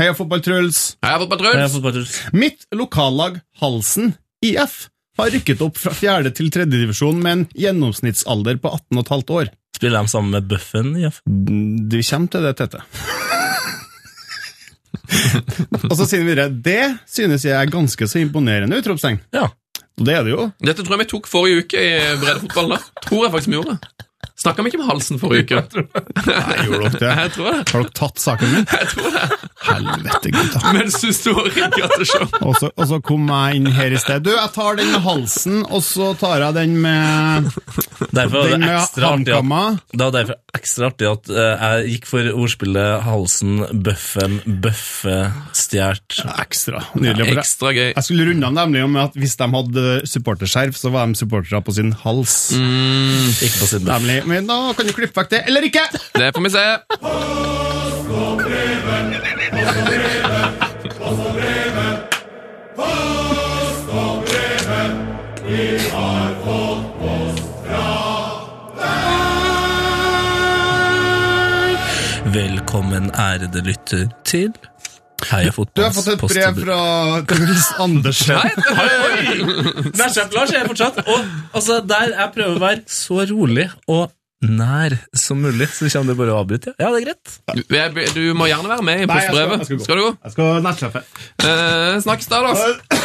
Heia fotball-Truls.
Ja, Jeg har fått på Truls.
Mitt lokallag Halsen IF har rykket opp fra fjerde til tredje divisjon med en gjennomsnittsalder på 18,5 år.
Spiller de sammen med Bøffen? Ja.
Du kommer til det, Tete. Og så sier vi videre Det synes jeg er ganske så imponerende, utropstegn.
ja.
Og det er det jo.
Dette tror jeg vi tok forrige uke i breddefotballen. da. Tror jeg faktisk vi gjorde. Snakka vi ikke med halsen forrige uke?
Nei, gjorde dere det?
Jeg tror det.
Har dere tatt saken min?
Jeg tror det.
Helvete, gutta.
Mens du står i gateshow.
Og så, og så kom jeg inn her i sted. Du, jeg tar den med halsen, og så tar jeg den med,
Derfor var
den
det
med
ekstra artig at,
håndkamma.
det var derfor ekstra artig at eh, jeg gikk for ordspillet Halsen, Bøffen, Bøffe, Stjert.
Ekstra. Nydelig. for deg.
Ekstra gøy.
Jeg skulle runde av nemlig om at hvis de hadde supporterskjerf, så var de supportere på sin hals.
Ikke på siden.
Nemlig. Men da kan du klippe vekk det, eller ikke!
Det får vi se.
Velkommen, ærede lytter, til Heia
Du
fotballs
har fått et brev fra Truls Andersen.
Nærsjef Lars er fortsatt Og altså, der jeg prøver å være så rolig og nær som mulig, så kommer det bare å avbryte. Ja, det er greit.
Jeg- Du må gjerne være med i
Nei, jeg skal-
postbrevet.
jeg skal gå.
Skal du gå?
Jeg skal nettsjefe.
Eh, snakkes der, da.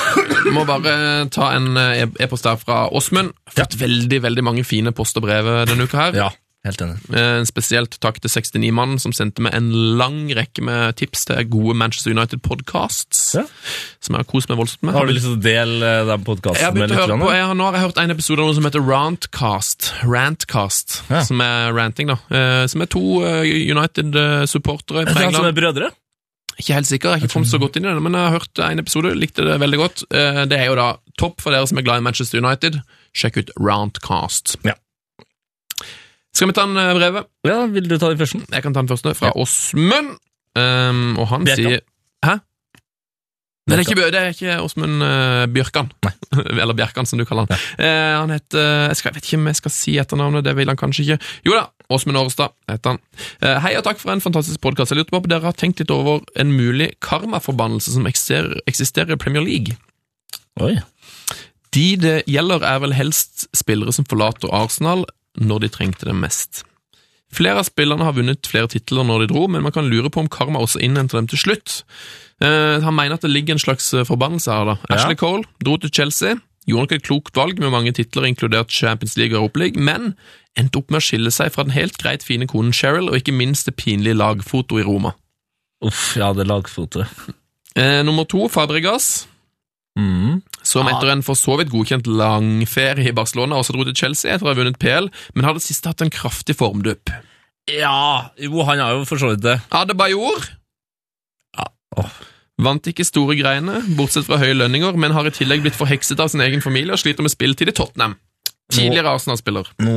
Må bare ta en eh, e- e-post her fra Åsmund. Fått veldig veldig mange fine post og brev eh, denne uka her.
Ja, helt enig.
Eh, spesielt takk til 69-mannen som sendte meg en lang rekke med tips til gode Manchester United-podcasts.
Ja.
Som jeg har kost meg voldsomt med.
Har du lyst til å dele eh, den
Jeg har
podkasten med
begynt å
litt?
høre
grann,
på,
eller?
jeg har, nå har jeg hørt en episode av noe som heter Rantcast. Rantcast
Ja.
Som er ranting, da. Eh, som er to United-supportere
Er
fra
det han som
England.
er brødre?
Ikke helt sikker, jeg har ikke kommet så godt inn i det, men jeg har hørt en episode, likte det veldig godt. Eh, Det er jo da topp for dere som er glad i Manchester United. Sjekk ut Roundcast.
Ja.
Skal vi ta en eh, brevet?
Ja, vil du ta den første?
Jeg kan ta den første, fra Åsmund. Um, og han
Bjerkan.
sier Hæ? Nei, det er ikke, Bø- det er ikke Åsmund eh, Bjørkan. Eller Bjerkan, som du kaller han. Eh, han heter jeg, skal, jeg vet ikke om jeg skal si etternavnet, det vil han kanskje ikke. Jo da, Åsmund Årestad heter han. Eh, hei og takk for en fantastisk podkast. Jeg lurte på om dere har tenkt litt over en mulig karmaforbannelse som eksisterer, eksisterer i Premier League.
Oi.
De det gjelder, er vel helst spillere som forlater Arsenal når de trengte det mest. Flere av spillerne har vunnet flere titler når de dro, men man kan lure på om karma også innhenter dem til slutt. Eh, han mener at det ligger en slags eh, forbannelse her. da. Ashley Cole dro til Chelsea, gjorde nok et klokt valg med mange titler, inkludert Champions League og Europa League, men endte opp med å skille seg fra den helt greit fine konen Cheryl, og ikke minst det pinlige lagfoto i Roma.
Uff, ja, det er lagfotet.
Eh, nummer to, Fabregas.
Mm.
Som etter en for så vidt godkjent langferie i Barcelona også dro til Chelsea etter å ha vunnet PL, men har det siste hatt en kraftig formdupp.
Ja, jo, han har jo for så vidt det.
Adebayor
Åh.
vant ikke store greiene, bortsett fra høye lønninger, men har i tillegg blitt forhekset av sin egen familie og sliter med spilletid i Tottenham. Tidligere Arsenal-spiller.
Nå,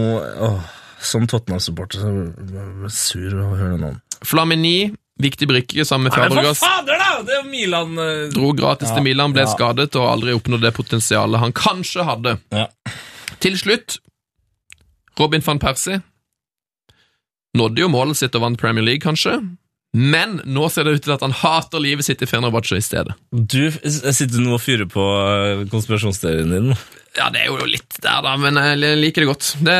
åh, som Tottenham-supporter så blir jeg sur av å høre det navn.
Flamini, viktig brikke sammen med Fabregas,
fader, da! Det er jo Milan eh,
dro gratis til Milan, ble
ja.
skadet og aldri oppnådde det potensialet han kanskje hadde.
Ja.
Til slutt, Robin van Persie nådde jo målet sitt og vant Premier League, kanskje, men nå ser det ut til at han hater livet sitt i Fenerbahçe i stedet.
Du f- sitter du nå og fyrer på eh, konspirasjonsteorien din.
Ja, det er jo litt der, da, men eh, jeg liker det godt. Det,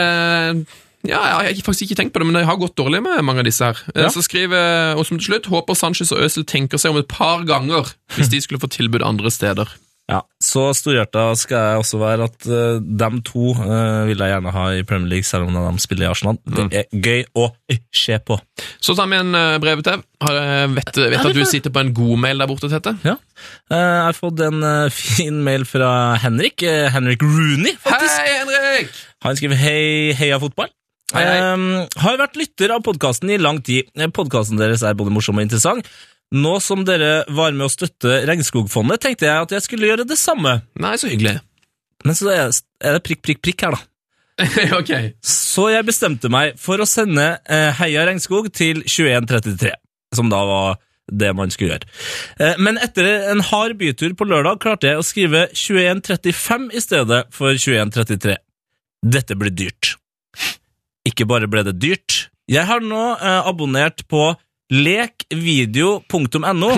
ja, jeg har faktisk ikke tenkt på det, men jeg har gått dårlig med mange av disse her. Eh,
Ja.
Så skriver Åsmund til slutt håper Sanchez og Øzil tenker seg om et par ganger hvis de skulle få tilbud andre steder.
Ja, Så storhjerta skal jeg også være at eh, dem to eh, vil jeg gjerne ha i Premier League, selv om de spiller i Arsenal. Det er gøy å se på.
Så tar vi en eh, brevetev. Har, eh, Vet, vet at du sitter på en god mail der borte, Tete?
Ja. Eh, Jeg har fått en eh, fin mail fra Henrik. eh, Henrik Rooney, faktisk.
Hei, Henrik!
Han skriver 'Hei, heia fotball'.
Hei, hei.
Ehm, har vært lytter av podkasten i lang tid. Podkasten deres er både morsom og interessant. Nå som dere var med å støtte Regnskogfondet, tenkte jeg at jeg skulle gjøre det samme.
Nei, så hyggelig.
Men så er det- er det prikk, prikk, prikk her, da.
ok.
Så jeg bestemte meg for å sende eh, Heia Regnskog til 2133, som da var det man skulle gjøre. Eh, men etter en hard bytur på lørdag klarte jeg å skrive 2135 i stedet for 2133. Dette ble dyrt. Ikke bare ble det dyrt, jeg har nå eh, abonnert på lekvideo.no.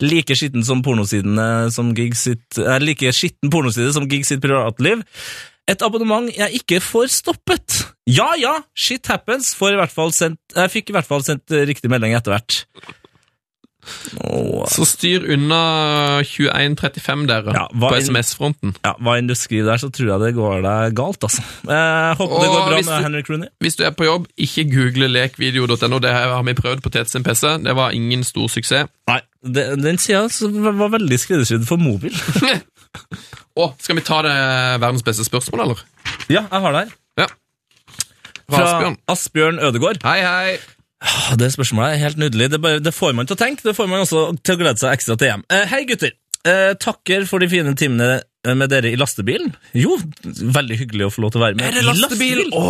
Like skitten som pornosidene som Gig sitt eh, Like skitten pornoside som Gig sitt privatliv. Et abonnement jeg ikke får stoppet. Ja ja, shit happens. Får i hvert fall sendt, jeg fikk i hvert fall sendt eh, riktig melding etter hvert. Åh.
Så styr unna 2135 dere
Ja, hva
på
en-
SMS-fronten.
Ja, hva enn du skriver der, så tror jeg det går deg galt, altså. Eh, håper det
Og
går bra
hvis
med
du-
Henrik Rooney.
Hvis du er på jobb, ikke google lekvideo.no. Det har vi prøvd på Tete sin PC. Det var ingen stor suksess.
Nei, det, den sida var veldig skreddersydd for mobil.
Å, skal vi ta det verdens beste spørsmål, eller?
ja, jeg har det her.
Ja. Fra
Fra
Asbjørn.
Asbjørn Ødegård.
Hei, hei.
Ah, Det spørsmålet er helt nydelig. Det, bare, det får man til å tenke. Det får man også til å glede seg ekstra til hjem. Eh, hei, gutter. Eh, takker for de fine timene med dere i lastebilen. Jo, veldig hyggelig å få lov til å være med.
Er det
i
lastebil? Å,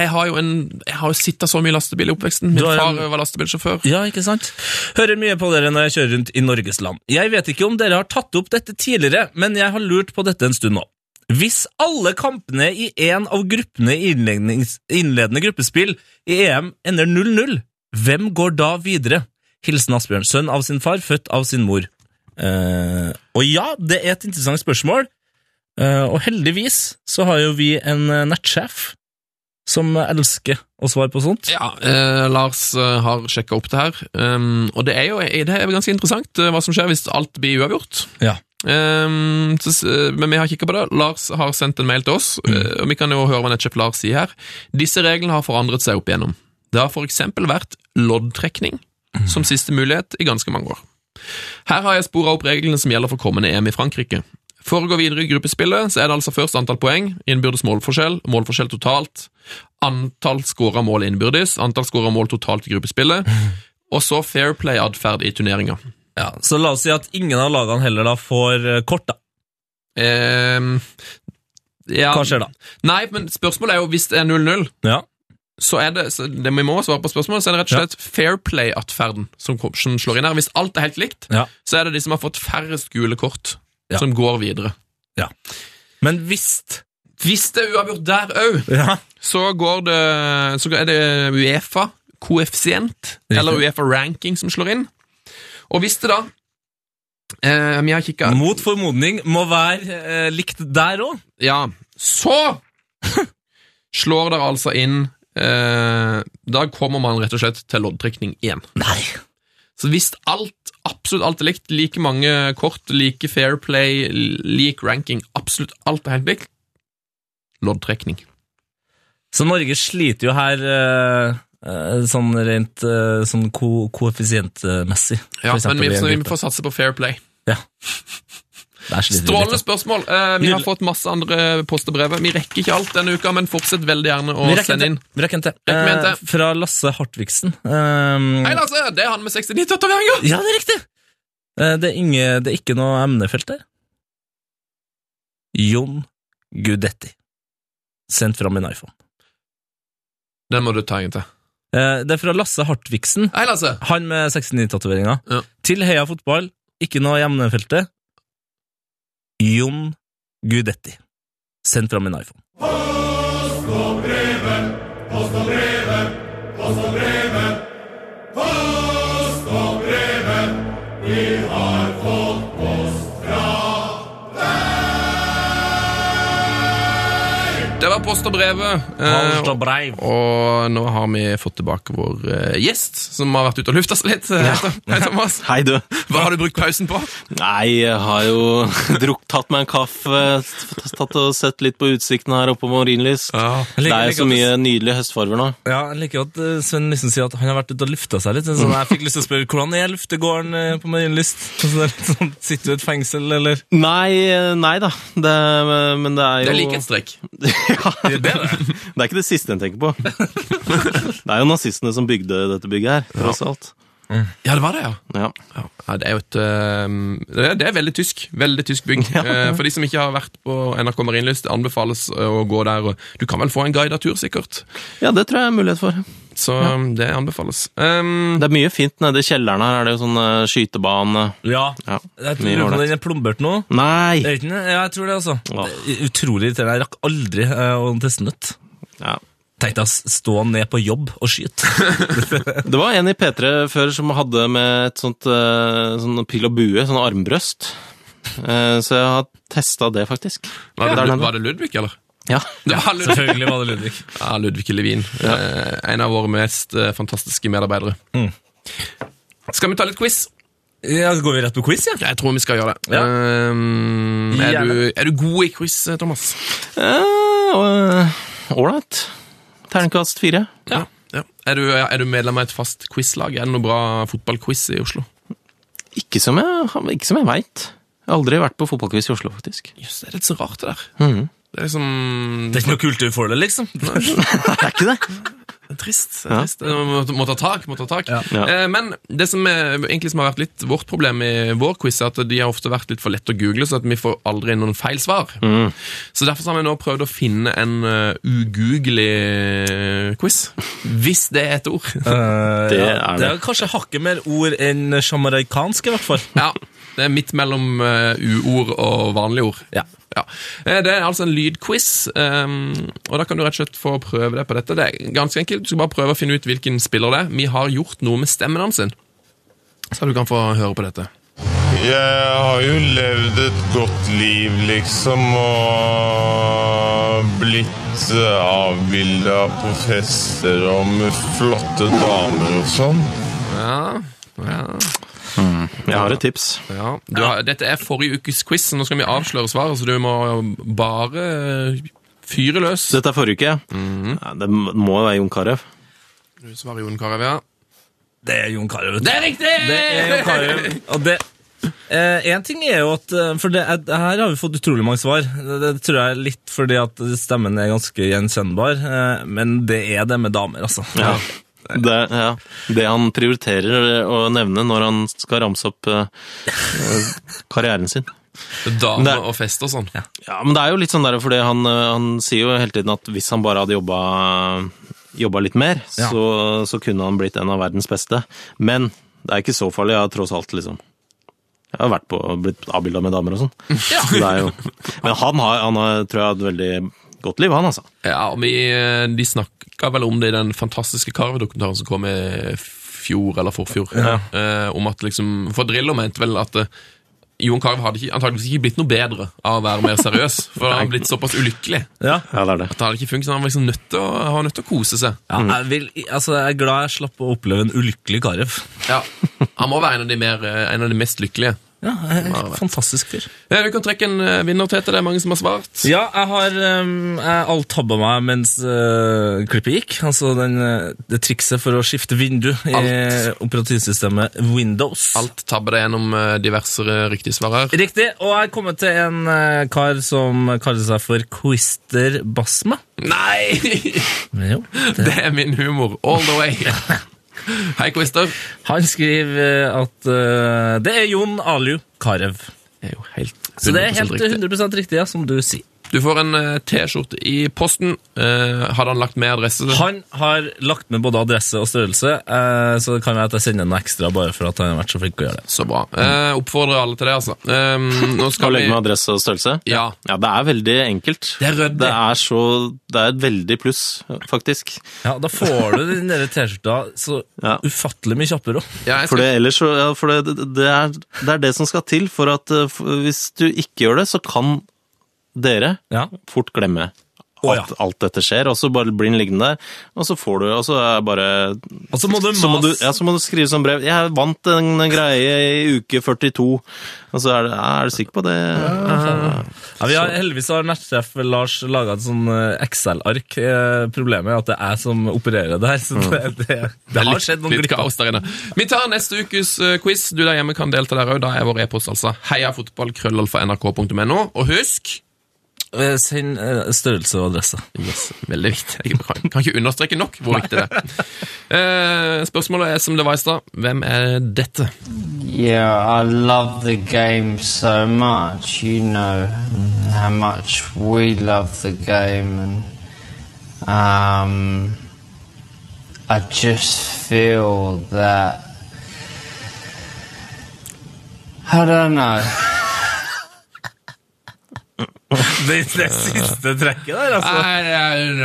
jeg har jo en Jeg har jo sittet så mye lastebil i oppveksten. Min
Du har
far
en-
var lastebilsjåfør.
Ja, ikke sant? Hører mye på dere når jeg kjører rundt i Norges land. Jeg vet ikke om dere har tatt opp dette tidligere, men jeg har lurt på dette en stund nå. Hvis alle kampene i en av gruppene i innlednings- innledende gruppespill i EM ender 0-0, hvem går da videre? Hilsen Asbjørn, sønn av sin far, født av sin mor. Eh, og ja, det er et interessant spørsmål, Eh, og heldigvis så har jo vi en eh, nettsjef som elsker å svare på sånt.
Ja, eh, Lars eh, har sjekka opp det her. Um, og det er jo det er jo ganske interessant eh, hva som skjer hvis alt blir uavgjort.
Ja.
Um, så, s- eh, men vi har kikka på det. Lars har sendt en mail til oss, eh, og vi kan jo høre hva nettsjef Lars sier her. Disse reglene har forandret seg opp igjennom. Det har for eksempel vært loddtrekning som siste mulighet i ganske mange år. Her har jeg spora opp reglene som gjelder for kommende EM i Frankrike. For å gå videre i gruppespillet så er det altså først antall poeng, innbyrdes målforskjell, målforskjell totalt, antall skåra mål innbyrdes, antall skåra mål totalt i gruppespillet, og så fair play-atferd i turneringa.
Ja, så la oss si at ingen av lagene heller da får eh, kort, da.
Ehm, ja.
Hva skjer da?
Nei, men spørsmålet er jo hvis det er 0-0,
Ja.
så er det, så det vi må svare på spørsmålet, så er det rett og
Ja.
slett fair play-atferden som, kom- som slår inn her. Hvis alt er helt likt,
Ja.
så er det de som har fått færrest gule kort,
Ja.
som går videre.
Men visst
Hvis det er uavgjort der òg,
ja.
så går det Så er det Uefa koeffisient,
Riktig.
eller Uefa ranking, som slår inn. Og hvis det da eh, Vi har kikka
Mot formodning må være eh, likt der òg.
Ja, så slår dere altså inn eh, Da kommer man rett og slett til loddtrekning igjen.
Nei.
Så hvis alt, absolutt alt er likt, like mange kort, like fair play, lik ranking, absolutt alt er helt likt Loddtrekning.
Så Norge sliter jo her eh, eh, sånn rent eh, sånn ko koeffisientmessig.
Ja,
For eksempel
men vi,
i en
så vi
gruppe.
får satse på fair play.
Der sliter vi litt,
Strålende
da.
spørsmål. Eh, vi har
Nydelig.
fått masse andre post og brev. Vi rekker ikke alt denne uka, men fortsett veldig gjerne å
Vi rekker en
sende
til.
inn.
Vi rekker en til.
Rekker vi en til?
Eh, fra Lasse Hartvigsen. Eh,
Hei, Lasse! Det er han med 69-tatoveringer!
ja, det er riktig! Eh, det, er inge, det er ikke noe emnefelt der. Jon Gudetti. Sendt fra min iPhone.
Den må du ta en til.
Eh, Det er fra Lasse Hartvigsen,
Hei, Lasse!
han med 69-tatoveringa.
Ja.
Til Heia fotball, ikke noe hjemmefeltet. Jon Gudetti. Send fram en iPhone.
Det var har posta brevet. eh, og nå har vi fått tilbake vår eh, gjest, som har vært ute og lufta seg litt. eh, Hei, Thomas.
Hei, du.
Hva har du brukt pausen på?
Nei, jeg har jo drukket, tatt meg en kaffe, tatt og sett litt på utsikten her oppe på Marienlyst.
Ja.
Det er jo så mye nydelige høstfarver nå.
Ja, jeg liker at eh, Sven Nissen sier at han har vært ute og lufta seg litt. Sånn, jeg fikk lyst til å spørre hvordan er luftegården eh, på Marienlyst? Altså, det er litt sånn, sitter du i et fengsel, eller?
Nei, nei da. Det, men det er jo
Det er likhetstrekk.
Ja,
Det er det.
det er ikke det siste en tenker på. Det er jo nazistene som bygde dette bygget her, tross alt.
Ja, det var det, ja.
Ja.
Ja, ja, det er jo et ehm, det, er, det er veldig tysk. Veldig tysk bygg. Eh, For de som ikke har vært på NRK Marienlyst, det anbefales eh, å gå der. og Du kan vel få en guidet tur, sikkert.
ja, det tror jeg er mulighet for.
Så um, det anbefales. Um,
Det er mye fint nede i kjelleren her. Er det jo sånn eh, skytebane
Ja.
Ja,
Jeg
mye
tror
ålreit.
den er plombert nå.
Nei!
Er den det? Ja, jeg tror det, altså.
Ja.
Det er Utrolig irriterende. Jeg rakk aldri eh, å teste nøtt.
Ja.
Tenk deg å s- stå ned på jobb og skyte.
Det var en i P3 før som hadde med et sånt eh, sånn pil og bue, sånn armbrøst. Eh, Så jeg har testa det, faktisk.
var, det,
Der
Lud-
nede.
var det Ludvig, eller?
Ja.
Det var Ludvig.
Selvfølgelig var det Ludvig.
Ja, Ludvig Levin. Eh, En av våre mest eh, fantastiske medarbeidere.
Mm.
Skal vi ta litt quiz?
Ja, Går vi rett på quiz, ja?
Jeg tror vi skal gjøre det.
Ja.
Um, er,
Gjerne.
du, er du god i quiz, eh, Thomas?
Ålreit. eh, Terningkast fire.
Ja. ja. Er, du, er du medlem av et fast quizlag? Er det noe bra fotballquiz i Oslo?
Ikke som jeg, ikke som jeg veit. Jeg har aldri vært på fotballquiz i Oslo, faktisk.
Jøss, det er litt så rart, det der.
Mhm.
Det er liksom
Det er ikke noe kultur for det, liksom.
Det er ikke det?
Det er trist. Det er trist. eh. Må, må ta tak. må ta tak.
Ja.
Eh, men det som, er, egentlig som har vært litt vårt problem i vår quiz, er at de har ofte vært litt for lett å google, så at vi får aldri noen feil svar. Så derfor så har vi nå prøvd å finne en eh, ugooglig quiz. Hvis det er et ord.
Eh,
Det
ja,
er
det
det.
er kanskje hakket mer ord enn sjamarikansk, i hvert fall.
Ja, det er midt mellom eh, u-ord og vanlige ord.
Ja.
Eh, Det er altså en lydquiz, ehm, og da kan du rett og slett få prøve deg på dette. Det er ganske enkelt. Du skal bare prøve å finne ut hvilken spiller det er. Vi har gjort noe med stemmen hans sin. Så du kan få høre på dette.
Jeg har jo levd et godt liv, liksom, og blitt avbilda på fester og med flotte damer og sånn.
Ja, ja,
Jeg har et tips.
ja. Du har, dette er forrige ukes quiz, så nå skal vi avsløre svaret, så du må bare fyre løs.
Dette er forrige uke. Nei, Det må jo være Jon Carew.
Du svarer Jon Carew, ja.
Det er Jon Carew. vet du.
Det er riktig!
Det er Jon Carew. Og det Eh, en ting er jo at eh, For det, er- her har vi fått utrolig mange svar. Det, det tror jeg er litt fordi at stemmen er ganske gjenkjennbar. Eh, men det er det med damer, altså.
Ja. Det, ja. det han prioriterer å nevne når han skal ramse opp eh, eh, karrieren sin. Det
Dame
er-
og fest og sånn.
Ja, Men det er jo litt sånn der, fordi han, eh, han sier jo hele tiden at hvis han bare hadde jobba Jobba litt mer,
Ja.
så, så kunne han blitt en av verdens beste. Men det er ikke så farlig, ja, tross alt, liksom. Jeg har vært på blitt avbilda med damer og sånn. Så det er jo- Men han har, han har, tror jeg, et veldig godt liv, han, altså.
Ja, og vi, eh, De snakka vel om det i den fantastiske Karve-dokumentaren som kom i fjor eller forfjor. Eh, om at liksom, For Drillo mente vel at eh, Jon Carew hadde ikke, antageligvis ikke blitt noe bedre av å være mer seriøs. For han hadde blitt såpass ulykkelig.
Ja.
Ja, det er det.
Det hadde ikke funket, så Han var liksom nødt til å, han var nødt til å kose seg.
Ja, jeg, vil, altså, jeg er glad jeg slapp å oppleve en ulykkelig Carew.
Ja, Han må være en av de, mer, eh, en av de mest lykkelige.
Ja, en fantastisk fyr.
Eh, Vi kan trekke en eh, vinner, Tete. Det er mange som har svart.
Ja, jeg har um, jeg alltabba meg mens eh, klippet gikk. Altså den, eh, det trikset for å skifte vindu i
Alt.
operativsystemet Windows.
Alt tabber det gjennom eh, diverse eh, riktige svar her.
Riktig. Og jeg er kommet til en eh, kar som kaller seg for Quister Basma.
Nei!
Men Jo, det.
Det er min humor. All the way. Hei, Christer.
Han skriver eh, at eh, det er Jon Aliu Carew.
Det er jo helt 100
Så det er helt
riktig.
100 riktig, ja, som du sier.
Du får en eh, T-skjorte i posten. Eh, hadde han lagt med adresse?
Han har lagt med både adresse og størrelse, eh, så det kan være at jeg sender en ekstra bare for at han har vært så flink å gjøre det.
Så bra. Eh, oppfordrer alle til det, altså. Eh, nå
Skal
skal
legge
vi
med adresse og størrelse?
Ja.
Ja, det er veldig enkelt.
Det er ryddig.
Det er så Det er et veldig pluss, faktisk.
Ja, Da får du den der T-skjorta så
Ja.
ufattelig mye kjappere. også.
ja jeg
For
skal,
det, ellers, så- ja, for det, det, er, det er det som skal til for at eh, f- hvis du ikke gjør det, så kan dere
Ja.
fort glemme
Å, ja.
alt, alt dette skjer, og så bare blir den liggende der, og så får du, og så er bare
Og så må du
så må, du,
mas-
ja, så må du skrive sånn brev 'Jeg vant en greie i uke 42', og så er det «Ja, 'Er du sikker på det?'
Ja, vi har, heldigvis har nettsjef Lars laga et sånn eh, Excel-ark. Eh, Problemet er at det er jeg som opererer det her. Så det, Mm. det, det har skjedd noen
Litt
glipp.
kaos der inne. Vi tar neste ukes eh, quiz. Du der hjemme kan delta der òg. Da er vår e-post altså heiafotballkrøllalfa.nrk.no. Og husk
Eh, Send eh, størrelse og adresse.
Yes, veldig viktig. Jeg kan kan ikke understreke nok hvor viktig det er. Eh, spørsmålet er som det var i stad. Hvem er dette?
Yeah, I love the game so much. You know how much we love the game, and um, I just feel that I don't know.
Det, det siste trekket der, altså.
Nei,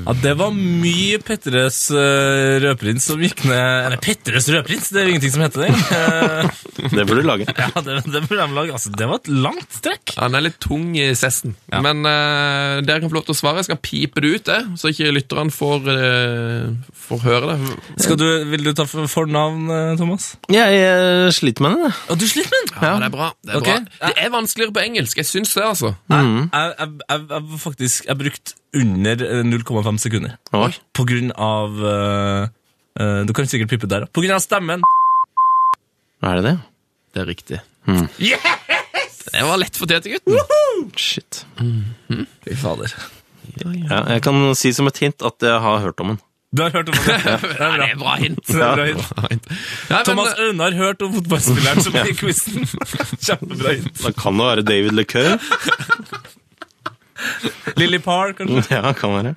Ja, det var mye Petres eh, rødprins som gikk ned Eller Petres rødprins, det er jo ingenting som heter det. Eh,
Det burde du lage.
ja, det, det burde de lage. Altså, det var et langt trekk.
Han er litt tung i cessen. Men eh, dere kan få lov til å svare. Jeg skal pipe det ut, det, så ikke lytterne får, eh, får høre det.
Skal du, vil du ta for- fornavn, eh, Thomas?
Jeg eh, sliter med det.
Å, du sliter med den!
Ja, det er bra. Det er,
Ok.
bra. Det er vanskeligere på engelsk. Jeg syns det, altså.
Jeg, jeg, jeg, jeg, var faktisk, jeg brukte under eh, 0,5 sekunder.
Oi.
På grunn av eh, eh, Du kan sikkert pippe der òg. På grunn av stemmen.
Er det det?
Det er riktig. Yes! Det var lett fortjent, gutten.
Shit.
Fy fader.
Mm-hmm. Ja, jeg kan si som et hint at jeg har hørt om den.
Du har hørt om det? Ja, Det
Nei,
er
det
bra.
er bra hint.
Det er bra hint.
Bra hint. Nei, men, eh,
Thomas Aune har hørt om fotballspilleren som er i quizen. Kjempebra hint.
Da kan det være David LeCoeur.
Lily Parr, kanskje?
Ja, kan være.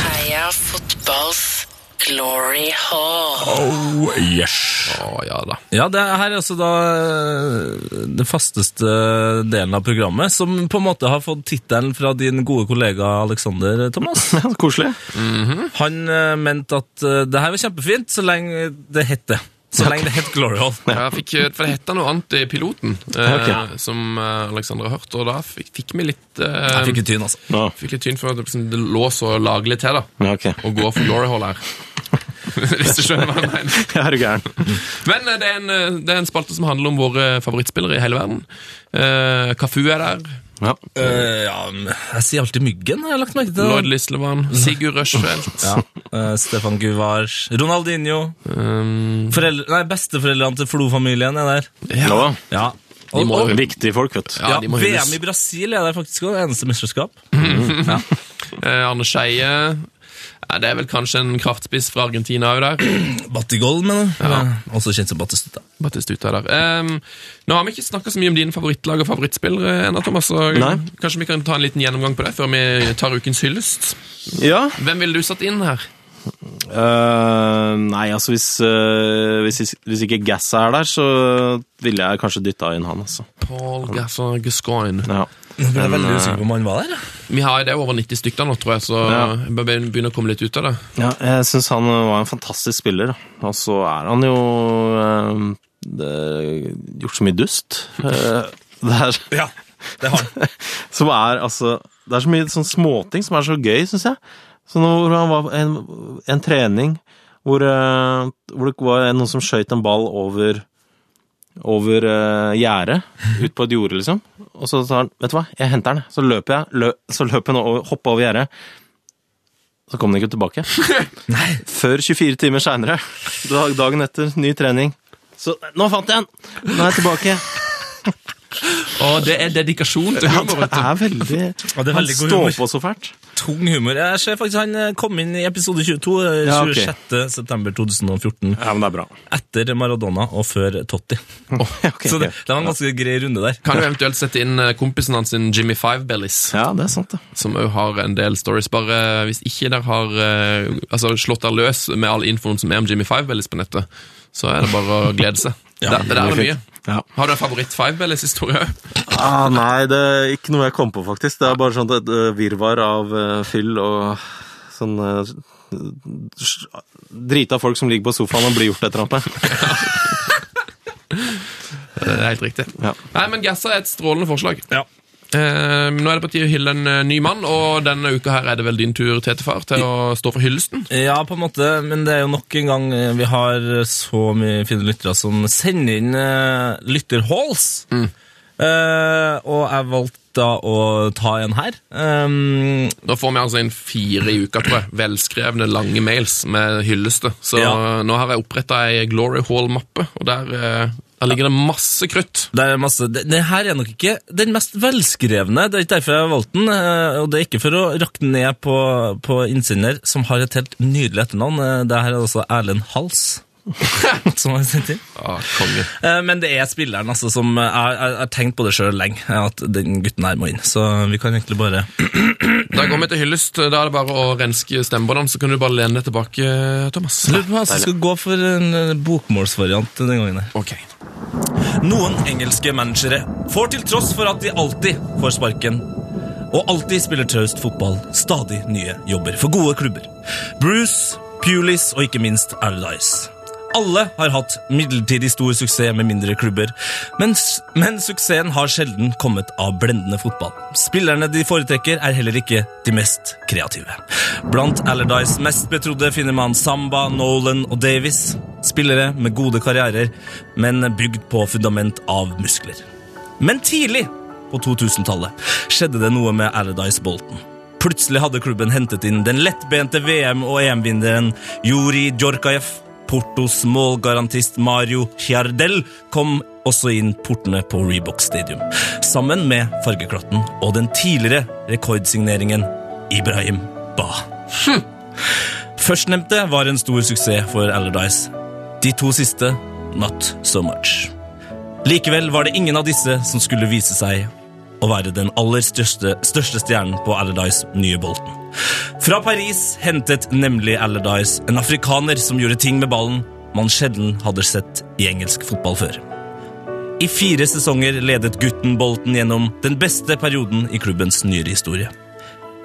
Heia fotballs glory hall.
Oh, yes.
Å, ja da.
Ja, det her er altså da eh, den fasteste delen av programmet, som på en måte har fått tittelen fra din gode kollega Alexander Thomas.
Ja, koselig.
Han eh, mente at eh, det her var kjempefint, så lenge det het det. Så lenge det het Glory Hall.
Ja, Jeg fikk, eh, for det heter noe annet i piloten,
Ja,
eh, som eh, Alexander har hørt, og da fikk, fikk vi litt eh,
Jeg fikk jo tyn, altså.
Nå.
fikk litt tyn for at det liksom, det lå så laglig til, da.
Ja, ok.
Å gå for glory hall her. Hvis du skjønner hva jeg mener.
Ja, er du gæren?
Men eh, det er, en, eh, det er en spalte som handler om våre favorittspillere i hele verden. Eh, Cafu er der.
Ja.
Eh, ja, men jeg sier alltid Myggen, har jeg lagt merke
Lloyd
til.
Lislevan. Sigurd Rushfeldt.
Ja, eh, Stefan Guvars, Ronaldinho
Um,
foreldre, Nei, besteforeldrene til Flo-familien er der.
Nå.
Ja. Og,
må
og,
Viktige folk, vet du.
ja,
ja,
de må hylles.
VM i Brasil er der faktisk òg. Eneste mesterskap.
Mm. Eh, Arne Skeie. Ja, det er vel kanskje en kraftspiss fra Argentina òg der.
Battigol, mener du? Ja. Også kjent som Battistuta.
Batistuta er der. Ehm, nå har vi ikke snakka så mye om dine favorittlag og favorittspillere ennå, Thomas. Så
Nei.
kanskje vi kan ta en liten gjennomgang på det før vi tar ukens hyllest.
Ja.
Hvem ville du satt inn her?
Eh, nei, altså hvis, eh, hvis, hvis ikke Gassa er der, så ville jeg kanskje dytta inn han, altså.
Paul Gasser Gascoigne.
Ja.
Jeg ble veldig usikker på om han var der. jeg.
Vi har det er over 90 stykker nå, tror jeg, så
Ja.
jeg bør begynne å komme litt ut av det.
Ja, jeg syns han var en fantastisk spiller, da. og så er han jo eh, det, gjort så mye dust. Eh, det, er,
Ja, det har han.
som er, altså, det er så mye sånn småting som er så gøy, syns jeg. Så når han var på en, en trening hvor, eh, hvor det var noen som skøyt en ball over over uh, gjerdet, ut på et jorde, liksom. Og så sa han 'Vet du hva, jeg henter den'. Så løper jeg, lø, så løper han og hopper over gjerdet. Så kom den ikke tilbake. Før 24 timer seinere, dag, dagen etter, ny trening. Så 'Nå fant jeg den! Nå er jeg tilbake'.
Og det er dedikasjon til
Ja, det er veldig
Ja, det er
Han
veldig god humor.
står på så fælt.
Tung humor. Jeg ser faktisk Han eh, kom inn i episode 22, eh,
Ja, ok.
26. september 2014.
Ja, men det er bra.
Etter Maradona og før Totti. Så det, det var en ganske grei runde der.
Kan jo eventuelt sette inn eh, kompisen hans, sin Jimmy Five Bellies,
Ja, det er sant, det.
som òg har en del stories. Bare hvis ikke dere har eh, altså, slått dere løs med all infoen som er om Jimmy Five Bellies på nettet, så er det bare å glede seg. det, det der er mye.
Ja.
Har du en favoritt Five Bellies-historie?
Ah, nei, det er ikke noe jeg kom på, faktisk. Det er bare sånn et eh, virvar av eh, fyll og sånn eh, s- Drita folk som ligger på sofaen og blir gjort et eller annet med.
Det er helt riktig. Nei, men Gassa er et strålende forslag. Eh, nå er det på tide å hylle en eh, ny mann, og denne uka her er det vel din tur, Tetefar, til å stå for hyllesten.
Ja, på en måte, men det er jo nok en gang eh, vi har så mye fine lyttere som sender inn eh, lytterhalls.
Mm.
Eh, og jeg valgte da å ta en her. Ehm,
da får vi altså inn fire i uka, tror jeg. Velskrevne, lange mails med hylleste. Så
Ja.
eh, nå har jeg oppretta ei Glory Hall-mappe, og der, eh, der ligger det masse krutt.
Det er masse, det, det her er nok ikke den mest velskrevne, det er ikke derfor jeg valgte den, eh, og det er ikke for å rakne ned på, på innsender, som har et helt nydelig etternavn. Eh, Det her er altså Erlend Hals, som har sendt inn. Eh, Men det er spilleren altså, som eh, Jeg jeg- jeg har tenkt på det sjøl lenge, eh, at den gutten her må inn. Så vi kan egentlig bare
Da går vi til hyllest. Da er det bare å renske stemmebåndene, så kan du bare lene deg tilbake, Thomas.
Lurer på hva som skal gå for en eh, bokmålsvariant den gangen her.
Ok.
Noen engelske managere får til tross for at de alltid får sparken og alltid spiller taust fotball, stadig nye jobber for gode klubber. Bruce, Pulis og ikke minst Allardyce. Alle har hatt midlertidig stor suksess med mindre klubber, men, s- men suksessen har sjelden kommet av blendende fotball. Spillerne de foretrekker, er heller ikke de mest kreative. Blant Allardyce mest betrodde finner man Samba, Nolan og Davis. Spillere med gode karrierer, men bygd på fundament av muskler. Men tidlig på 2000-tallet skjedde det noe med Allardyce Bolton. Plutselig hadde klubben hentet inn den lettbente VM- og EM-vinneren Juri Djorkaev. Portos målgarantist Mario Chiardel kom også inn portene på Reebok Stadium, sammen med fargeklatten og den tidligere rekordsigneringen Ibrahim Ba. Førstnevnte var en stor suksess for Allardyce. De to siste not so much. Likevel var det ingen av disse som skulle vise seg å være den aller største, største stjernen på Allardyce nye Bolten. Fra Paris hentet nemlig Allardyce en afrikaner som gjorde ting med ballen man sjelden hadde sett i engelsk fotball før. I fire sesonger ledet gutten Bolten gjennom den beste perioden i klubbens nyere historie.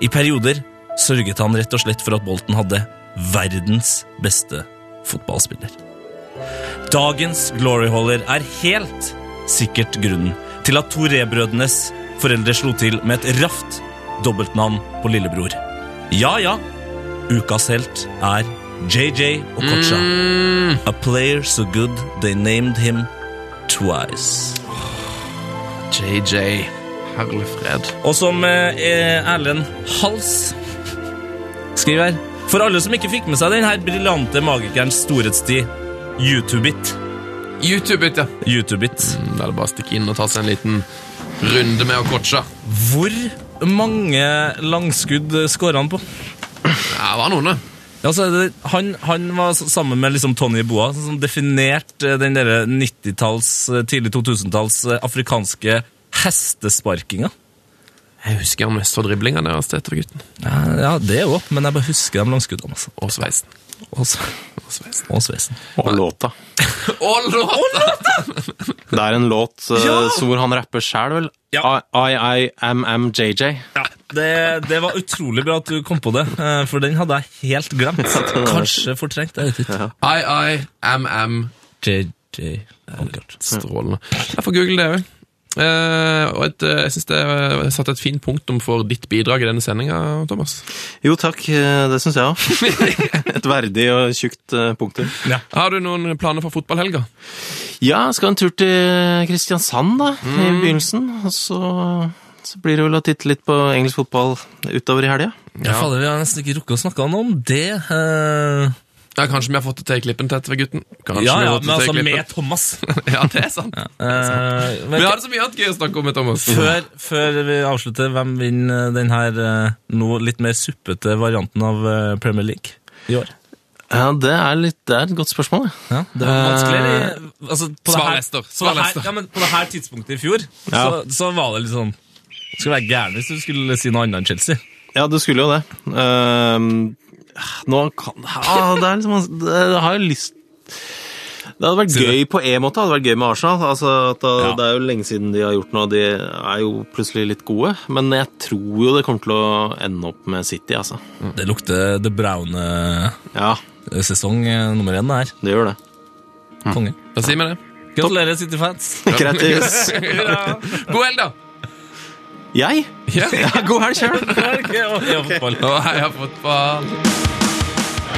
I perioder sørget han rett og slett for at Bolten hadde verdens beste fotballspiller. Dagens gloryholder er helt sikkert grunnen til at Toré-brødrenes foreldre slo til med et raft dobbeltnavn på lillebror. Ja, ja, ukas helt er JJ Okocha.
Mm.
A player so good they named him twice.
JJ. Herlig fred.
Og som eh, eh, Erlend Hals skriver her For alle som ikke fikk med seg den her briljante magikerens storhetstid, YouTube-it.
YouTube-it, ja.
YouTube-it.
Da er det bare å stikke inn og ta seg en liten runde med Okocha.
Hvor mange langskudd skåra han på?
Ja, det var noen, det.
Altså, det- han, han var s- sammen med liksom Tony Boa, som definerte eh, den der 90-talls, eh, tidlig 2000-talls eh, afrikanske hestesparkinga.
Jeg husker han mest for driblingene deres, Tetra-gutten.
Ja, ja, det òg, men jeg bare husker de langskuddene. Altså.
Og sveisen.
Og s- og sveisen.
Og låta.
Og låta!
Det er en låt eh,
Ja!
så hvor han rapper sjæl, vel? I, I, I, am, am, JJ.
Det, det var utrolig bra at du kom på det, eh, for den hadde jeg helt glemt. Kanskje fortrengt. Jeg vet ikke.
I, I, M, M.
JJ.
Strålende. Jeg får google det òg. og et, eh, jeg syns det er satt et fint punktum for ditt bidrag i denne sendinga, Thomas.
Jo takk, eh, det syns jeg òg. Et verdig og tjukt eh, punktum.
Har du noen planer for fotballhelga?
Ja, skal en tur til Kristiansand, da, i begynnelsen. Og så, så blir det vel å titte litt på engelsk fotball utover i helga.
Ja. Fader, vi har nesten ikke rukket å snakke om det. eh.
Ja, kanskje vi har fått det til i klippen til etter gutten? Kanskje
ja,
vi
ja,
har fått det
men
til i
altså
klippen.
med Thomas.
Ja, det er sant.
Eh, men-
Vi har det så mye annet gøy å snakke om med Thomas.
Før, før vi avslutter, hvem vinner den her eh, nå litt mer suppete varianten av eh, Premier League i år?
Ja, det er, litt, det er et godt spørsmål.
Ja, Det var vanskeligere i- altså, på det
Svar
her-
Leicester,
på det
svar
her-
Leicester.
Ja, men på det her tidspunktet i fjor,
Ja.
så, så var det litt sånn Du skulle være gæren hvis du skulle si noe annet enn Chelsea.
Ja, du skulle jo det. Ehm, nå kan ah, Det er liksom vans- Det har jeg lyst det hadde vært gøy på en måte. Det hadde vært gøy med Arsenal. Altså, at da,
Ja.
Det er jo lenge siden de har gjort noe. De er jo plutselig litt gode. Men jeg tror jo det kommer til å ende opp med City, altså.
Det lukter The Brown-sesong
Ja,
eh, nummer én, det her.
det gjør det.
Konge.
Da sier vi det.
Gratulerer, City-fans.
Grattis.
God helg, da.
Jeg?
Ja.
god helg sjøl.
Heia fotball.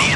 Ny